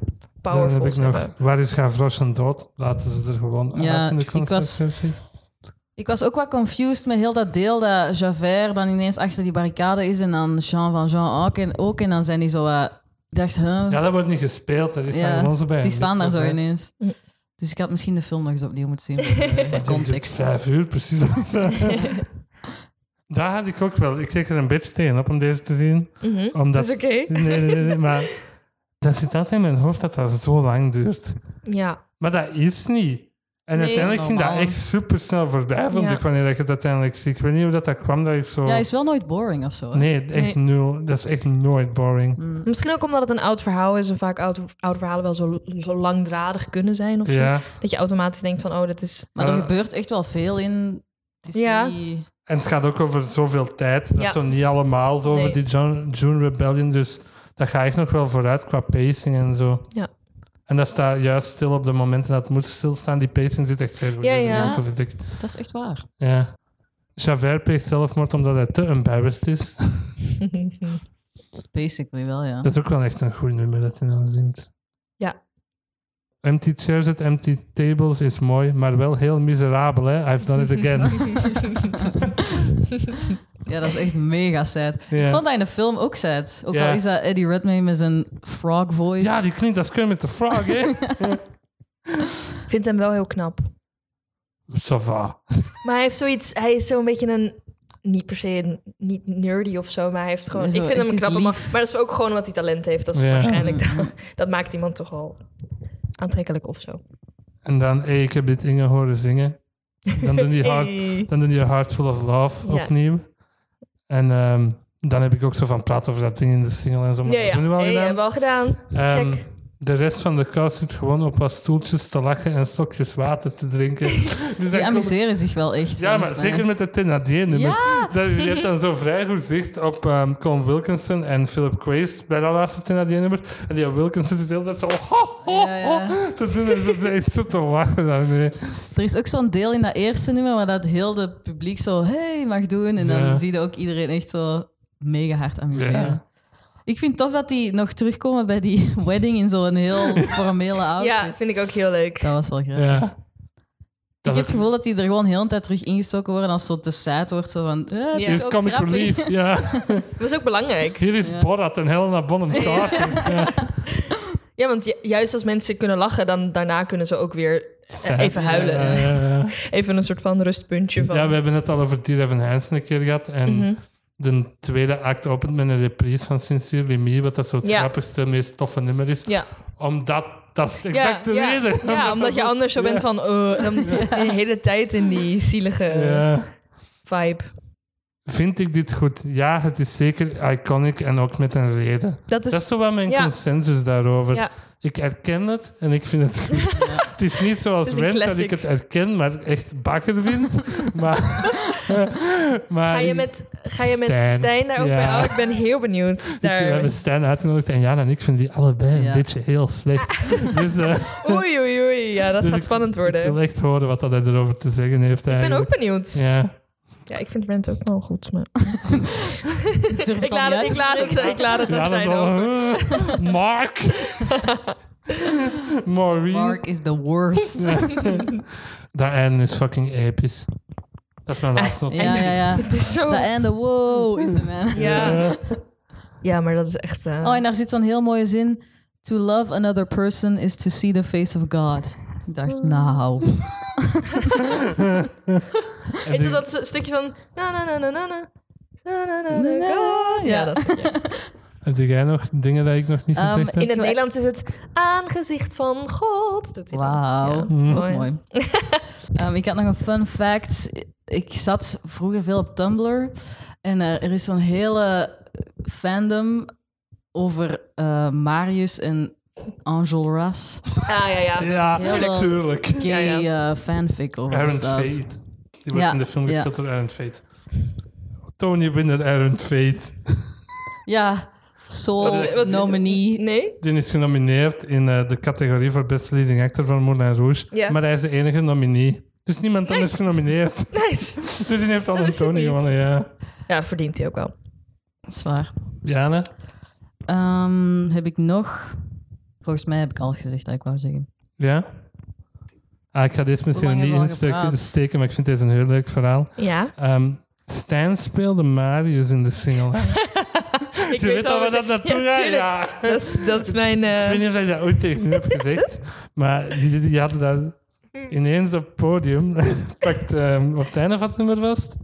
Speaker 1: heb ik
Speaker 3: powerfuls hebben.
Speaker 1: nog, waar is Gavroche en dood? Laten ze er gewoon
Speaker 2: Ja,
Speaker 1: uit in de
Speaker 2: ik was-
Speaker 1: concertversie.
Speaker 2: Ik was ook wat confused met heel dat deel dat Javert dan ineens achter die barricade is en dan Jean van Jean ook en, ook, en dan zijn die zo wat... Ik dacht, huh?
Speaker 1: Ja, dat wordt niet gespeeld, dat is
Speaker 2: Oh. Ja,
Speaker 1: dan onze bij.
Speaker 2: die staan daar zo
Speaker 1: in.
Speaker 2: ineens.
Speaker 3: Ja.
Speaker 2: Dus ik had misschien de film nog eens opnieuw moeten zien. voor de- de Context.
Speaker 1: Vijf uur, precies. Daar had ik ook wel. Ik keek er een beetje tegen op om deze te zien.
Speaker 3: Mhm.
Speaker 1: Omdat
Speaker 3: Dat is oké.
Speaker 1: Nee, nee, nee, nee, maar dat zit altijd in mijn hoofd dat dat zo lang duurt.
Speaker 3: Ja.
Speaker 1: Maar dat is niet. En
Speaker 3: Nee,
Speaker 1: uiteindelijk ging dat
Speaker 2: normaal.
Speaker 1: echt super snel voorbij, vond
Speaker 3: Ja.
Speaker 1: ik, wanneer ik het uiteindelijk zie. Ik weet niet hoe dat, dat kwam, dat ik zo...
Speaker 2: Ja, is wel nooit boring of zo. hè?
Speaker 1: Nee, echt nul. Dat is echt nooit boring.
Speaker 2: Mm.
Speaker 3: Misschien ook omdat het een oud verhaal is en vaak oude, oude verhalen wel zo, zo langdradig kunnen zijn of zo.
Speaker 1: Ja.
Speaker 3: Dat je automatisch denkt van, oh, dat is...
Speaker 2: Maar er
Speaker 1: Eh,
Speaker 2: gebeurt echt wel veel in. Het is
Speaker 3: Ja.
Speaker 2: niet-
Speaker 1: En het gaat ook over zoveel tijd. Dat
Speaker 3: Ja.
Speaker 1: is zo niet allemaal zo over
Speaker 3: Nee.
Speaker 1: die June, June Rebellion. Dus dat ga ik nog wel vooruit qua pacing en zo.
Speaker 3: Ja.
Speaker 1: En dat staat juist stil op de momenten dat het moet stilstaan. Die pacing zit echt zeer goed.
Speaker 3: Ja,
Speaker 1: in,
Speaker 3: ja.
Speaker 1: dat vind ik.
Speaker 2: Dat is echt waar.
Speaker 1: Ja. Javert pleegt zelfmoord omdat hij te embarrassed is.
Speaker 2: Basically wel, ja.
Speaker 1: Dat is ook wel echt een goed nummer dat je dan zingt.
Speaker 3: Ja.
Speaker 1: Empty chairs at empty tables is mooi, maar wel heel miserabel, hè? I've done it again.
Speaker 2: Ja, dat is echt mega sad.
Speaker 1: Ja.
Speaker 2: Ik vond dat in de film ook sad. Ook
Speaker 1: Ja.
Speaker 2: al is dat Eddie Redmayne met zijn frog voice.
Speaker 1: ja, die klinkt als Kermit de Frog, hè?
Speaker 3: Ik vind hem wel heel knap.
Speaker 1: Ça va.
Speaker 3: Maar hij heeft zoiets, hij is zo'n beetje een, niet per se een, niet nerdy of zo, maar hij heeft gewoon,
Speaker 2: Nee, zo,
Speaker 3: ik vind
Speaker 2: ik
Speaker 3: hem
Speaker 2: vind
Speaker 3: knap.
Speaker 2: het
Speaker 3: Maar,
Speaker 2: lief.
Speaker 3: maar dat is ook gewoon omdat hij talent heeft. Dat is
Speaker 1: Ja.
Speaker 3: waarschijnlijk, dat, dat maakt iemand toch al aantrekkelijk of zo.
Speaker 1: En dan, hey, ik heb dit Inge horen zingen. Dan doen die, heart,
Speaker 3: Hey.
Speaker 1: dan doen die Heartful of Love
Speaker 3: Ja.
Speaker 1: opnieuw. En ehm, dan heb ik ook zo van praten over dat ding in de single en zo. Maar
Speaker 3: Ja,
Speaker 1: dat
Speaker 3: ja.
Speaker 1: hebben we al
Speaker 3: Hey,
Speaker 1: gedaan.
Speaker 3: hebben we al gedaan.
Speaker 1: Ehm,
Speaker 3: Check.
Speaker 1: de rest van de kast zit gewoon op wat stoeltjes te lachen en stokjes water te drinken. Dus dan
Speaker 2: Die
Speaker 1: komt-
Speaker 2: amuseren zich wel echt.
Speaker 1: ja, maar
Speaker 2: volgens mij.
Speaker 1: zeker met de Thénardier-nummers. Dat- Je hebt dan zo vrij goed zicht op ehm Colin Wilkinson en Philip Quaist bij dat laatste Thénardier-nummer. En die Wilkinson zit de hele tijd zo... "Oh, Ho, ho,
Speaker 2: Ja, ja.
Speaker 1: ho, te doen en zo- echt zo te lachen daarmee.
Speaker 2: Er is ook zo'n deel in dat eerste nummer waar dat heel het publiek zo hey mag doen. En dan
Speaker 1: Ja.
Speaker 2: zie je ook iedereen echt zo mega hard amuseren.
Speaker 1: Ja.
Speaker 2: Ik vind tof dat die nog terugkomen bij die wedding in zo'n heel formele outfit.
Speaker 3: Ja, vind ik ook heel leuk.
Speaker 2: Dat was wel grappig.
Speaker 1: Ja.
Speaker 2: Ik
Speaker 1: Dat
Speaker 2: heb
Speaker 1: is
Speaker 2: het
Speaker 1: ook-
Speaker 2: gevoel dat die er gewoon heel de tijd terug ingestoken worden als zo te saad wordt. Zo van, eh, het
Speaker 3: Ja.
Speaker 2: is
Speaker 1: Hier is
Speaker 2: ook
Speaker 1: Comic
Speaker 2: grappig.
Speaker 1: Relief, ja.
Speaker 3: Dat was ook belangrijk.
Speaker 1: Hier is
Speaker 2: Ja.
Speaker 1: Borat en Helena Bonham Carter. Ja.
Speaker 3: Ja, want ju- juist als mensen kunnen lachen, dan daarna kunnen ze ook weer eh, even huilen.
Speaker 1: Ja, ja, ja.
Speaker 3: Even een soort van rustpuntje van...
Speaker 1: Ja, we hebben het al over Dear Evan Hansen een keer gehad. En
Speaker 3: Mhm.
Speaker 1: de tweede act opent met een reprise van Sincerely Me, wat dat zo het
Speaker 3: Ja.
Speaker 1: grappigste, meest toffe nummer is.
Speaker 3: Ja.
Speaker 1: Omdat, dat is
Speaker 3: Ja,
Speaker 1: exact de
Speaker 3: ja,
Speaker 1: reden.
Speaker 3: Ja, omdat, je
Speaker 1: dat-
Speaker 3: anders zo bent
Speaker 1: ja.
Speaker 3: van... eh, dan de hele tijd in die zielige
Speaker 1: Ja.
Speaker 3: vibe.
Speaker 1: Vind ik dit goed? Ja, het is zeker iconic en ook met een reden.
Speaker 3: Dat is...
Speaker 1: dat is zo wel mijn
Speaker 3: ja.
Speaker 1: consensus daarover.
Speaker 3: Ja.
Speaker 1: Ik herken het en ik vind het goed. Het is niet zoals
Speaker 3: Het is een
Speaker 1: Rent dat
Speaker 3: classic.
Speaker 1: ik het herken, maar echt bakker vind. maar, maar
Speaker 3: Ga je met, ga je met
Speaker 1: Stijn.
Speaker 3: Stijn, daar ook
Speaker 1: Ja.
Speaker 3: bij? Oh, ik ben heel benieuwd.
Speaker 1: Ik- We
Speaker 3: Daar.
Speaker 1: hebben Stijn uitgenodigd en Jan en ik vinden die allebei een
Speaker 2: Ja.
Speaker 1: beetje heel slecht. dus eh,
Speaker 3: Oei, oei, oei. Ja, dat
Speaker 1: Dus
Speaker 3: gaat
Speaker 1: ik-
Speaker 3: spannend worden.
Speaker 1: ik wil echt horen wat dat hij erover te zeggen heeft.
Speaker 3: Ik ben ook
Speaker 1: eigenlijk.
Speaker 3: benieuwd. Ja,
Speaker 1: Ja.
Speaker 3: ik vind Rent ook wel goed. Maar...
Speaker 2: Ik durf
Speaker 3: Ik,
Speaker 2: al
Speaker 3: laat
Speaker 2: niet
Speaker 3: het,
Speaker 2: uit
Speaker 3: ik,
Speaker 2: te
Speaker 3: laat het, ik laat het aan
Speaker 1: Ja, dat
Speaker 3: Stijn
Speaker 1: wel.
Speaker 3: over.
Speaker 1: Mark! Maureen.
Speaker 2: spreken. Mark is the worst.
Speaker 1: Dat einde is fucking episch. Dat is mijn
Speaker 3: Ah,
Speaker 1: laatste notitie.
Speaker 2: ja, ja, ja.
Speaker 3: Het is zo...
Speaker 2: The end, the wow is the man.
Speaker 3: Ja.
Speaker 1: Eh,
Speaker 3: ja, maar dat is echt... eh,
Speaker 2: Oh, en daar zit zo'n heel mooie zin. To love another person is to see the face of God. Ik dacht, nou.
Speaker 3: Is het dat zo- stukje van... Na, na, na, na, na, na. Na, na, na, na,
Speaker 2: Ja.
Speaker 3: na. Ja, dat is-
Speaker 1: Heb jij nog dingen dat ik nog niet
Speaker 2: Ehm,
Speaker 1: gezegd heb?
Speaker 3: In het Nederlands is het aangezicht van God. Doet hij dan.
Speaker 2: Wauw. Hmm.
Speaker 3: Ja,
Speaker 2: Mooi. Ehm, ik had nog een fun fact. Ik zat vroeger veel op Tumblr. En eh, er, er is zo'n hele fandom over eh, Marius en Enjolras.
Speaker 3: Ah, ja, ja.
Speaker 1: Ja,
Speaker 2: Heel wel.
Speaker 1: natuurlijk.
Speaker 2: Gay
Speaker 3: Ja,
Speaker 2: eh, fanfic over
Speaker 1: Aaron
Speaker 2: was dat.
Speaker 1: Fate. Die wordt
Speaker 2: Ja,
Speaker 1: in de film
Speaker 2: ja.
Speaker 1: gespeeld door Aaron Fate. Tony Winner, Aaron Fate.
Speaker 2: Ja, Soul,
Speaker 3: Wat- wat-
Speaker 2: nominee.
Speaker 3: Nee?
Speaker 1: Die is genomineerd in eh, de categorie voor Best Leading Actor van Moulin Rouge.
Speaker 3: Ja.
Speaker 1: Maar hij is de enige nominee. Dus niemand anders is genomineerd.
Speaker 3: Nice.
Speaker 1: Dus die heeft al
Speaker 3: Dat
Speaker 1: een
Speaker 3: wist ik
Speaker 1: Tony
Speaker 3: niet.
Speaker 1: gewonnen, ja.
Speaker 3: Ja, verdient hij ook wel.
Speaker 2: Dat is waar.
Speaker 1: Jana?
Speaker 2: Ehm, heb ik nog... Volgens mij heb ik alles gezegd dat ik wou zeggen.
Speaker 1: Ja? Ah, ik ga deze misschien
Speaker 2: lang
Speaker 1: niet
Speaker 2: hebben we al
Speaker 1: insteken,
Speaker 2: gepraat?
Speaker 1: steken, maar ik vind deze een heel leuk verhaal.
Speaker 3: Ja.
Speaker 1: Ehm, Stijn speelde Marius in de single.
Speaker 3: Ik
Speaker 1: Je weet al waar
Speaker 3: wat
Speaker 1: dat naartoe gaat?
Speaker 3: tuurlijk.
Speaker 1: Ja.
Speaker 3: Dat is, dat is mijn... eh,
Speaker 1: Ik weet niet of ik dat ooit tegen u heb gezegd, maar die, die, die hadden
Speaker 3: Hmm.
Speaker 1: daar ineens op het podium, pakt, ehm, op het einde van het nummer was het,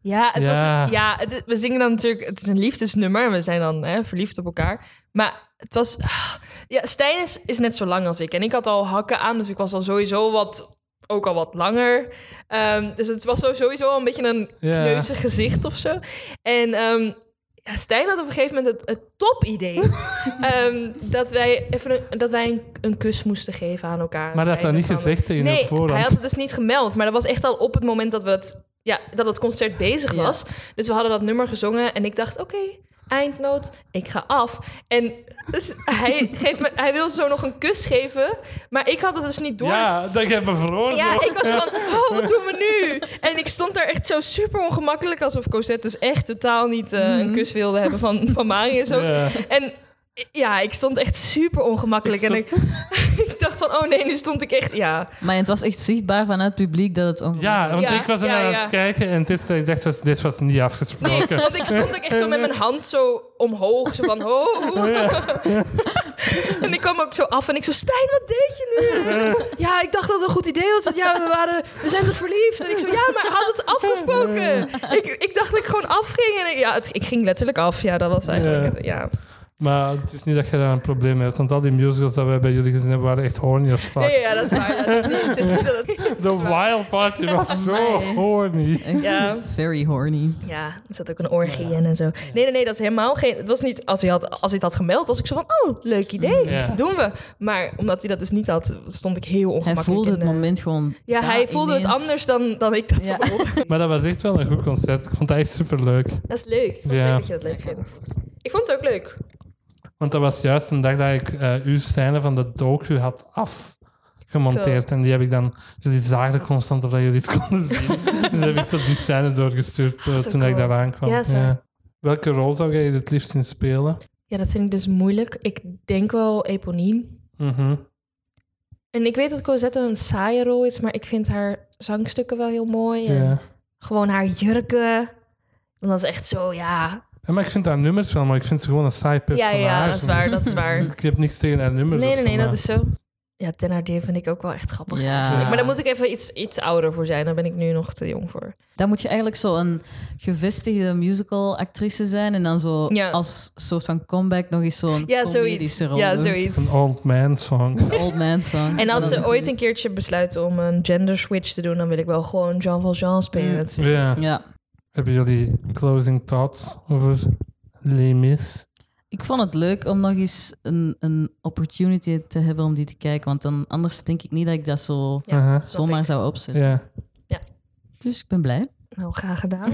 Speaker 3: Ja, het
Speaker 1: Ja.
Speaker 3: Was, ja het, we zingen dan natuurlijk... Het is een liefdesnummer en we zijn dan hè, verliefd op elkaar. Maar het was... ah, Ja, Stijn is, is net zo lang als ik. En ik had al hakken aan, dus ik was al sowieso wat... Ook al wat langer. Ehm, dus het was zo- sowieso al een beetje een
Speaker 1: Ja.
Speaker 3: kneuzig gezicht of zo. En ehm, ja, Stijn had op een gegeven moment het, het topidee... ehm, dat wij, even een, dat wij een, een kus moesten geven aan elkaar.
Speaker 1: maar dat had
Speaker 3: Aan
Speaker 1: dat niet
Speaker 3: het einde van de-
Speaker 1: gezegd tegen u
Speaker 3: Nee,
Speaker 1: op voorhand.
Speaker 3: hij had het dus niet gemeld. Maar dat was echt al op het moment dat we het... ja, dat het concert bezig
Speaker 2: Ja.
Speaker 3: was. Dus we hadden dat nummer gezongen en ik dacht, oké, eindnoot, ik ga af. En dus hij, geeft me, hij wil zo nog een kus geven, maar ik had het dus niet door. Dus-
Speaker 1: Ja, dat heb me verhoord.
Speaker 3: ja,
Speaker 1: hoor.
Speaker 3: ik was van, oh, wat doen we nu? En ik stond daar echt zo super ongemakkelijk, alsof Cosette dus echt totaal niet eh, een kus wilde hebben van, van Marius ook.
Speaker 1: Mhm. Ja.
Speaker 3: En ja, ik stond echt super ongemakkelijk.
Speaker 1: Ik
Speaker 3: En ik, ik dacht van, oh nee, nu stond ik echt, ja.
Speaker 2: Maar het was echt zichtbaar vanuit het publiek dat het
Speaker 1: Ja,
Speaker 2: ongemakkelijk
Speaker 1: want
Speaker 3: Ja,
Speaker 1: ik was
Speaker 3: ja,
Speaker 1: ernaar aan
Speaker 3: ja.
Speaker 1: het kijken en dit, ik dacht, was- dit was niet
Speaker 3: Nee,
Speaker 1: afgesproken.
Speaker 3: want ik stond ook echt zo met mijn hand zo omhoog. Zo van, ho. en ik kwam ook zo af en ik zo, Stijn, wat deed je nu? En zo, ja, ik dacht dat het een goed idee was. want Ja, we, waren, we zijn toch verliefd? En ik zo, ja, maar had het afgesproken. Ik, ik dacht dat ik gewoon afging. En ik, ja, het, ik ging letterlijk af. Ja, dat was eigenlijk, ja.
Speaker 1: Maar het is niet dat je daar een probleem mee hebt, want al die musicals dat wij bij jullie gezien hebben waren echt horny als fuck.
Speaker 3: Nee, ja, dat is waar. Ja, het, is niet, het is niet dat het...
Speaker 1: The Wild Party was zo
Speaker 2: Nee.
Speaker 1: horny.
Speaker 2: Echt
Speaker 3: Ja.
Speaker 2: very horny.
Speaker 3: Ja, er zat ook een orgie in en zo. Nee, nee, nee, dat is helemaal geen... Het was niet... Als hij, had, als hij het had gemeld, was ik zo van... Oh, leuk idee,
Speaker 1: Ja.
Speaker 3: doen we. Maar omdat hij dat dus niet had, stond ik heel
Speaker 2: Hij
Speaker 3: ongemakkelijk.
Speaker 2: voelde
Speaker 3: in
Speaker 2: het
Speaker 3: de-
Speaker 2: moment gewoon...
Speaker 3: Ja,
Speaker 2: daar
Speaker 3: hij voelde het
Speaker 2: ineens.
Speaker 3: anders dan, dan ik dat
Speaker 2: Ja.
Speaker 3: voelde.
Speaker 1: Maar dat was echt wel een goed concert. Ik vond dat echt superleuk.
Speaker 3: Dat is leuk. Ik vond het
Speaker 1: Ja.
Speaker 3: leuk dat je dat leuk vindt. Ik vond het ook leuk.
Speaker 1: Want dat was juist een dag dat ik eh uw scène van de docu had afgemonteerd. En die heb ik dan... Jullie zagen constant of dat jullie het konden zien. dus heb ik zo die scène doorgestuurd eh,
Speaker 3: Ah, zo
Speaker 1: toen ik
Speaker 3: cool.
Speaker 1: daar aankwam.
Speaker 3: Ja, dat is waar.
Speaker 1: Welke rol zou jij het liefst in spelen?
Speaker 3: Ja, dat vind ik dus moeilijk. Ik denk wel eponiem.
Speaker 1: Mhm.
Speaker 3: En ik weet dat Cosette een saaie rol is, maar ik vind haar zangstukken wel heel mooi. En
Speaker 1: Ja.
Speaker 3: Gewoon haar jurken. Want dat is echt zo, ja.
Speaker 1: Ja, maar ik vind haar nummers wel, maar ik vind ze gewoon een saai
Speaker 3: Ja,
Speaker 1: personage. Dus
Speaker 3: ja, dat is waar, dat is waar.
Speaker 1: Ik heb niks tegen haar nummers.
Speaker 3: Nee,
Speaker 1: of
Speaker 3: nee,
Speaker 1: zo,
Speaker 3: nee, dat
Speaker 1: maar-
Speaker 3: is zo. Ja, Thénardier vind ik ook wel echt grappig.
Speaker 2: Ja.
Speaker 3: Maar daar moet ik even iets, iets ouder voor zijn. Daar ben ik nu nog te jong voor.
Speaker 2: Dan moet je eigenlijk zo een gevestigde musical actrice zijn en dan zo
Speaker 3: Ja.
Speaker 2: als soort van comeback nog eens zo'n
Speaker 3: Ja, zoiets.
Speaker 2: comedische rol
Speaker 3: Ja,
Speaker 2: doen.
Speaker 1: Een
Speaker 3: zoiets.
Speaker 1: old man song.
Speaker 2: Old man song.
Speaker 3: En als
Speaker 2: Dan-
Speaker 3: ze ooit een keertje besluiten om een gender switch te doen, dan wil ik wel gewoon Jean Valjean spelen.
Speaker 2: Mm.
Speaker 1: Ja.
Speaker 2: Ja.
Speaker 1: Hebben jullie closing thoughts over Les Mis?
Speaker 2: Ik vond het leuk om nog eens een, een opportunity te hebben om die te kijken, want dan anders denk ik niet dat ik dat zo
Speaker 3: Ja,
Speaker 1: Aha.
Speaker 3: snap
Speaker 2: zomaar
Speaker 3: ik.
Speaker 2: zou opzetten.
Speaker 1: Ja.
Speaker 2: Dus ik ben blij.
Speaker 3: Nou, graag gedaan.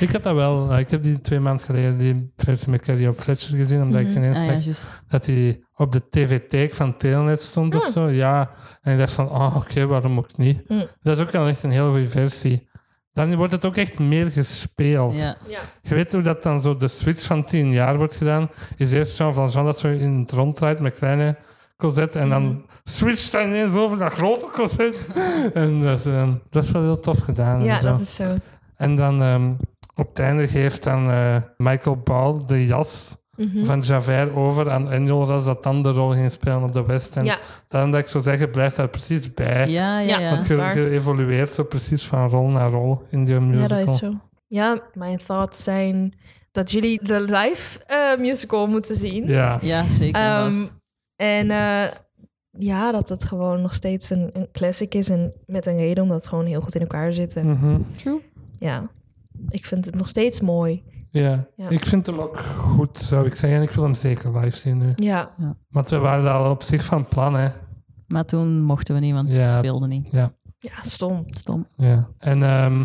Speaker 1: Ik had dat wel. eh, Ik heb die twee maanden geleden die versie met Carrie op Fletcher gezien, omdat
Speaker 3: Mhm.
Speaker 1: ik ineens
Speaker 2: Ah, ja,
Speaker 1: zag
Speaker 2: juist.
Speaker 1: dat die op de tv-take van Telenet stond of
Speaker 3: Ah.
Speaker 1: zo. Ja. En ik dacht van, oh, oké, waarom ook niet?
Speaker 3: Mm.
Speaker 1: Dat is ook wel echt een heel goede versie. Dan wordt het ook echt meer gespeeld.
Speaker 2: Ja.
Speaker 3: ja.
Speaker 1: Je weet hoe dat dan zo de switch van tien jaar wordt gedaan. Is eerst Jean Valjean dat zo in het rond draait met kleine Cosette. En
Speaker 3: Mhm.
Speaker 1: dan switcht hij ineens over naar grote Cosette. en dus, ehm, dat is wel heel tof gedaan. en,
Speaker 3: ja,
Speaker 1: zo.
Speaker 3: dat is zo.
Speaker 1: en dan ehm, op het einde geeft dan eh, Michael Ball de jas
Speaker 3: Mhm.
Speaker 1: van Javert over aan Enjol als dat dan de rol ging spelen op de West End.
Speaker 3: Ja.
Speaker 1: Daarom dat ik zou zeggen, blijf daar precies bij.
Speaker 2: Ja, ja,
Speaker 3: Ja.
Speaker 2: ja.
Speaker 1: Want
Speaker 3: dat
Speaker 1: je,
Speaker 3: is waar.
Speaker 1: je evolueert zo precies van rol naar rol in die musical.
Speaker 3: ja, dat is zo. Ja, mijn thoughts zijn dat jullie de live eh, musical moeten zien.
Speaker 1: Ja.
Speaker 2: Ja, zeker.
Speaker 3: Ehm,
Speaker 2: vast.
Speaker 3: en eh, ja, dat het gewoon nog steeds een, een classic is. En met een reden, omdat het gewoon heel goed in elkaar zit. En,
Speaker 1: Mhm.
Speaker 3: ja, ik vind het nog steeds mooi.
Speaker 1: Ja.
Speaker 3: Ja.
Speaker 1: ik vind hem ook goed, zou ik zeggen. Ik wil hem zeker live zien nu.
Speaker 3: Ja,
Speaker 1: Want we waren daar al op zich van plan, hè.
Speaker 2: maar toen mochten we niet, want
Speaker 1: Ja.
Speaker 2: het speelde niet.
Speaker 3: ja stom.
Speaker 2: Stom.
Speaker 1: Ja. En ehm,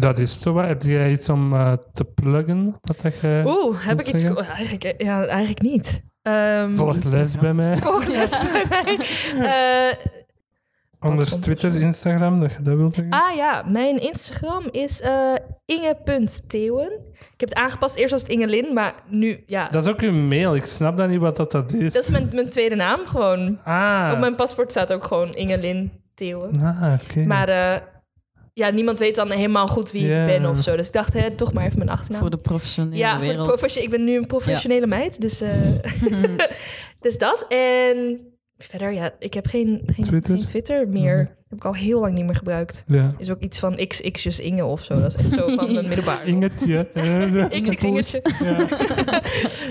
Speaker 1: dat is zo wat. Heb jij iets om eh, te pluggen? Wat dat je
Speaker 3: Oeh, heb ik
Speaker 1: Moet
Speaker 3: iets...
Speaker 1: zeggen?
Speaker 3: ko- Eigenlijk, eh, ja, eigenlijk niet. Ehm,
Speaker 1: volgt les bij mij?
Speaker 3: volgles bij mij. Eh,
Speaker 1: Anders
Speaker 3: komt
Speaker 1: Twitter,
Speaker 3: er?
Speaker 1: Instagram, dat je dat wilt zeggen?
Speaker 3: Ah ja, mijn Instagram is eh inge.theeuwen. Ik heb het aangepast eerst als het Ingelin, maar nu, ja. Dat,
Speaker 1: Dat is ook uw mail. Ik snap dan niet wat dat, dat is.
Speaker 3: is mijn, mijn tweede naam gewoon.
Speaker 1: Ah,
Speaker 3: Op mijn paspoort staat ook gewoon Ingelin Theeuwen.
Speaker 1: ah oké.
Speaker 3: Maar eh, ja, niemand weet dan helemaal goed wie
Speaker 1: Ja.
Speaker 3: ik ben of zo. Dus ik dacht, hè, toch maar even mijn achternaam.
Speaker 2: Voor de professionele
Speaker 3: ja, voor de
Speaker 2: wereld.
Speaker 3: profession- ik ben nu een professionele meid, dus, eh, dus dat. En verder, ja, ik heb geen, geen,
Speaker 1: Twitter?
Speaker 3: geen Twitter meer. Heb ik al heel lang niet meer gebruikt.
Speaker 1: Ja.
Speaker 3: Is ook iets van xxjus Inge of zo. Dat is echt zo van mijn middelbaar.
Speaker 1: Ingetje. Eh,
Speaker 3: XX Ingetje.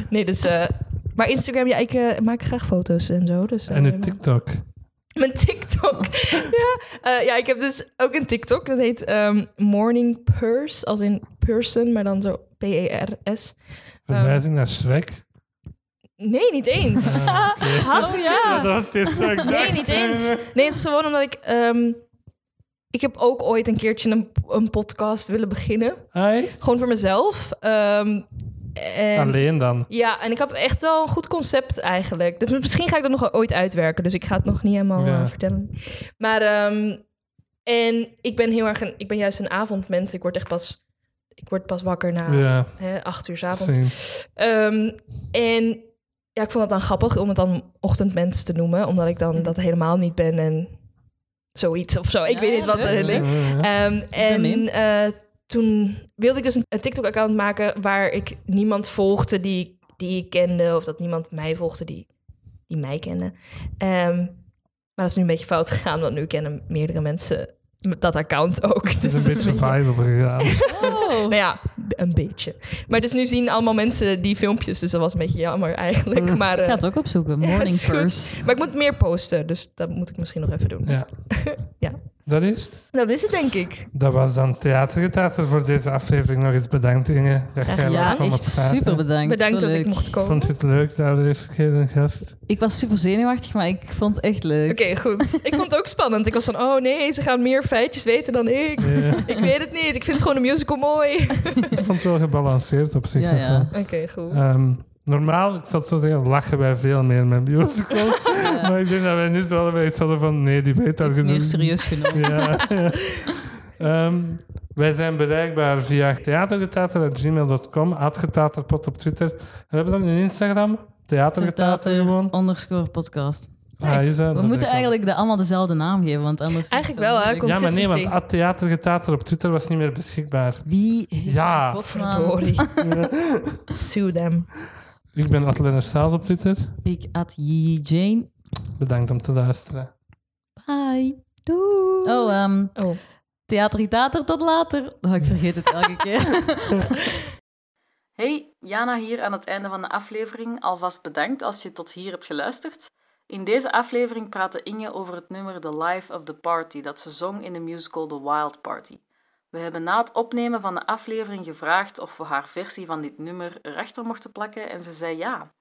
Speaker 3: Nee, dus... eh, maar Instagram, ja, ik eh, maak graag foto's en zo. Dus, eh,
Speaker 1: en uw TikTok.
Speaker 3: Mijn TikTok. ja, eh, ja, ik heb dus ook een TikTok. Dat heet ehm, Morning Purse, als in person, maar dan zo E P-E-R-S.
Speaker 1: Verwijzing naar Shrek. Ah,
Speaker 3: Nee, niet eens. Had-
Speaker 1: Dat was het eerste wat ik
Speaker 3: Nee,
Speaker 1: dacht.
Speaker 3: niet eens. Nee, het is gewoon omdat ik... ehm, Ik heb ook ooit een keertje een, een podcast willen beginnen.
Speaker 1: Hey?
Speaker 3: Gewoon voor mezelf. Ehm, en,
Speaker 1: Alleen dan.
Speaker 3: Ja, en ik heb echt wel een goed concept eigenlijk. Dus misschien ga ik dat nog ooit uitwerken. Dus ik ga het nog niet helemaal
Speaker 1: Ja.
Speaker 3: eh, vertellen. Maar ehm, en ik ben heel erg een, ik ben juist een avondmens. Ik word echt pas, ik word pas wakker na
Speaker 1: Ja,
Speaker 3: hè, acht uur 's avonds.
Speaker 1: same.
Speaker 3: Ehm, en ja, ik vond het dan grappig om het dan ochtendmens te noemen, omdat ik dan dat helemaal niet ben en zoiets of zo. Ik
Speaker 2: Mhm. Ja,
Speaker 3: weet niet
Speaker 2: ja,
Speaker 3: wat
Speaker 2: leuk,
Speaker 3: eh,
Speaker 2: leuk.
Speaker 3: ding.
Speaker 1: Ja,
Speaker 3: Ehm, en
Speaker 2: in.
Speaker 3: eh, toen wilde ik dus een, een TikTok-account maken waar ik niemand volgde die, die ik kende, of dat niemand mij volgde die, die mij kende. Ehm, maar dat is nu een beetje fout gegaan, want nu kennen meerdere mensen dat account ook. Dus
Speaker 1: Het is een beetje viral gegaan.
Speaker 2: Oh.
Speaker 3: nou ja, b- een beetje. Maar dus nu zien allemaal mensen die filmpjes, dus dat was een beetje jammer eigenlijk. Maar, eh,
Speaker 2: Ik ga het ook opzoeken.
Speaker 3: Ja,
Speaker 2: Morning
Speaker 3: is goed.
Speaker 2: first.
Speaker 3: maar ik moet meer posten, dus dat moet ik misschien nog even doen.
Speaker 1: Ja.
Speaker 3: Ja.
Speaker 1: Dat is het.
Speaker 3: Dat is het, denk ik.
Speaker 1: Dat was dan Theatergetheater voor deze aflevering. Nog eens bedankt, Inge. Dat jij
Speaker 2: Ja,
Speaker 1: leuk om
Speaker 2: echt
Speaker 1: het praten.
Speaker 2: super bedankt.
Speaker 3: Bedankt
Speaker 2: Zo
Speaker 3: dat ik
Speaker 2: leuk.
Speaker 3: mocht
Speaker 1: Ik
Speaker 3: komen.
Speaker 1: vond
Speaker 3: Oké,
Speaker 1: het leuk dat we de eerste keer een gast...
Speaker 2: Ik was super zenuwachtig, maar ik vond het echt leuk.
Speaker 3: goed. Ik vond het ook spannend. Ik was van, oh nee, ze gaan meer feitjes weten dan ik.
Speaker 1: Ja,
Speaker 3: Ik weet het niet. Ik vind gewoon de musical mooi. Oké,
Speaker 1: Eh, ik vond het wel gebalanceerd op zich.
Speaker 2: Ja,
Speaker 1: nog
Speaker 2: ja.
Speaker 1: wel.
Speaker 3: goed.
Speaker 1: Ehm, normaal, ik zal het zo zeggen, lachen wij veel meer met musicals. Maar ik denk dat wij nu zo allebei iets hadden van... Nee, die weet daar
Speaker 2: Iets meer
Speaker 1: genoeg.
Speaker 2: serieus genomen.
Speaker 1: Ja. Ehm, wij zijn bereikbaar via theatergetater.gmail.com, atgetaterpot op Twitter. We hebben dan een Instagram, theatergetater gewoon.
Speaker 2: underscore podcast.
Speaker 1: Ah, is dat? Dat
Speaker 2: Oh, We
Speaker 1: weet ik
Speaker 2: moeten
Speaker 1: al.
Speaker 2: eigenlijk de, allemaal dezelfde naam geven, want anders... is het
Speaker 3: Eigenlijk
Speaker 2: zo
Speaker 3: wel, hè,
Speaker 2: moeilijk.
Speaker 3: kom-
Speaker 1: Ja, maar nee, want
Speaker 3: Consistency.
Speaker 1: at theatergetater op Twitter was niet meer beschikbaar.
Speaker 2: Wie heeft
Speaker 1: Ja,
Speaker 2: in godsnaam-
Speaker 3: Verdorie. Sue them.
Speaker 1: Ik ben at Lennart Staals op Twitter.
Speaker 2: Ik at Yee Jane.
Speaker 1: Bedankt om te luisteren.
Speaker 2: Bye.
Speaker 3: Doei.
Speaker 2: Oh, ehm
Speaker 3: Oh.
Speaker 2: theatergitater tot later. Oh, ik vergeet het elke keer. Hey, Jana hier aan het einde van de aflevering. Alvast bedankt als je tot hier hebt geluisterd. In deze aflevering praatte Inge over het nummer The Life of the Party dat ze zong in de musical The Wild Party. We hebben na het opnemen van de aflevering gevraagd of we haar versie van dit nummer erachter mochten plakken en ze zei ja.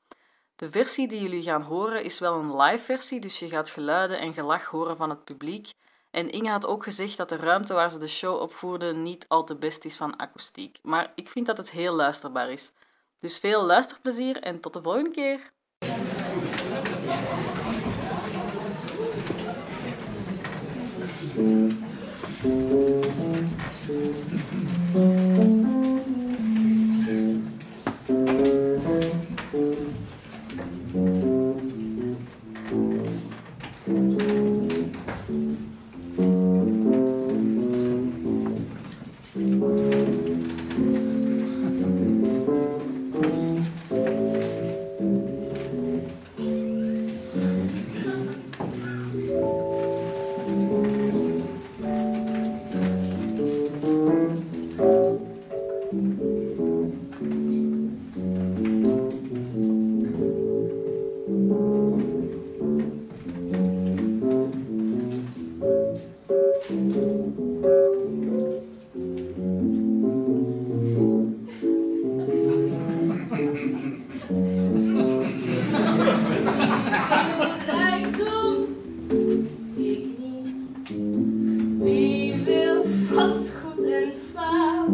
Speaker 2: De versie die jullie gaan horen is wel een live versie, dus je gaat geluiden en gelach horen van het publiek. En Inge had ook gezegd dat de ruimte waar ze de show opvoerde niet al te best is van akoestiek. Maar ik vind dat het heel luisterbaar is. Dus veel luisterplezier en tot de volgende keer!
Speaker 7: Wie wil vastgoed en vaar?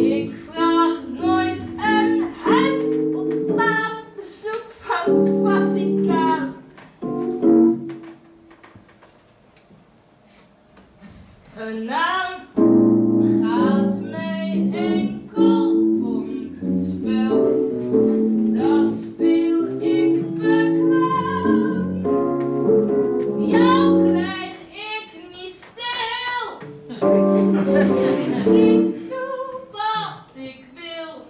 Speaker 7: Ik vraag nooit een huis op paapbezoek van het Vaticaan. Een naam gaat mij enkel om het spel. Dat speel ik bekwaam. Jou krijg ik niet stil. Ik doe wat ik wil.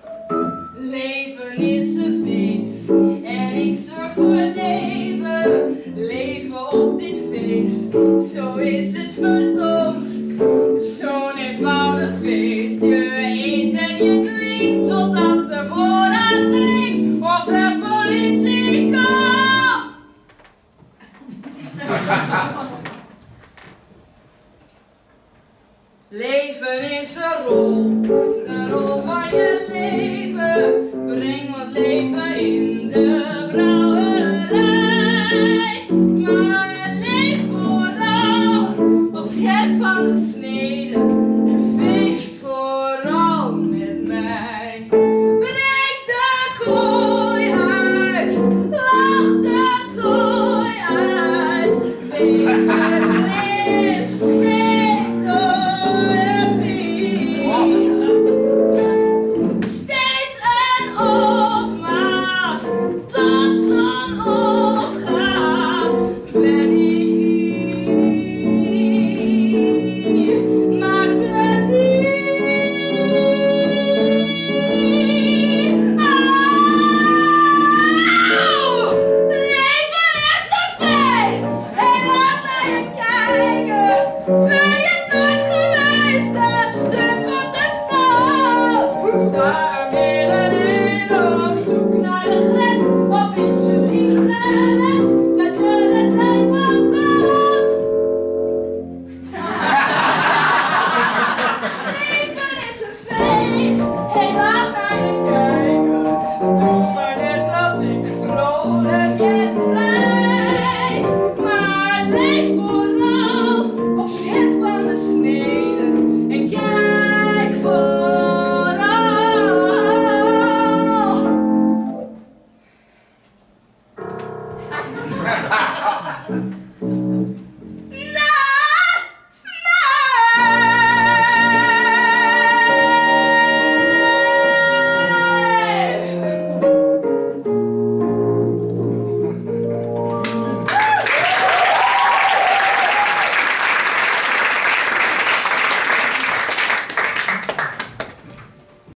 Speaker 7: Leven is een feest en ik zorg voor leven. Leven op dit feest, zo is het verdomd. Zo'n eenvoudig feest. Je eet en je drinkt totdat de voorraad slinkt of de politie komt. Leven is een rol, de rol van je leven. Breng wat leven in de brouwerij. Maar leef vooral,
Speaker 6: gesneden.